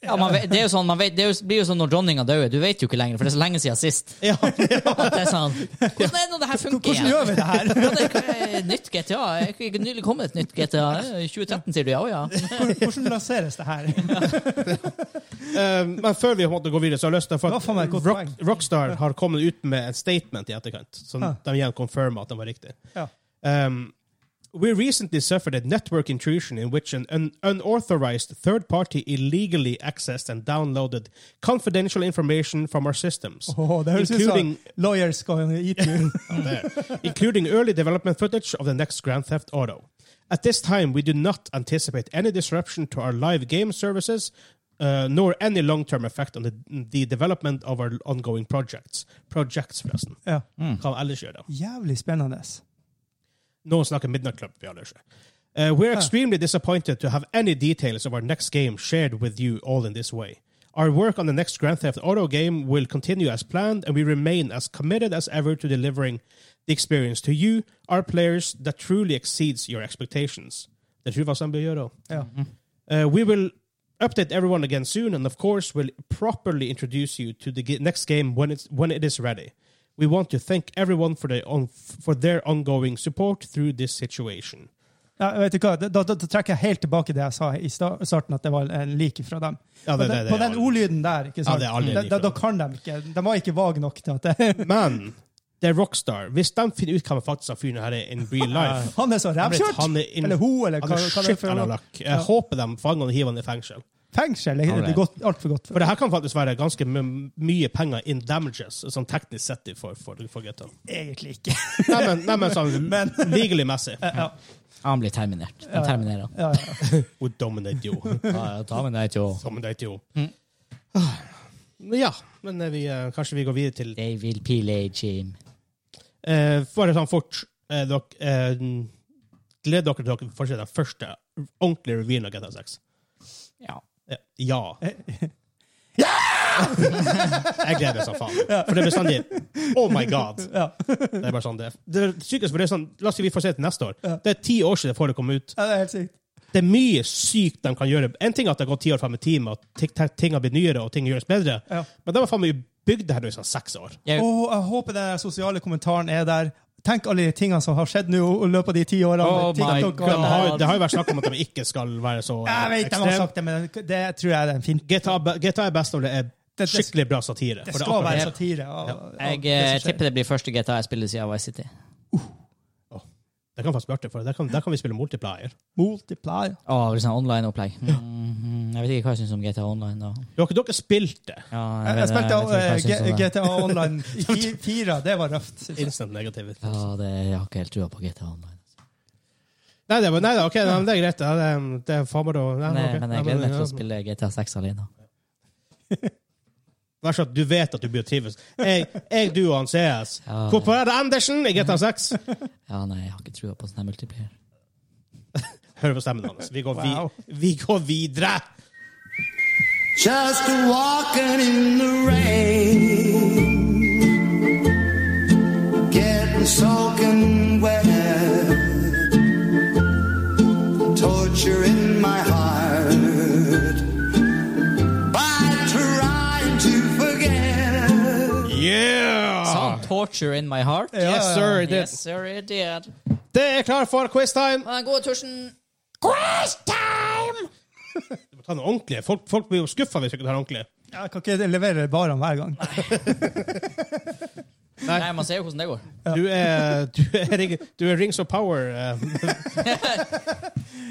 [SPEAKER 3] Ja, man vet, det, er jo sånn, man vet, det er jo, blir jo sånn når dronninga dør. Du vet jo ikke lenger, for det er så lenge siden sist.
[SPEAKER 1] Ja,
[SPEAKER 3] At det er sånn, Hvordan er det når det her funker
[SPEAKER 2] Hvordan gjør vi det her?
[SPEAKER 3] Ja, det er et nytt GTA. Er ikke- ikke nylig kommet et nytt GTA? 2013, Eh, sier du? Ja, å ja.
[SPEAKER 2] Hvordan lanseres det her?
[SPEAKER 1] Eh, men før vi på en måte går videre, så har jeg lyst til for
[SPEAKER 2] Det var faen meg et
[SPEAKER 1] at
[SPEAKER 2] godt
[SPEAKER 1] Rock,
[SPEAKER 2] poeng.
[SPEAKER 1] Rockstar har kommet ut med et statement i etterkant, som
[SPEAKER 2] Ja.
[SPEAKER 1] de igjen confirmer at den var riktig.
[SPEAKER 2] Ja.
[SPEAKER 1] Um, we recently suffered a network intrusion in which an un- unauthorized third party illegally accessed and downloaded confidential information from our systems,
[SPEAKER 2] Åh, det høres ut som
[SPEAKER 1] including, oh,
[SPEAKER 2] lawyers going eat you.
[SPEAKER 1] including early development footage of the next Grand Theft Auto. At this time, we do not anticipate any disruption to our live game services. Uh, nor any long-term effect on the, the development of our ongoing projects. Projects, forresten.
[SPEAKER 2] Ja.
[SPEAKER 1] Hva ellers gjør det?
[SPEAKER 2] Jævlig spennende.
[SPEAKER 1] Noen snakker Midnight Club, vi alle ikke. Uh, we're extremely disappointed to have any details of our next game shared with you all in this way. Our work on the next Grand Theft Auto game will continue as planned, and we remain as committed as ever to delivering the experience to you, our players, that truly exceeds your expectations. Det tror jeg var sånn vi gjør også.
[SPEAKER 2] Ja.
[SPEAKER 1] Uh, we will update everyone again soon, and of course, we'll properly introduce you to the g- next game when it's when it is ready. We want to thank everyone for their on, for their ongoing support through this situation.
[SPEAKER 2] Ja, vet du hva? Da, da, da trekker jeg helt tilbake det jeg sa i sta- starten, at det var en lik fra dem.
[SPEAKER 1] Ja, det- det- det
[SPEAKER 2] på
[SPEAKER 1] er
[SPEAKER 2] den
[SPEAKER 1] aldri-
[SPEAKER 2] ordlyden der, ikke sant?
[SPEAKER 1] det er aldri en lik
[SPEAKER 2] da,
[SPEAKER 1] fra
[SPEAKER 2] da, da kan de ikke. De var ikke vage nok til at det,
[SPEAKER 1] Men det er Rockstar. Hvis de finner ut hva man faktisk har fyren her er in real life
[SPEAKER 2] Han er så
[SPEAKER 1] Jeg vet,
[SPEAKER 2] rævkjørt!
[SPEAKER 1] han er in-
[SPEAKER 2] Eller hun, eller
[SPEAKER 1] han
[SPEAKER 2] hva,
[SPEAKER 1] er
[SPEAKER 2] hva det er
[SPEAKER 1] shit
[SPEAKER 2] for
[SPEAKER 1] eller
[SPEAKER 2] noe.
[SPEAKER 1] lakk. Jeg håper de fanger han og hiver han i fengsel.
[SPEAKER 2] Fengsel er
[SPEAKER 7] Alright.
[SPEAKER 2] right. godt, altfor godt.
[SPEAKER 1] For det her kan faktisk være ganske m- mye penger in damages, sånn teknisk sett for, for, for GTA.
[SPEAKER 2] Egentlig ikke.
[SPEAKER 1] Nei, men, nei, men sånn
[SPEAKER 2] Men-
[SPEAKER 1] legally-messig.
[SPEAKER 3] Han blir terminert. De terminerer han.
[SPEAKER 2] Ja, ja.
[SPEAKER 1] We dominate you.
[SPEAKER 3] Ja, terminate jo.
[SPEAKER 1] Dominate you. Ah, Ja, men eh, vi, eh, kanskje vi går videre til
[SPEAKER 3] They will pillage him.
[SPEAKER 1] eh, Bare sånn fort eh, dok, eh, Gleder dere til dere får se den første ordentlige revyen av GTA 6.
[SPEAKER 3] Ja.
[SPEAKER 1] Eh, Ja. Jeg gleder meg som faen. For det er bestandig Oh my god!
[SPEAKER 2] Ja.
[SPEAKER 1] Det er bare sånn det er. Det er sykest, for det er sånn, La oss si vi får se det til neste år. Det er ti år siden det kom ut.
[SPEAKER 2] ja, det er helt sykt.
[SPEAKER 1] det er mye sykt de kan gjøre. En ting er at det har gått ti år frem i tid, med at ting- ting- ting har blitt nyere og ting gjøres bedre,
[SPEAKER 2] Ja.
[SPEAKER 1] men de har faen meg bygd det her nå i sånn seks år.
[SPEAKER 3] Jeg,
[SPEAKER 2] Og jeg håper den sosiale kommentaren er der. Tenk alle de tingene som har skjedd nå i løpet av de ti årene.
[SPEAKER 3] Oh
[SPEAKER 2] Ting
[SPEAKER 3] my
[SPEAKER 2] dere-
[SPEAKER 1] De har,
[SPEAKER 3] God.
[SPEAKER 1] det har jo vært snakk om at de ikke skal være så eh,
[SPEAKER 2] Jeg vet de har
[SPEAKER 1] ekstrem.
[SPEAKER 2] sagt det, men det tror jeg er en fin
[SPEAKER 1] GTA, be- GTA er best når det er
[SPEAKER 2] det-
[SPEAKER 1] skikkelig bra satire.
[SPEAKER 2] Det
[SPEAKER 1] for
[SPEAKER 2] skal
[SPEAKER 1] akkurat-
[SPEAKER 2] være satire. av- av
[SPEAKER 3] jeg
[SPEAKER 2] det
[SPEAKER 3] eh,
[SPEAKER 2] som skjer.
[SPEAKER 3] tipper det blir første GTA jeg spiller siden Vice City.
[SPEAKER 1] det kan faktisk bli artig, for der kan, der kan vi spille multiplier.
[SPEAKER 2] Multiplier.
[SPEAKER 3] Å, det blir sånn online-opplegg. Mhm, jeg vet ikke hva jeg syns om GTA Online, da.
[SPEAKER 1] Dere, dere spilte det.
[SPEAKER 3] Ja,
[SPEAKER 2] Jeg, jeg
[SPEAKER 3] vet- vet
[SPEAKER 2] spilte
[SPEAKER 3] ikke hva jeg
[SPEAKER 2] eh,
[SPEAKER 3] syns om
[SPEAKER 2] G-
[SPEAKER 3] det.
[SPEAKER 2] GTA Online i fi- fire. Det var røft. synes jeg.
[SPEAKER 1] Instant negativt.
[SPEAKER 3] Ja, det, jeg har ikke helt trua på GTA Online.
[SPEAKER 1] Nei, det, var- nei, da, ok, nei, men det er greit. Ja, Det, det er faen meg da. Nei,
[SPEAKER 3] Nei,
[SPEAKER 1] ok. Nei,
[SPEAKER 3] men jeg gleder meg til
[SPEAKER 1] ja.
[SPEAKER 3] å spille GTA 6 alene.
[SPEAKER 1] Vær så at du vet at du blir trives. Jeg, jeg du og han CS.
[SPEAKER 3] Ja.
[SPEAKER 1] Hvorfor er det Andersen i GTA 6?
[SPEAKER 3] Ja, nei, jeg har ikke trua på sånn her multiplier.
[SPEAKER 1] Hører på stemmen hans. Vi går, vi,
[SPEAKER 2] Wow.
[SPEAKER 1] vi går videre!
[SPEAKER 8] Just walking in the rain, getting soaking wet, torture in my heart by trying to forget.
[SPEAKER 1] Yeah!
[SPEAKER 3] Sånn, torture in my heart.
[SPEAKER 1] Yes, sir. Det,
[SPEAKER 3] Yes, sir, it did.
[SPEAKER 1] det er klar for quiztime!
[SPEAKER 3] Den gode tusjen.
[SPEAKER 1] Du må ta noe ordentlig. Folk, folk blir jo skuffa hvis vi ikke tar ordentlig.
[SPEAKER 2] Jeg kan ikke levere barene hver gang.
[SPEAKER 3] Nei, man ser jo hvordan det går.
[SPEAKER 1] Du er, du er, ring, du er Rings of Power. eh.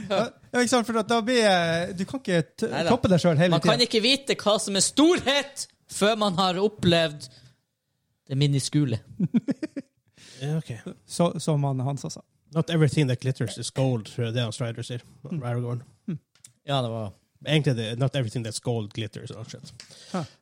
[SPEAKER 2] Ja, ikke sant? For at da blir jeg- Du kan ikke t
[SPEAKER 3] Neida.
[SPEAKER 2] toppe deg sjøl hele
[SPEAKER 3] Man kan
[SPEAKER 2] tida.
[SPEAKER 3] ikke vite hva som er storhet før man har opplevd det miniskule.
[SPEAKER 1] Ja, ok.
[SPEAKER 2] Så- altså. Som han Hansa sa.
[SPEAKER 1] Not everything that glitters is gold, tror jeg det er Strider sier. Aragorn.
[SPEAKER 3] Ja, det var
[SPEAKER 1] Egentlig det er not everything that's gold glitters. og alt shit.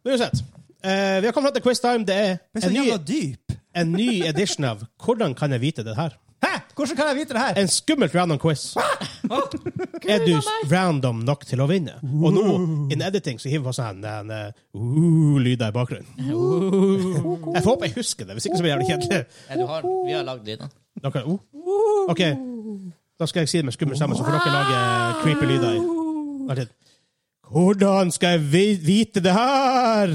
[SPEAKER 1] Men uansett. eh, vi har kommet fram til quiztime. Det er
[SPEAKER 2] Men så
[SPEAKER 1] en ny,
[SPEAKER 2] jævla dyp!
[SPEAKER 1] en ny edition av Hvordan kan jeg vite det her?
[SPEAKER 2] Hæ? Hvordan kan jeg vite det her?
[SPEAKER 1] En skummelt random quiz. er du random nok til å vinne? Og nå, in editing, så hiver vi på sånn en eh, uh, lyd der i bakgrunnen. Jeg får håpe jeg husker det, hvis ikke så blir det jævlig kjedelig.
[SPEAKER 3] Nei, du har, Vi har lagd lyden.
[SPEAKER 1] Dere, uh. OK, da skal jeg si det med skummel stemme, så får dere lage eh, creepy lyder. i- Vent litt. Hvordan skal jeg vi vite det her?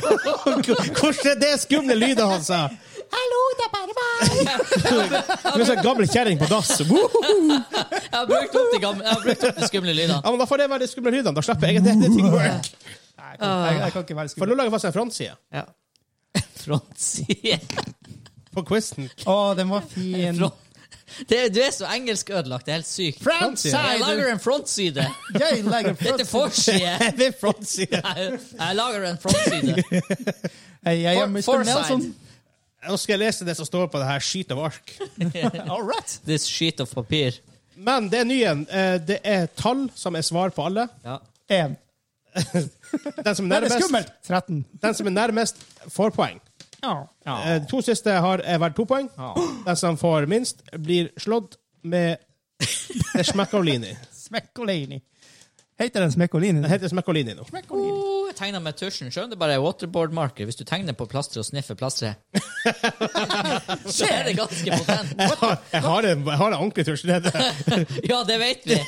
[SPEAKER 1] Hvordan er det skumle lyder han sa? Hallo, det er bare meg. Som en sånn gammel kjerring på dass. Woo!
[SPEAKER 3] Jeg har brukt opp de, gamle, jeg har brukt opp de skumle lydene.
[SPEAKER 1] Ja, men da får det være de skumle lydene. Da slipper jeg et editing work.
[SPEAKER 2] Nei, jeg, kan- jeg, jeg kan ikke være
[SPEAKER 1] For
[SPEAKER 2] skummel.
[SPEAKER 1] nå lager jeg faktisk en frontside
[SPEAKER 3] Ja. Frontside.
[SPEAKER 1] på quizen.
[SPEAKER 2] Å, den var fin.
[SPEAKER 3] Front. Det, du er så engelskødelagt. Det er helt sykt.
[SPEAKER 1] Frontside.
[SPEAKER 3] Jeg lager en frontside.
[SPEAKER 2] Jeg legger
[SPEAKER 3] Dette er forside.
[SPEAKER 1] Det er frontside.
[SPEAKER 3] Jeg, jeg lager en frontside.
[SPEAKER 2] Hei, jeg er
[SPEAKER 3] For-
[SPEAKER 2] Mr.
[SPEAKER 3] forside.
[SPEAKER 2] Nelson.
[SPEAKER 1] Nå skal jeg lese det som står på det her skit av ark.
[SPEAKER 2] All right.
[SPEAKER 3] This sheet of papir.
[SPEAKER 1] Men det er ny en. Eh, Det er tall som er svar på alle.
[SPEAKER 3] Ja.
[SPEAKER 2] En.
[SPEAKER 1] Den som er
[SPEAKER 2] Nei, det er
[SPEAKER 1] nærmest,
[SPEAKER 2] skummelt. 13.
[SPEAKER 1] den som er nærmest får poeng. Eh, De to siste har eh, vært to poeng. Den som får minst, blir slått med Det er Smekkolini.
[SPEAKER 2] Smekkolini. Heter den Smekkolini?
[SPEAKER 1] Den heter Smekkolini nå.
[SPEAKER 3] Oh, jeg tegner med tusjen. Skjønner det bare er waterboard-marker. Hvis du tegner på plasteret og sniffer plasteret, så er det ganske potent.
[SPEAKER 1] Jeg har- jeg har en jeg har en ordentlig tusj nede.
[SPEAKER 3] Ja, det vet vi.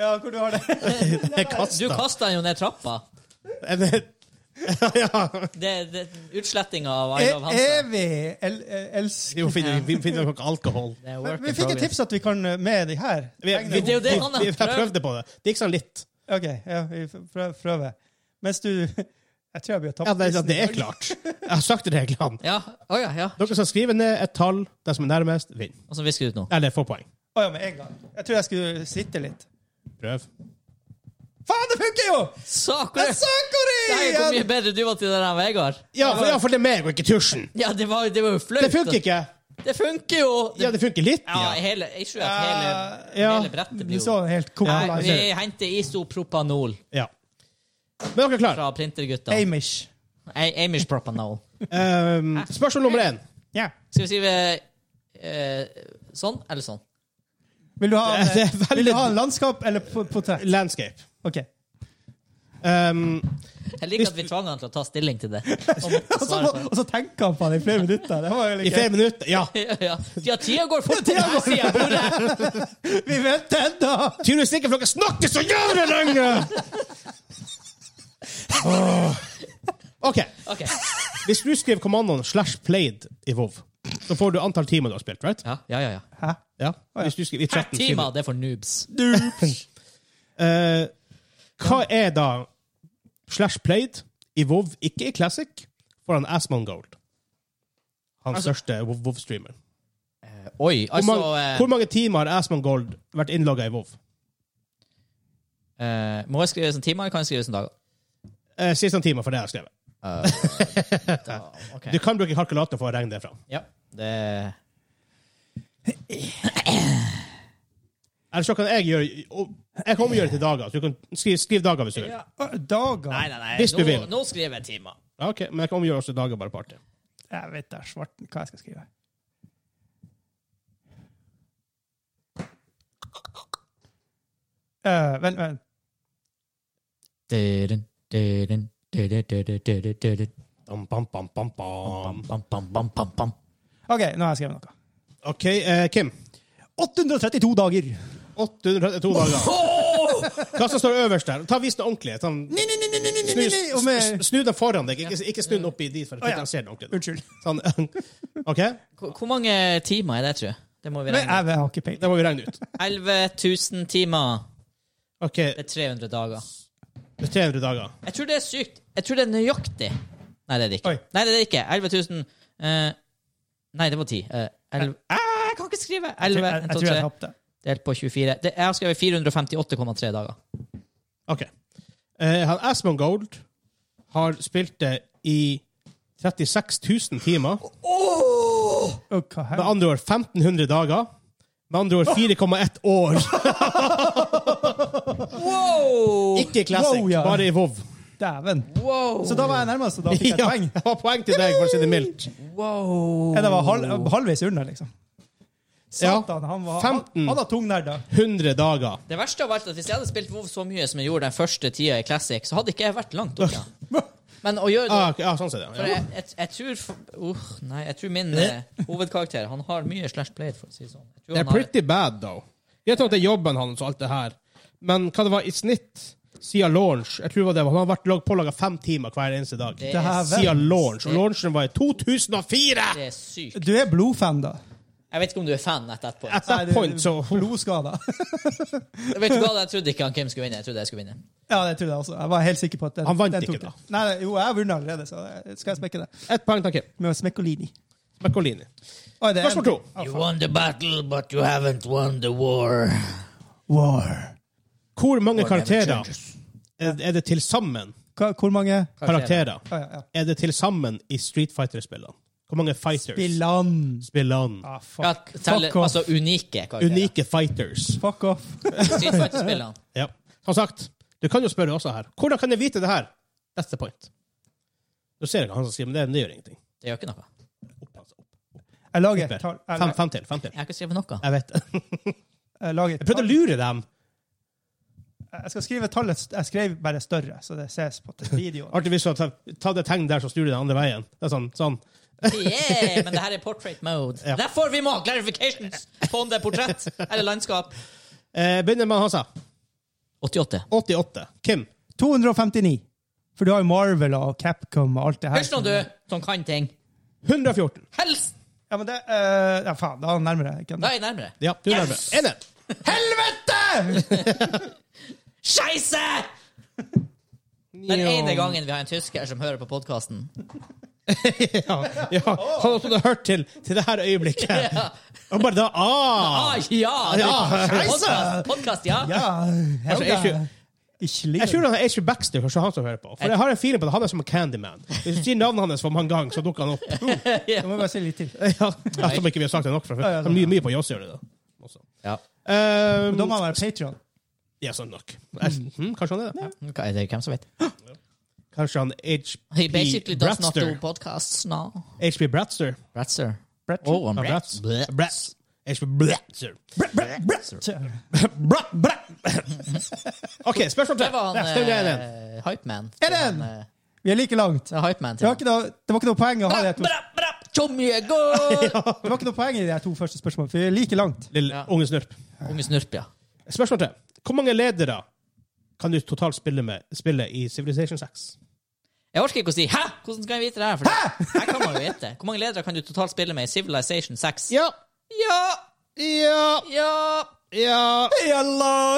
[SPEAKER 2] Ja, hvor du har det?
[SPEAKER 1] Jeg
[SPEAKER 3] Du
[SPEAKER 1] kasta.
[SPEAKER 3] kasta den jo ned trappa.
[SPEAKER 1] Ja.
[SPEAKER 3] Det, det, utslettinga av I
[SPEAKER 2] E
[SPEAKER 3] Love Hansa.
[SPEAKER 2] evig el el elsk...
[SPEAKER 1] Vi må finne- vi finner noe alkohol.
[SPEAKER 3] Det er work
[SPEAKER 2] Vi
[SPEAKER 3] in
[SPEAKER 2] fikk et
[SPEAKER 3] progress.
[SPEAKER 2] tips at vi kan eh, med de her.
[SPEAKER 1] Vi, vi, vi,
[SPEAKER 3] Det er jo det han har
[SPEAKER 1] vi, vi
[SPEAKER 3] prøvd.
[SPEAKER 1] prøvde på det. Det gikk sånn litt.
[SPEAKER 2] OK, ja, vi prøver. prøver. Mens du Jeg tror jeg blir tapt.
[SPEAKER 1] Ja, det, Liksom, det er klart. Jeg har sagt det til han.
[SPEAKER 3] Ja. Å ja, ja.
[SPEAKER 1] Dere skal skrive ned et tall. Den som er nærmest, vinner.
[SPEAKER 3] Og så visker du ut nå.
[SPEAKER 1] Eller får poeng.
[SPEAKER 2] Å ja, med en gang. Jeg tror jeg skulle sitte litt. Prøv. Faen, det funker jo!
[SPEAKER 3] Sakura!
[SPEAKER 2] Jeg sa
[SPEAKER 3] Det her er hvor mye
[SPEAKER 2] Korean!
[SPEAKER 3] bedre du var til den her, Vegard.
[SPEAKER 1] Ja, for, ja, for det er meg og ikke tusjen.
[SPEAKER 3] Ja, det var, det var jo flaut.
[SPEAKER 1] Det funker ikke.
[SPEAKER 3] Det funker jo!
[SPEAKER 1] Ja, det funker litt.
[SPEAKER 3] ja, hele, jeg tror at hele,
[SPEAKER 2] Ja,
[SPEAKER 3] hele brettet
[SPEAKER 2] du
[SPEAKER 3] blir
[SPEAKER 2] så
[SPEAKER 3] jo
[SPEAKER 2] helt koko
[SPEAKER 3] Nei, vi
[SPEAKER 2] live.
[SPEAKER 3] henter isopropanol
[SPEAKER 1] Ja. Men dere er klare.
[SPEAKER 3] fra printergutta.
[SPEAKER 2] Amish.
[SPEAKER 3] A- Amish propanol.
[SPEAKER 1] Um, spørsmål nummer én.
[SPEAKER 2] Ja.
[SPEAKER 3] Skal vi si eh, eh, sånn eller sånn?
[SPEAKER 2] Vil du ha, eh,
[SPEAKER 1] Det er veldig-
[SPEAKER 2] vil du ha landskap eller po- portrett?
[SPEAKER 1] Landscape.
[SPEAKER 2] Ok.
[SPEAKER 1] Um,
[SPEAKER 3] Jeg liker at vi tvang han til å ta stilling til det. Og måtte
[SPEAKER 2] Og så,
[SPEAKER 3] svare på det.
[SPEAKER 2] og så tenker han på det i flere minutter. Det var jo
[SPEAKER 1] I
[SPEAKER 2] like,
[SPEAKER 1] flere minutter. Ja.
[SPEAKER 3] Ja, ja. ja, tida går fort på denne sida av bordet!
[SPEAKER 2] Vi venter ennå!
[SPEAKER 1] Tydeligvis ikke, for dere snakker så jævlig lenge! Åh. OK.
[SPEAKER 3] Ok.
[SPEAKER 1] Hvis du skriver kommandoen 'slash played' i WoW, så får du antall timer du har spilt, right?
[SPEAKER 3] Ja, ja, ja. ja.
[SPEAKER 1] Ja. Hvis du skriver i 13
[SPEAKER 3] Timer, det er for noobs.
[SPEAKER 1] Eh, hva er da slash played i WoW, ikke i Classic, foran Asmon Gold? Hans største WoW-streamer.
[SPEAKER 3] Oi,
[SPEAKER 1] Hvor,
[SPEAKER 3] altså
[SPEAKER 1] mange-
[SPEAKER 3] eh,
[SPEAKER 1] hvor mange timer har Asmon Gold vært innlogga i WoW?
[SPEAKER 3] eh, Må jeg skrive som timer, eller kan jeg skrive som dager?
[SPEAKER 1] Uh, 16 timer for det jeg har skrevet.
[SPEAKER 3] Da, Eh, ok.
[SPEAKER 1] Du kan bruke kalkulator for å regne det fram.
[SPEAKER 3] Ja, det
[SPEAKER 1] Eller så kan jeg gjøre og Jeg kommer å gjøre det til dager. Så du kan skrive, skrive dager hvis du vil.
[SPEAKER 3] Ja.
[SPEAKER 2] Dager.
[SPEAKER 3] Nei, nei, nei.
[SPEAKER 1] Hvis du
[SPEAKER 3] nå,
[SPEAKER 1] vil.
[SPEAKER 3] nå skriver jeg timer.
[SPEAKER 1] Ja, ok, Men jeg kan omgjøre også dager bare på artig.
[SPEAKER 2] Jeg vet da svarten hva jeg skal skrive. Eh, vent, vent.
[SPEAKER 3] Dun, dun, dun, dun, dun, dun, dun, dun, dun, dun.
[SPEAKER 1] Bam, bam, bam, bam, bam.
[SPEAKER 3] Bam, bam, bam, bam, bam.
[SPEAKER 2] OK, nå har jeg skrevet noe.
[SPEAKER 1] OK, eh, Kim.
[SPEAKER 2] 832 dager.
[SPEAKER 1] 832 dager. Hva som står øverst der? Ta Vis den ordentlig. Ta den
[SPEAKER 2] Nei, nei, nei, nei, nei,
[SPEAKER 1] Snu,
[SPEAKER 2] nei, nei. Og med...
[SPEAKER 1] snu den foran deg, ikke, ikke snu den oppi dit. For
[SPEAKER 2] Å, ja.
[SPEAKER 1] jeg ser den ordentlig.
[SPEAKER 2] Unnskyld.
[SPEAKER 1] Sånn. OK,
[SPEAKER 3] Hvor hvor mange timer er det, tror jeg? Det må vi
[SPEAKER 2] Men
[SPEAKER 3] regne.
[SPEAKER 2] jeg, jeg har ikke peiling.
[SPEAKER 1] det må vi regne ut.
[SPEAKER 3] 11 000 timer.
[SPEAKER 1] OK,
[SPEAKER 3] Det er 300 dager.
[SPEAKER 1] det er 300 dager.
[SPEAKER 3] Jeg tror det er sykt. Jeg tror det er nøyaktig. Nei, det er det ikke.
[SPEAKER 2] Oi.
[SPEAKER 3] Nei, det er det ikke. 11 000 eh, Nei, det var 10. Eh, 11 ah, Jeg kan ikke skrive! 11, 1,
[SPEAKER 2] Jeg, jeg
[SPEAKER 3] 2,
[SPEAKER 2] tror
[SPEAKER 3] 3,
[SPEAKER 2] jeg tapte.
[SPEAKER 3] delt på 24. Det, jeg har skrevet 458,3 dager.
[SPEAKER 1] OK. Eh, han Asmund Gold har spilt det i 36 000 timer.
[SPEAKER 2] Å, hva her?
[SPEAKER 1] Med andre ord 1500 dager. Med andre ord 4,1 år. Ikke i Classic,
[SPEAKER 2] Wow, ja.
[SPEAKER 1] bare i WoW.
[SPEAKER 2] Dæven.
[SPEAKER 3] Wow!
[SPEAKER 2] Så da var jeg nærmest, og da fikk jeg et
[SPEAKER 1] Ja,
[SPEAKER 2] poeng.
[SPEAKER 1] det var poeng til deg, for å si det mildt.
[SPEAKER 3] wow.
[SPEAKER 2] Jeg var halv, halvveis under, liksom. Satan, han var Han,
[SPEAKER 1] 15.
[SPEAKER 2] han var tung der, da.
[SPEAKER 1] 100 dager.
[SPEAKER 3] Det verste av alt er at hvis jeg hadde spilt WoW så mye som jeg gjorde den første tida i Classic, så hadde ikke jeg vært langt unna. Men å gjøre det
[SPEAKER 1] Ah, ok, ja, sånn ser
[SPEAKER 3] for
[SPEAKER 1] det. Ja.
[SPEAKER 3] jeg, jeg, jeg tror f- uh, Nei, jeg tror min eh, hovedkarakter Han har mye slash played, for å si det sånn. Jeg tror
[SPEAKER 1] Det er
[SPEAKER 3] han har-
[SPEAKER 1] pretty bad, though. Jeg tror at det er jobben hans og alt det her, men hva det var i snitt siden launch Jeg tror det var det, Han har vært lag- pålaget fem timer hver eneste dag.
[SPEAKER 3] det
[SPEAKER 2] Dæven.
[SPEAKER 3] er,
[SPEAKER 1] Siden launch. Og launchen var i 2004!
[SPEAKER 3] det er sykt.
[SPEAKER 2] Du er blodfan, da.
[SPEAKER 3] Jeg vet ikke om du er fan etter etterpå.
[SPEAKER 1] At that point, så
[SPEAKER 2] Blodskader.
[SPEAKER 3] Vet du hva, jeg trodde ikke han Kim skulle vinne. Jeg trodde jeg skulle vinne.
[SPEAKER 2] Ja, det trodde jeg også. Jeg var helt sikker på at den,
[SPEAKER 1] Han vant
[SPEAKER 2] den
[SPEAKER 1] ikke,
[SPEAKER 2] tok
[SPEAKER 1] da.
[SPEAKER 2] det. Nei, nei, jo, jeg har vunnet allerede, så jeg- skal jeg smekke det.
[SPEAKER 1] Ett poeng til Kim.
[SPEAKER 2] Med Smekkolini.
[SPEAKER 1] Macolini.
[SPEAKER 2] Oi, det er-
[SPEAKER 1] Spørsmål to.
[SPEAKER 2] Å, faen.
[SPEAKER 3] won the battle, but you haven't won the war.
[SPEAKER 2] War.
[SPEAKER 1] Hvor mange karakterer er er det til sammen?
[SPEAKER 2] Hva, hvor mange
[SPEAKER 1] Karakterer
[SPEAKER 2] Å, ja, ja.
[SPEAKER 1] er det til sammen i Street Fighter-spillene? Hvor mange fighters?
[SPEAKER 2] Bilan.
[SPEAKER 1] Spillene.
[SPEAKER 2] Ah, fuck.
[SPEAKER 3] Ja, telle,
[SPEAKER 2] Fuck off.
[SPEAKER 3] altså unike karakterer.
[SPEAKER 1] Unike fighters.
[SPEAKER 2] Fuck off.
[SPEAKER 3] Street Fighter-spillene.
[SPEAKER 1] Ja. Som sagt, du kan jo spørre også her. Hvordan kan jeg vite det her? That's the point. Du ser ikke han som skriver, men det, det gjør ingenting.
[SPEAKER 3] Det gjør ikke noe.
[SPEAKER 1] Opp, altså, opp.
[SPEAKER 2] Jeg lager
[SPEAKER 1] Opp
[SPEAKER 2] et
[SPEAKER 1] her.
[SPEAKER 2] tall. Jeg,
[SPEAKER 1] Fem,
[SPEAKER 2] jeg,
[SPEAKER 1] fem til. fem til.
[SPEAKER 3] Jeg har ikke skrevet noe.
[SPEAKER 1] Jeg vet det.
[SPEAKER 2] lager et
[SPEAKER 1] Jeg prøvde å
[SPEAKER 2] tall.
[SPEAKER 1] lure dem.
[SPEAKER 2] jeg skal skrive tallet st- Jeg skrev bare større, så det ses på til videoen.
[SPEAKER 1] Artig hvis du ta, ta det tegnet der som snur den andre veien. Det er sånn, sånn.
[SPEAKER 3] Yeah, men det her er portrait mode.
[SPEAKER 1] Ja.
[SPEAKER 3] Derfor vi må ha clarifications på om det er portrett eller landskap.
[SPEAKER 1] Eh, begynner med Hansa.
[SPEAKER 3] 88.
[SPEAKER 1] 88. Kim.
[SPEAKER 2] 259. For du har jo Marvel og Capcom og alt det her.
[SPEAKER 3] Hysj nå, du, som kan ting.
[SPEAKER 1] 114.
[SPEAKER 3] Helst!
[SPEAKER 2] Ja, men det eh, Ja, faen, da nærmer jeg ikke.
[SPEAKER 3] Da er jeg nærmere.
[SPEAKER 1] Ja, du er yes!
[SPEAKER 3] Yes!
[SPEAKER 1] nærmere. Enig.
[SPEAKER 2] Helvete!
[SPEAKER 3] Scheisse! Den ene gangen vi har en tysker som hører på podkasten.
[SPEAKER 1] Ja, ja. Han hadde hørt til, til det her øyeblikket.
[SPEAKER 3] Ja.
[SPEAKER 1] Og bare da ah.
[SPEAKER 3] Ah, ja!
[SPEAKER 1] Ja,
[SPEAKER 3] Podcast, podcast, ja.
[SPEAKER 2] Ja,
[SPEAKER 1] Altså, jeg tror-
[SPEAKER 2] Helga. Ikke
[SPEAKER 1] Jeg
[SPEAKER 2] ligger
[SPEAKER 1] tror han er H.P. Baxter, kanskje han som hører på. For jeg har en feeling på at han er som Candyman. Hvis du sier navnet hans for mange ganger, så dukker han opp.
[SPEAKER 2] Jeg må bare si litt til.
[SPEAKER 1] Ja, Som ikke vi har sagt det nok fra før.
[SPEAKER 2] ja,
[SPEAKER 1] Det er mye, mye på Jåss gjør det, da. Også.
[SPEAKER 3] Ja.
[SPEAKER 1] Um,
[SPEAKER 2] Da må han være Patreon.
[SPEAKER 1] ja, sånn nok. Jeg, hm, kanskje han er det?
[SPEAKER 3] Hva er det, hvem som vet?
[SPEAKER 1] Kanskje han
[SPEAKER 3] He basically
[SPEAKER 1] H.P.
[SPEAKER 3] does not do
[SPEAKER 1] Bratster.
[SPEAKER 3] podcasts now.
[SPEAKER 1] H.P. Bratster.
[SPEAKER 3] Bratzer.
[SPEAKER 2] Brett.
[SPEAKER 3] Oh, I'm
[SPEAKER 1] Ja,
[SPEAKER 3] Brett.
[SPEAKER 1] Bratz. Bratz. H.P. Bratster.
[SPEAKER 2] Bra, bra.
[SPEAKER 1] OK, spørsmål tre.
[SPEAKER 3] Det var
[SPEAKER 1] Ja,
[SPEAKER 3] han
[SPEAKER 1] spør igjen.
[SPEAKER 3] eh, Hype Man.
[SPEAKER 2] Er det en? Vi er like langt.
[SPEAKER 3] eh, Det er Hype Man
[SPEAKER 2] Det
[SPEAKER 3] til
[SPEAKER 2] var ikke noe, det var ikke noe poeng å ha de
[SPEAKER 3] han.
[SPEAKER 2] to.
[SPEAKER 3] Bra, bra, Tommy er god!
[SPEAKER 2] Det var ikke noe poeng i de to første spørsmålene, for vi er like langt.
[SPEAKER 1] Lille
[SPEAKER 3] Ja.
[SPEAKER 1] unge snurp.
[SPEAKER 3] Unge snurp, ja.
[SPEAKER 1] Spørsmål tre. Hvor mange ledere kan du totalt spille, med, spille i Civilization 6?
[SPEAKER 3] Jeg orker ikke å si 'hæ?! Hvordan skal jeg vite det her? For det, her kan man jo vite. Hvor mange ledere kan du totalt spille med i Civilization 6?
[SPEAKER 1] Ja,
[SPEAKER 3] Ja!
[SPEAKER 1] ja,
[SPEAKER 3] Ja!
[SPEAKER 1] ja
[SPEAKER 2] Jalla!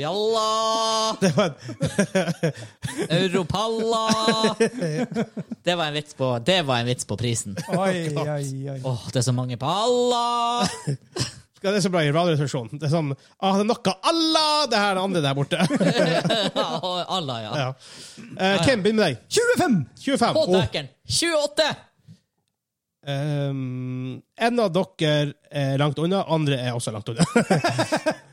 [SPEAKER 3] Jalla! Europalla! Det var en vits på, det var en vits på prisen.
[SPEAKER 2] Oi, oi, oi.
[SPEAKER 3] Åh, det er så mange på alla!
[SPEAKER 1] Ja, det er så bra i radioresepsjonen. Det er sånn ah, det er noe Allah! Det her er det andre der borte.
[SPEAKER 3] alla, ja.
[SPEAKER 1] ja. Eh, Kim, begynn med deg. Oh.
[SPEAKER 2] 25!
[SPEAKER 1] 25.
[SPEAKER 3] På
[SPEAKER 1] Og,
[SPEAKER 3] dækeren! 28!
[SPEAKER 1] ehm, en av dere er langt unna, andre er også langt unna.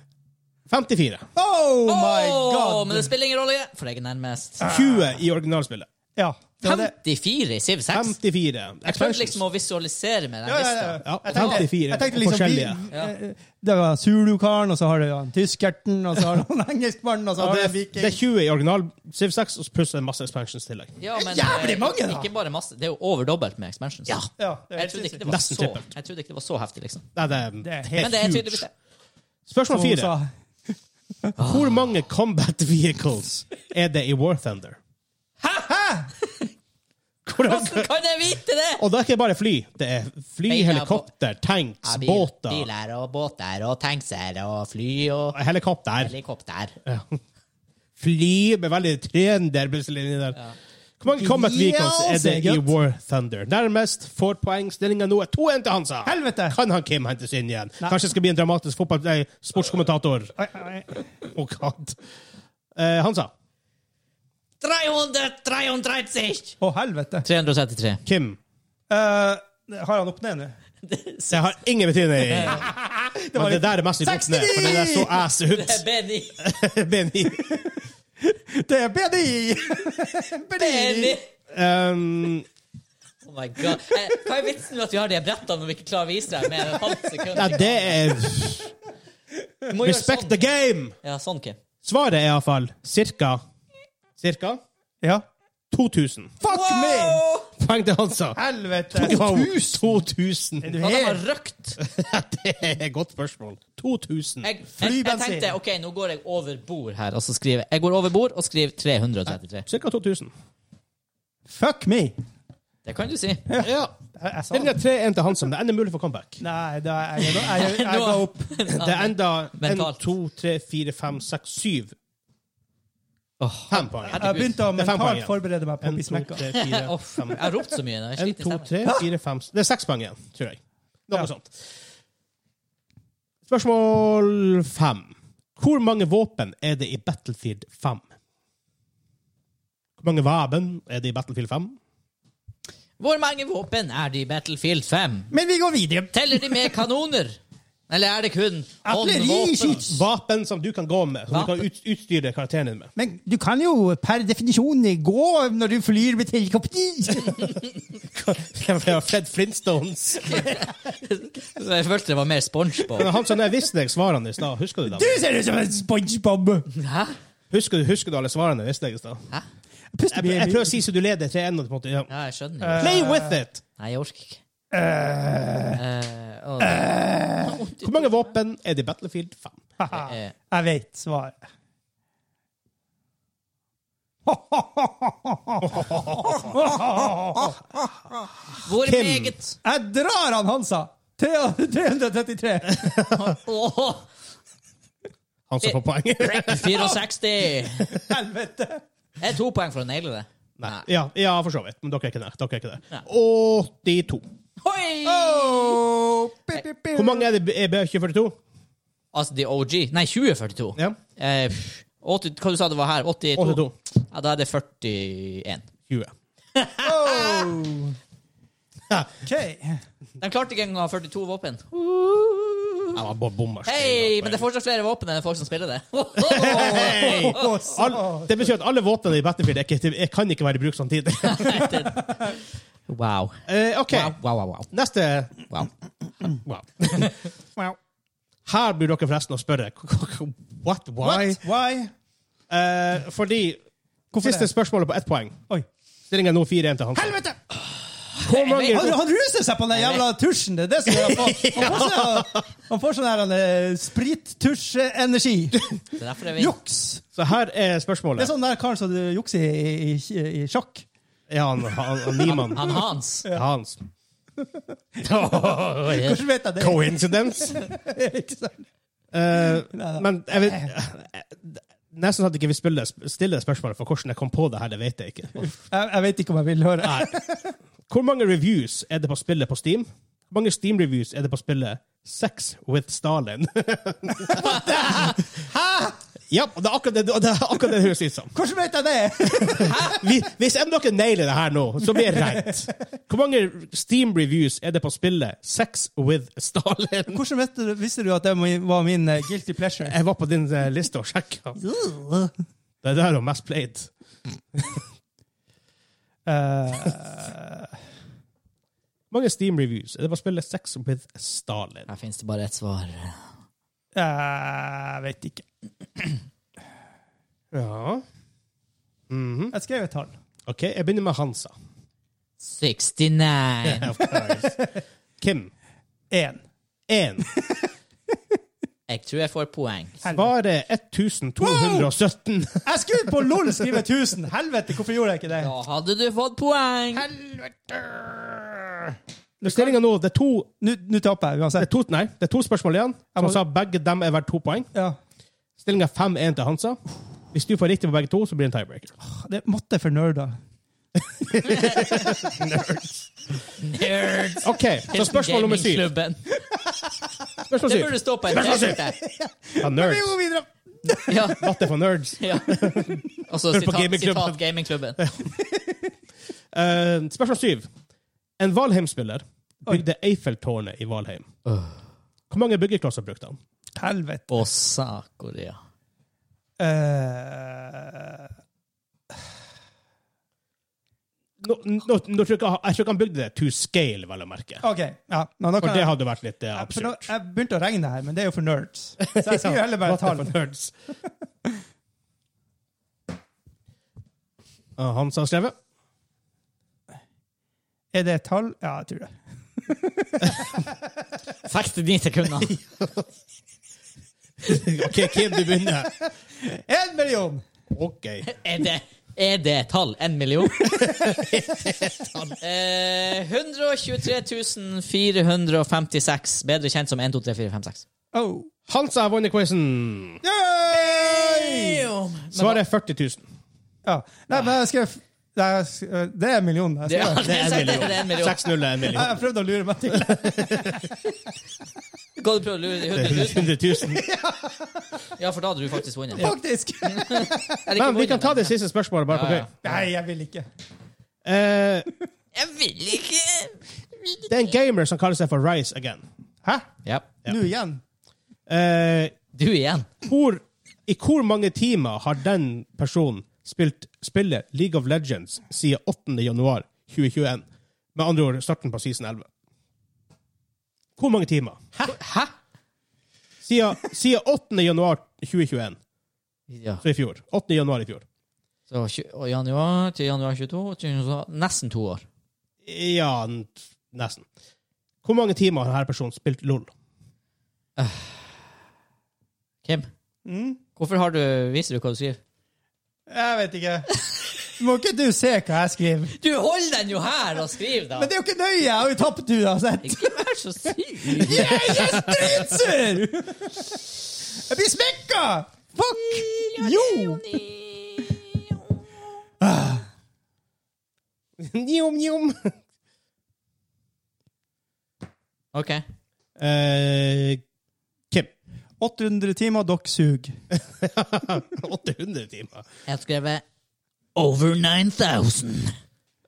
[SPEAKER 1] 54.
[SPEAKER 2] Oh
[SPEAKER 3] Åh,
[SPEAKER 2] my god!
[SPEAKER 3] men det spiller ingen rolle, for jeg er nærmest.
[SPEAKER 1] 20 i originalspillet.
[SPEAKER 2] Ja, det var det.
[SPEAKER 3] 54 i Civ 6.
[SPEAKER 1] 54.
[SPEAKER 3] Jeg prøvde liksom å visualisere med den
[SPEAKER 2] Ja, ja,
[SPEAKER 3] lista.
[SPEAKER 2] ja.
[SPEAKER 1] Ja,
[SPEAKER 2] Jeg tenkte,
[SPEAKER 1] 54
[SPEAKER 2] jeg tenkte liksom vi,
[SPEAKER 1] forskjellige.
[SPEAKER 2] eh, Det var Zulu-karen, og så har du han tyskerten, og så har du han engelskmannen, og så
[SPEAKER 1] Ja,
[SPEAKER 2] har
[SPEAKER 1] det,
[SPEAKER 2] du
[SPEAKER 1] er, det
[SPEAKER 2] viking.
[SPEAKER 1] er 20 i original Civ 6, og så pluss en masse expansions i tillegg.
[SPEAKER 3] Ja, men,
[SPEAKER 2] Jævlig
[SPEAKER 3] eh,
[SPEAKER 2] mange, da!
[SPEAKER 3] Ikke bare masse, det er jo over dobbelt med expansions.
[SPEAKER 2] Ja, det er
[SPEAKER 3] Jeg
[SPEAKER 2] helt
[SPEAKER 3] trodde, ikke det
[SPEAKER 2] sinnssykt.
[SPEAKER 3] var
[SPEAKER 1] Nesten
[SPEAKER 3] så,
[SPEAKER 1] trippelt.
[SPEAKER 3] jeg trodde ikke det var så heftig, liksom.
[SPEAKER 1] Nei, det er,
[SPEAKER 2] Det er
[SPEAKER 1] helt
[SPEAKER 3] Men det er
[SPEAKER 1] huge.
[SPEAKER 3] tydeligvis det.
[SPEAKER 1] Spørsmål
[SPEAKER 2] Som hun
[SPEAKER 1] fire.
[SPEAKER 2] sa.
[SPEAKER 1] Hvor mange combat vehicles er det i War Thunder? Hvordan,
[SPEAKER 3] Hvordan kan jeg vite det?!
[SPEAKER 1] og det er ikke bare fly. Det er fly,
[SPEAKER 3] Nei, ja,
[SPEAKER 1] helikopter, tanks,
[SPEAKER 3] Ja, bil-
[SPEAKER 1] båter
[SPEAKER 3] Biler og båter og tankser og fly og
[SPEAKER 1] Helikopter.
[SPEAKER 3] helikopter.
[SPEAKER 1] Fly med veldig trender plutselig inni der. Hvor mange combat vehicles er det i
[SPEAKER 2] Jævlig.
[SPEAKER 1] War Thunder? Nærmest får poeng. Stillinga nå er 2-1 til Hansa.
[SPEAKER 2] Helvete!
[SPEAKER 1] Kan han Kim hentes inn igjen? Kanskje skal bli en dramatisk fotball... Nei, sportskommentator.
[SPEAKER 2] Ai, ai, ai.
[SPEAKER 1] Oh, God. Eh, Hansa.
[SPEAKER 3] 333!
[SPEAKER 2] Å, helvete.
[SPEAKER 3] 333.
[SPEAKER 1] Kim.
[SPEAKER 2] Eh, har han opp ned nå?
[SPEAKER 1] Det har ingen betydning. Men det der er mest i botten,
[SPEAKER 2] 69!
[SPEAKER 1] for det der så ass
[SPEAKER 3] Det er
[SPEAKER 1] ut.
[SPEAKER 3] Benny.
[SPEAKER 1] Benny.
[SPEAKER 2] Det er BDI! BDI!
[SPEAKER 3] Benny.
[SPEAKER 1] Um,
[SPEAKER 3] Oh my god. Eh, Hva er vitsen med at vi har de brettene når vi ikke klarer å vise deg med et halvt
[SPEAKER 1] nei,
[SPEAKER 3] sekund?
[SPEAKER 1] det er
[SPEAKER 3] Du må gjøre
[SPEAKER 1] Respect the
[SPEAKER 3] sånn.
[SPEAKER 1] game!
[SPEAKER 3] Ja, sånn, Kim.
[SPEAKER 1] Svaret er iallfall cirka Cirka
[SPEAKER 2] Ja.
[SPEAKER 1] 2000.
[SPEAKER 2] Fuck me!
[SPEAKER 3] Wow!
[SPEAKER 1] Poeng til Hansa.
[SPEAKER 2] Helvete.
[SPEAKER 1] Wow, 2000!
[SPEAKER 2] Er
[SPEAKER 3] Ja,
[SPEAKER 2] du
[SPEAKER 3] de har
[SPEAKER 2] helt
[SPEAKER 3] røkt.
[SPEAKER 1] Det er et godt spørsmål. 2000.
[SPEAKER 3] Jeg, jeg, jeg
[SPEAKER 2] Flybensin.
[SPEAKER 3] tenkte ok, nå går jeg over bord her. Og så skriver jeg Jeg går over bord og skriver 333.
[SPEAKER 1] Cirka 2000.
[SPEAKER 2] Fuck me!
[SPEAKER 3] Det kan du si.
[SPEAKER 1] Ja.
[SPEAKER 2] Jeg, jeg sa
[SPEAKER 1] Stillinga
[SPEAKER 2] det.
[SPEAKER 1] 3-1 til Hansa, men det er enda mulig for comeback.
[SPEAKER 2] Nei, da, jeg, jeg, jeg, jeg, jeg ga opp.
[SPEAKER 1] Det er enda 1,
[SPEAKER 3] Mentalt.
[SPEAKER 1] 2, 3, 4, 5, 6, 7
[SPEAKER 3] Åh.
[SPEAKER 1] 5 poeng.
[SPEAKER 2] Jeg begynte å
[SPEAKER 1] Det er fem poeng
[SPEAKER 2] mentalt
[SPEAKER 1] igjen.
[SPEAKER 2] forberede meg på
[SPEAKER 1] 1, 2,
[SPEAKER 2] Bismekka.
[SPEAKER 1] 3, 4,
[SPEAKER 3] Uff,
[SPEAKER 1] 5
[SPEAKER 3] jeg har ropt så mye. nå, Jeg
[SPEAKER 1] 1,
[SPEAKER 3] sliter i
[SPEAKER 1] 2,
[SPEAKER 3] stemmen.
[SPEAKER 1] 3, 4, 5 Det er seks poeng igjen, tror jeg. Noe sånt. Spørsmål 5. Hvor mange våpen er det i Battlefield 5? Hvor mange våpen er det i Battlefield 5?
[SPEAKER 3] Hvor mange våpen er det i Battlefield 5?
[SPEAKER 2] Men vi går videre.
[SPEAKER 3] Teller de med kanoner? Eller er det kun håndvåpen?
[SPEAKER 2] skyts.
[SPEAKER 1] Vapen som du kan gå med, som du
[SPEAKER 3] Vapen.
[SPEAKER 1] kan ut, utstyre karakteren din med.
[SPEAKER 2] Men du kan jo per definisjon gå når du flyr med helikopter.
[SPEAKER 1] Det var Fred Flintstones.
[SPEAKER 3] Jeg følte det var mer SpongeBob.
[SPEAKER 1] Men Han som jeg visste deg svarene i stad, husker du
[SPEAKER 2] Du
[SPEAKER 1] dem?
[SPEAKER 2] ser ut som en SpongeBob!
[SPEAKER 3] Hæ?
[SPEAKER 1] Husker, du- husker du alle svarene jeg visste deg i stad?
[SPEAKER 3] Hæ?
[SPEAKER 2] Puster
[SPEAKER 1] Jeg, jeg prøver å si så du leder 3-1. og på en måte, ja.
[SPEAKER 3] Ja, jeg skjønner jo.
[SPEAKER 1] Play with it!
[SPEAKER 3] Nei, jeg orker ikke. Eh, åh,
[SPEAKER 1] Hvor mange våpen er det i Battlefield 5?
[SPEAKER 3] det er-
[SPEAKER 2] Jeg vet svaret.
[SPEAKER 3] Hvor
[SPEAKER 1] Kim.
[SPEAKER 3] meget
[SPEAKER 2] Jeg drar han, Hansa! 333.
[SPEAKER 3] Åh,
[SPEAKER 1] Han som får poeng.
[SPEAKER 3] 64!
[SPEAKER 2] Helvete!
[SPEAKER 3] Det er to poeng for å naile det.
[SPEAKER 1] Ja, ja, for så vidt. Men dere er ikke der. Dere er ikke der.
[SPEAKER 3] Ja.
[SPEAKER 1] 82.
[SPEAKER 3] Hoi!
[SPEAKER 2] Oh, pip, pip, pip.
[SPEAKER 1] Hvor mange er det i B2042?
[SPEAKER 3] Altså, de OG. Nei, 2042.
[SPEAKER 1] Ja.
[SPEAKER 3] Eh, pff, 80, hva du sa det var her? 82?
[SPEAKER 1] 82.
[SPEAKER 3] Ja, da er det 41.
[SPEAKER 1] 20.
[SPEAKER 2] Ok.
[SPEAKER 3] De klarte ikke engang å ha 42 våpen.
[SPEAKER 1] Jeg var bare bommer.
[SPEAKER 3] Hei, men det er fortsatt flere våpen enn folk som spiller det.
[SPEAKER 1] Hei!
[SPEAKER 2] Å, så-
[SPEAKER 1] All- Det betyr at alle våpnene i Battlefield er ikke, jeg kan ikke være i bruk samtidig.
[SPEAKER 3] Wow.
[SPEAKER 1] Eh, OK,
[SPEAKER 3] Wow, wow, wow, wow.
[SPEAKER 1] neste
[SPEAKER 3] wow.
[SPEAKER 1] wow. Her burde dere forresten å spørre. What? Why?
[SPEAKER 2] What? Why?
[SPEAKER 1] Eh, fordi
[SPEAKER 2] Hvorfor
[SPEAKER 1] Siste
[SPEAKER 2] det?
[SPEAKER 1] spørsmålet på ett poeng.
[SPEAKER 2] Oi.
[SPEAKER 1] Stillingen er nå 4-1 til Hansen.
[SPEAKER 2] Helvete!
[SPEAKER 1] Hvor
[SPEAKER 2] Han,
[SPEAKER 1] mange,
[SPEAKER 2] han ruser seg på den jævla tusjen. Det er det som gjør han får. Han får sånn, han får sånn her eh, sprittusjenergi.
[SPEAKER 3] Det er derfor jeg vinner.
[SPEAKER 2] Juks.
[SPEAKER 1] så her er
[SPEAKER 2] Det er
[SPEAKER 1] spørsmålet.
[SPEAKER 2] sånn der karen som jukser i, i, i, i sjakk.
[SPEAKER 1] Ja, han, han, han Niemann.
[SPEAKER 3] Han Hans.
[SPEAKER 1] Hans.
[SPEAKER 2] Hvordan vet jeg det?
[SPEAKER 1] Coincidence?
[SPEAKER 2] Ikke sant?
[SPEAKER 1] Eh,
[SPEAKER 2] Neida.
[SPEAKER 1] men jeg vet Nesten sånn at jeg ikke vil spille, stille spørsmålet, for hvordan jeg kom på det her, det vet jeg ikke.
[SPEAKER 2] Jeg, jeg vet ikke om jeg vil høre.
[SPEAKER 1] Hvor mange reviews er det på spillet på Steam? Hvor mange Steam-reviews er det på spillet Sex with Stalin? Ja, og det er akkurat det, og det, er akkurat det det høres ut som.
[SPEAKER 2] Hvordan vet jeg det?
[SPEAKER 1] Vi, hvis enn dere nailer det her nå, så blir det rett. Hvor mange Steam-reviews er det på spillet Sex with Stalin?
[SPEAKER 2] Hvordan vet du, visste du at det var min eh, guilty pleasure?
[SPEAKER 1] Jeg var på din eh, liste og sjekka. Det er der hun mest played.
[SPEAKER 2] Eh,
[SPEAKER 1] Hvor mange Steam-reviews er det på spillet Sex with Stalin?
[SPEAKER 3] Her finnes det bare ett svar.
[SPEAKER 2] jeg vet ikke.
[SPEAKER 1] Ja.
[SPEAKER 2] Jeg skrev et tall.
[SPEAKER 1] OK, jeg begynner med Hansa.
[SPEAKER 3] 69.
[SPEAKER 1] Of course. Kim.
[SPEAKER 2] Én.
[SPEAKER 1] Én.
[SPEAKER 3] Jeg tror jeg får poeng.
[SPEAKER 1] Bare 1217.
[SPEAKER 2] Jeg skulle på LOL skrive 1000! Helvete, hvorfor gjorde jeg ikke det?
[SPEAKER 3] Da hadde du fått poeng!
[SPEAKER 1] Stillinga nå, det er to
[SPEAKER 2] Nå nå taper jeg
[SPEAKER 1] det er
[SPEAKER 2] uansett.
[SPEAKER 1] to, nei, det er to spørsmål igjen. Som
[SPEAKER 2] må-
[SPEAKER 1] sa begge dem er verdt to poeng.
[SPEAKER 2] Ja.
[SPEAKER 1] Stillinga 5-1 til Hansa. Hvis du får riktig på begge to, så blir det en tiebreaker.
[SPEAKER 2] Det måtte for nerder.
[SPEAKER 3] Nerds!
[SPEAKER 1] OK, så spørsmål nummer syv.
[SPEAKER 3] Gamingklubben.
[SPEAKER 1] Spørsmål
[SPEAKER 3] Det
[SPEAKER 1] syv.
[SPEAKER 3] burde stå på en
[SPEAKER 1] Spørsmål syv.
[SPEAKER 3] T-skjorte.
[SPEAKER 1] Ja, nerds.
[SPEAKER 2] videre!
[SPEAKER 3] Ja,
[SPEAKER 1] Matte for nerds.
[SPEAKER 3] ja. Og så
[SPEAKER 1] Hør på
[SPEAKER 3] sitat,
[SPEAKER 1] gamingklubben.
[SPEAKER 3] sitat gamingklubben.
[SPEAKER 1] Eh, spørsmål syv. En Valheim-spiller bygde Eiffeltårnet i Valheim. Hvor mange byggeklosser brukte han?
[SPEAKER 2] Helvete.
[SPEAKER 3] Å, sakoria.
[SPEAKER 2] Eh,
[SPEAKER 1] Nå, nå, nå tror jeg, ikke- jeg tror ikke han bygde det to scale, vel å merke.
[SPEAKER 2] OK. Ja, men
[SPEAKER 1] For
[SPEAKER 2] da kan
[SPEAKER 1] det
[SPEAKER 2] jeg,
[SPEAKER 1] hadde vært litt eh,
[SPEAKER 2] for nå,
[SPEAKER 1] absurd.
[SPEAKER 2] jeg begynte å regne her, men det er jo for nerds. Så jeg skriver heller bare
[SPEAKER 1] Matte
[SPEAKER 2] tall.
[SPEAKER 1] for nerds. Ah, Hans har skrevet.
[SPEAKER 2] Er det et tall? Ja, jeg tror det.
[SPEAKER 3] 69 sekunder.
[SPEAKER 1] OK, Kim, du begynner.
[SPEAKER 2] Én million!
[SPEAKER 1] OK.
[SPEAKER 3] Er det, er det et tall? En million? eh, 123 456, bedre kjent som 1, 2, 3, 4, 5, 6.
[SPEAKER 2] Oh.
[SPEAKER 1] Hansa har vunnet quizen.
[SPEAKER 2] Yay!
[SPEAKER 1] Svaret er 40 000.
[SPEAKER 2] Ja. Nei, men jeg skrev Nei, jeg skrev- Det er en million. Jeg,
[SPEAKER 3] Det
[SPEAKER 2] skrev.
[SPEAKER 3] er, det er en million. Det er en million.
[SPEAKER 1] 6-0 er en million.
[SPEAKER 2] jeg prøvde å lure meg til
[SPEAKER 3] Hva du prøver å lure 100 000?
[SPEAKER 1] 100 000.
[SPEAKER 3] Ja, for da hadde du faktisk vunnet.
[SPEAKER 2] Faktisk!
[SPEAKER 3] Er det ikke
[SPEAKER 1] Men vi kan
[SPEAKER 3] vunnet,
[SPEAKER 1] ta det siste spørsmålet, bare på
[SPEAKER 3] Ja, ja.
[SPEAKER 1] gøy.
[SPEAKER 2] Nei, jeg vil ikke.
[SPEAKER 1] Eh,
[SPEAKER 3] Jeg vil ikke!
[SPEAKER 1] Det er en gamer som kaller seg for Rise Again.
[SPEAKER 2] Hæ?
[SPEAKER 3] Ja.
[SPEAKER 2] Nå igjen?
[SPEAKER 1] Eh,
[SPEAKER 3] Du igjen.
[SPEAKER 1] hvor, I hvor mange timer har den personen spilt spillet League of Legends siden 8. januar 2021? Med andre ord starten på season 11. Hvor mange timer?
[SPEAKER 3] Hæ? Hæ?
[SPEAKER 1] Siden, siden 8. januar 2021,
[SPEAKER 3] Ja.
[SPEAKER 1] så i fjor. 8. januar i fjor.
[SPEAKER 3] Så tju- og januar til januar 22, til januar- nesten to år.
[SPEAKER 1] Ja, n- nesten. Hvor mange timer har denne personen spilt LOL?
[SPEAKER 3] Kim, hvorfor har du, viser du hva du skriver?
[SPEAKER 2] Jeg vet ikke. Må ikke du se hva jeg skriver?
[SPEAKER 3] Du holder den jo her og skriver, da!
[SPEAKER 2] Men det er jo ikke nøye! Jeg har jo tapt uansett.
[SPEAKER 3] Ikke vær så syk!
[SPEAKER 2] Jeg er dritsur! Jeg blir smekka! Fuck! Jo!
[SPEAKER 1] Njom, njom.
[SPEAKER 3] OK.
[SPEAKER 1] Eh, Kim.
[SPEAKER 2] 800 timer, dere suger.
[SPEAKER 1] 800 timer.
[SPEAKER 3] Jeg har skrevet Over 9000.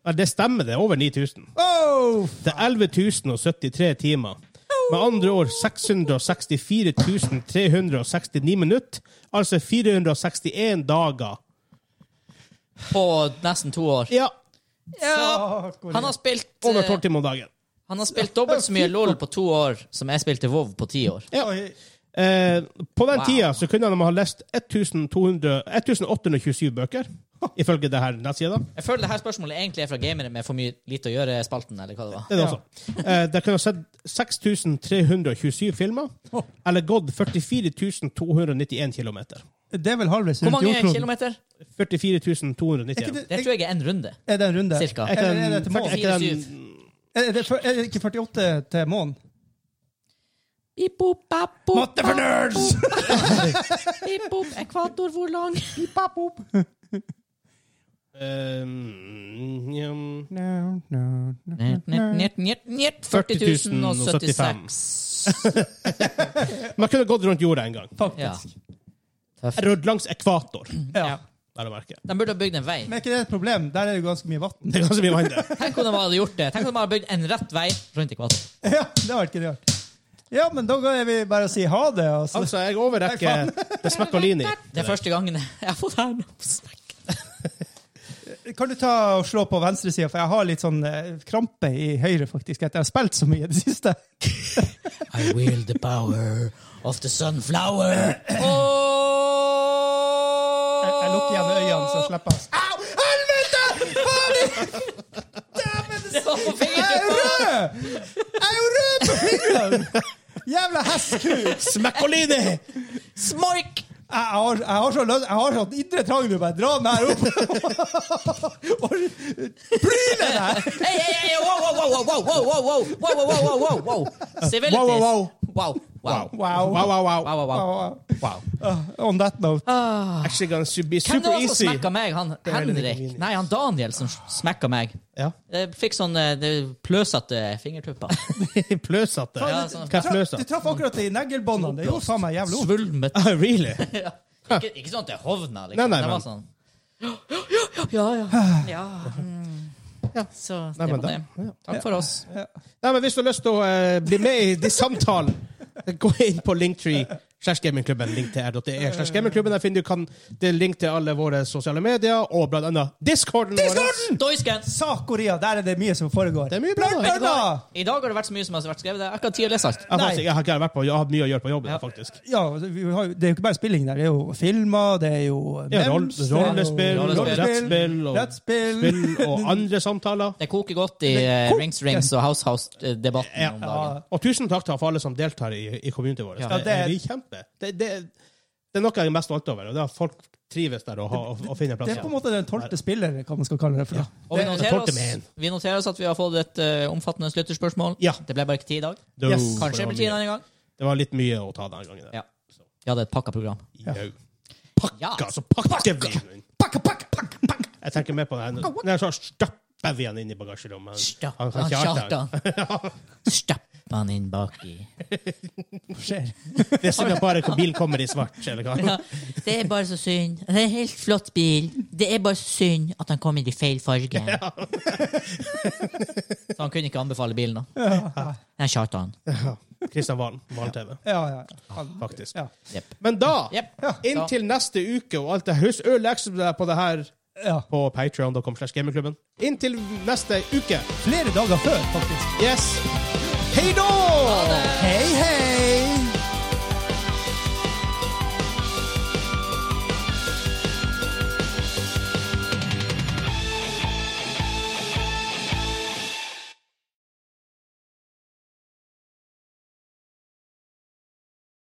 [SPEAKER 1] Ja, det stemmer, det. er Over 9000.
[SPEAKER 2] Oh!
[SPEAKER 1] Det er 11.073 timer. Med andre ord 664.369 minutter, altså 461 dager.
[SPEAKER 3] På nesten to år.
[SPEAKER 1] Ja,
[SPEAKER 3] Ja, han har spilt eh,
[SPEAKER 1] over 12 timer om dagen.
[SPEAKER 3] Han har spilt dobbelt så mye LOL på to år som jeg spilte WoW på ti år.
[SPEAKER 1] Ja. Eh, på den
[SPEAKER 3] Wow.
[SPEAKER 1] tida så kunne han ha lest 1200 1827 bøker, ifølge det her nettsida.
[SPEAKER 3] Jeg føler det her spørsmålet egentlig er fra gamere med for mye lite å gjøre-spalten, eller hva det var.
[SPEAKER 1] Det er det også. Eh, der kunne ha sett 6327 filmer, eller gått 44.291 kilometer.
[SPEAKER 2] Det er vel halvveis
[SPEAKER 3] Hvor
[SPEAKER 2] rundt
[SPEAKER 3] mange
[SPEAKER 2] jordkloden.
[SPEAKER 3] kilometer?
[SPEAKER 1] 44.291.
[SPEAKER 3] Det tror jeg er én runde.
[SPEAKER 2] Er det en runde?
[SPEAKER 3] Cirka.
[SPEAKER 1] Er ikke den-
[SPEAKER 2] Eller er det til mål?
[SPEAKER 1] er ikke den-
[SPEAKER 2] Er det, for, er det ikke 48 til månen? Matte for nerds!
[SPEAKER 3] Ekvator, hvor lang?
[SPEAKER 1] Eh, mm, ja.
[SPEAKER 2] No, no, no.
[SPEAKER 3] Njet, njet, njet, njet. 40 076.
[SPEAKER 1] Man kunne gått rundt jorda en gang.
[SPEAKER 2] Faktisk.
[SPEAKER 1] Rødt langs ekvator.
[SPEAKER 2] Ja.
[SPEAKER 3] Ja.
[SPEAKER 1] Vel å merke.
[SPEAKER 3] De burde ha bygd en vei.
[SPEAKER 2] Men er ikke det et problem? Der er det jo ganske mye vann.
[SPEAKER 1] Det er ganske mye vann der.
[SPEAKER 3] Tenk om de hadde gjort det. Tenk om de hadde bygd en rett vei rundt ekvator.
[SPEAKER 2] Ja, det var ikke rart. Ja, men da er vi bare å si ha det. Altså.
[SPEAKER 1] Altså, jeg overrekker det smekkolini.
[SPEAKER 3] Det er første gangen jeg har fått her på snakk.
[SPEAKER 2] Kan du ta og slå på venstresida, for jeg har litt sånn eh, krampe i høyre, faktisk, etter jeg har spilt så mye i det siste.
[SPEAKER 3] I will the power of the sunflower. Oh!
[SPEAKER 2] Jeg, jeg lukker igjen øynene, så slipper jeg Au! Helvete! Faen i
[SPEAKER 3] Det var på
[SPEAKER 2] Jeg er jo
[SPEAKER 3] fingertuppene.
[SPEAKER 2] rød! Jeg er jo rød på fingrene! Jævla hestkuk!
[SPEAKER 1] Smekkolini!
[SPEAKER 3] Smoik!
[SPEAKER 2] Jeg, jeg, har- jeg har så løs, jeg har sånn indre trang nå, bare dra den her opp og pryle deg!
[SPEAKER 3] Hei, hei, hei! Wow, wow, wow, wow, wow, wow, wow, wow, wow, wow, wow, wow, wow. Civilities.
[SPEAKER 2] Wow, wow, wow.
[SPEAKER 3] Wow, wow,
[SPEAKER 2] Wow.
[SPEAKER 1] Wow, wow, wow.
[SPEAKER 3] wow, wow, wow.
[SPEAKER 1] wow.
[SPEAKER 2] On that note.
[SPEAKER 1] Actually gonna su- be
[SPEAKER 3] Hvem det
[SPEAKER 1] super
[SPEAKER 3] var som
[SPEAKER 1] easy.
[SPEAKER 3] smekka meg? Han
[SPEAKER 1] veldig
[SPEAKER 3] Henrik?
[SPEAKER 1] convenient.
[SPEAKER 3] Nei, han Daniel som smekka meg.
[SPEAKER 1] Ja.
[SPEAKER 3] Jeg fikk sånn eh, det pløsete fingertupper.
[SPEAKER 1] Pløsete. altså.
[SPEAKER 3] Ja,
[SPEAKER 1] Hva er
[SPEAKER 3] sånn.
[SPEAKER 2] Du
[SPEAKER 1] pløsete?
[SPEAKER 2] traff akkurat i neglebåndene. Det gjorde faen meg jævlig vondt.
[SPEAKER 3] Svulmet.
[SPEAKER 1] Ah, really?
[SPEAKER 3] Ikke, ikke sånn at det hovna,
[SPEAKER 1] Nei,
[SPEAKER 3] liksom.
[SPEAKER 1] nei,
[SPEAKER 3] det var
[SPEAKER 1] men-
[SPEAKER 3] sånn Ja, ja. ja. mm. Så det
[SPEAKER 1] Nei, men
[SPEAKER 3] var det. Takk for oss.
[SPEAKER 1] Nei, men Hvis du har lyst til å eh, bli med i de samtalene, gå inn på Linktree. Slash gamingklubben, link til r.e. E slash gamingklubben. Der finner du kan, det er link til alle våre sosiale medier, og blant annet Discorden vår.
[SPEAKER 3] Doisken!
[SPEAKER 2] Sakoria, der er det mye som foregår.
[SPEAKER 1] Det er mye bra.
[SPEAKER 2] Blant
[SPEAKER 1] der.
[SPEAKER 2] annet- Anna!
[SPEAKER 3] I dag har det vært så mye som har vært skrevet. Jeg har ikke hatt tid å lese alt.
[SPEAKER 1] Jeg, har faktisk- jeg har ikke vært på, jeg har hatt mye å gjøre på jobben, faktisk.
[SPEAKER 2] Ja, altså, vi har, jo- det er jo ikke bare spilling der. Det er jo filmer, det er jo
[SPEAKER 1] Ja, roll-
[SPEAKER 2] memes, det er jo
[SPEAKER 1] rollespill,
[SPEAKER 3] rollespill,
[SPEAKER 1] rettspill og,
[SPEAKER 2] rettspill.
[SPEAKER 1] spill og andre samtaler.
[SPEAKER 3] Det koker godt i eh, Rings Rings og House House-debatten om dagen.
[SPEAKER 1] Og tusen takk til for alle som deltar i, i community vår.
[SPEAKER 3] Ja.
[SPEAKER 1] Det,
[SPEAKER 2] Ja, det-
[SPEAKER 1] vi kjemper. Det, det, det er noe jeg er mest stolt over, og det er at folk trives der og, har- og, og finner plass.
[SPEAKER 2] Det er på en måte den tolvte spiller, hva man skal kalle det. for
[SPEAKER 3] Og vi
[SPEAKER 1] Det-
[SPEAKER 3] noterer,
[SPEAKER 1] det er
[SPEAKER 3] oss,
[SPEAKER 1] folkemeien.
[SPEAKER 3] vi noterer oss at vi har fått et eh, omfattende lytterspørsmål.
[SPEAKER 1] Ja.
[SPEAKER 3] Det ble bare ikke tid i dag.
[SPEAKER 1] Det,
[SPEAKER 2] Yes.
[SPEAKER 1] det var
[SPEAKER 3] Kanskje det blir tid
[SPEAKER 1] mye.
[SPEAKER 3] en annen gang.
[SPEAKER 1] det var litt mye å ta den gangen. der.
[SPEAKER 3] Ja. Vi hadde et pakka program.
[SPEAKER 1] Jau.
[SPEAKER 3] Ja.
[SPEAKER 1] Pakka, så pakker vi den inn.
[SPEAKER 2] Pakka, pakka, pakka, pakka.
[SPEAKER 1] Jeg tenker mer på det her. nå. Nei, så stapper vi den inn i bagasjerommet. Han-
[SPEAKER 3] Stapp han
[SPEAKER 1] kjarter.
[SPEAKER 3] Kjartan. Stapp han inn baki.
[SPEAKER 2] Skjer.
[SPEAKER 1] Det er sikkert bare hvor bilen kommer i svart, eller hva.
[SPEAKER 3] Ja, det er bare så synd. Det er en helt flott bil. Det er bare så synd at han kommer i feil farge. Så han kunne ikke anbefale bilen, da? Nei, Kjartan.
[SPEAKER 1] Kristian Valen, Valen-TV,
[SPEAKER 2] Ja, ja. Han-
[SPEAKER 1] faktisk.
[SPEAKER 2] Ja.
[SPEAKER 3] Jepp.
[SPEAKER 1] Men da,
[SPEAKER 3] Jepp.
[SPEAKER 1] inntil neste uke og alt det Husk øl ekstra på det her
[SPEAKER 2] ja.
[SPEAKER 1] på patreon.com slash gamingklubben. Inntil neste uke.
[SPEAKER 2] Flere dager før, faktisk.
[SPEAKER 1] Yes. Hei da!
[SPEAKER 2] Hei, hei!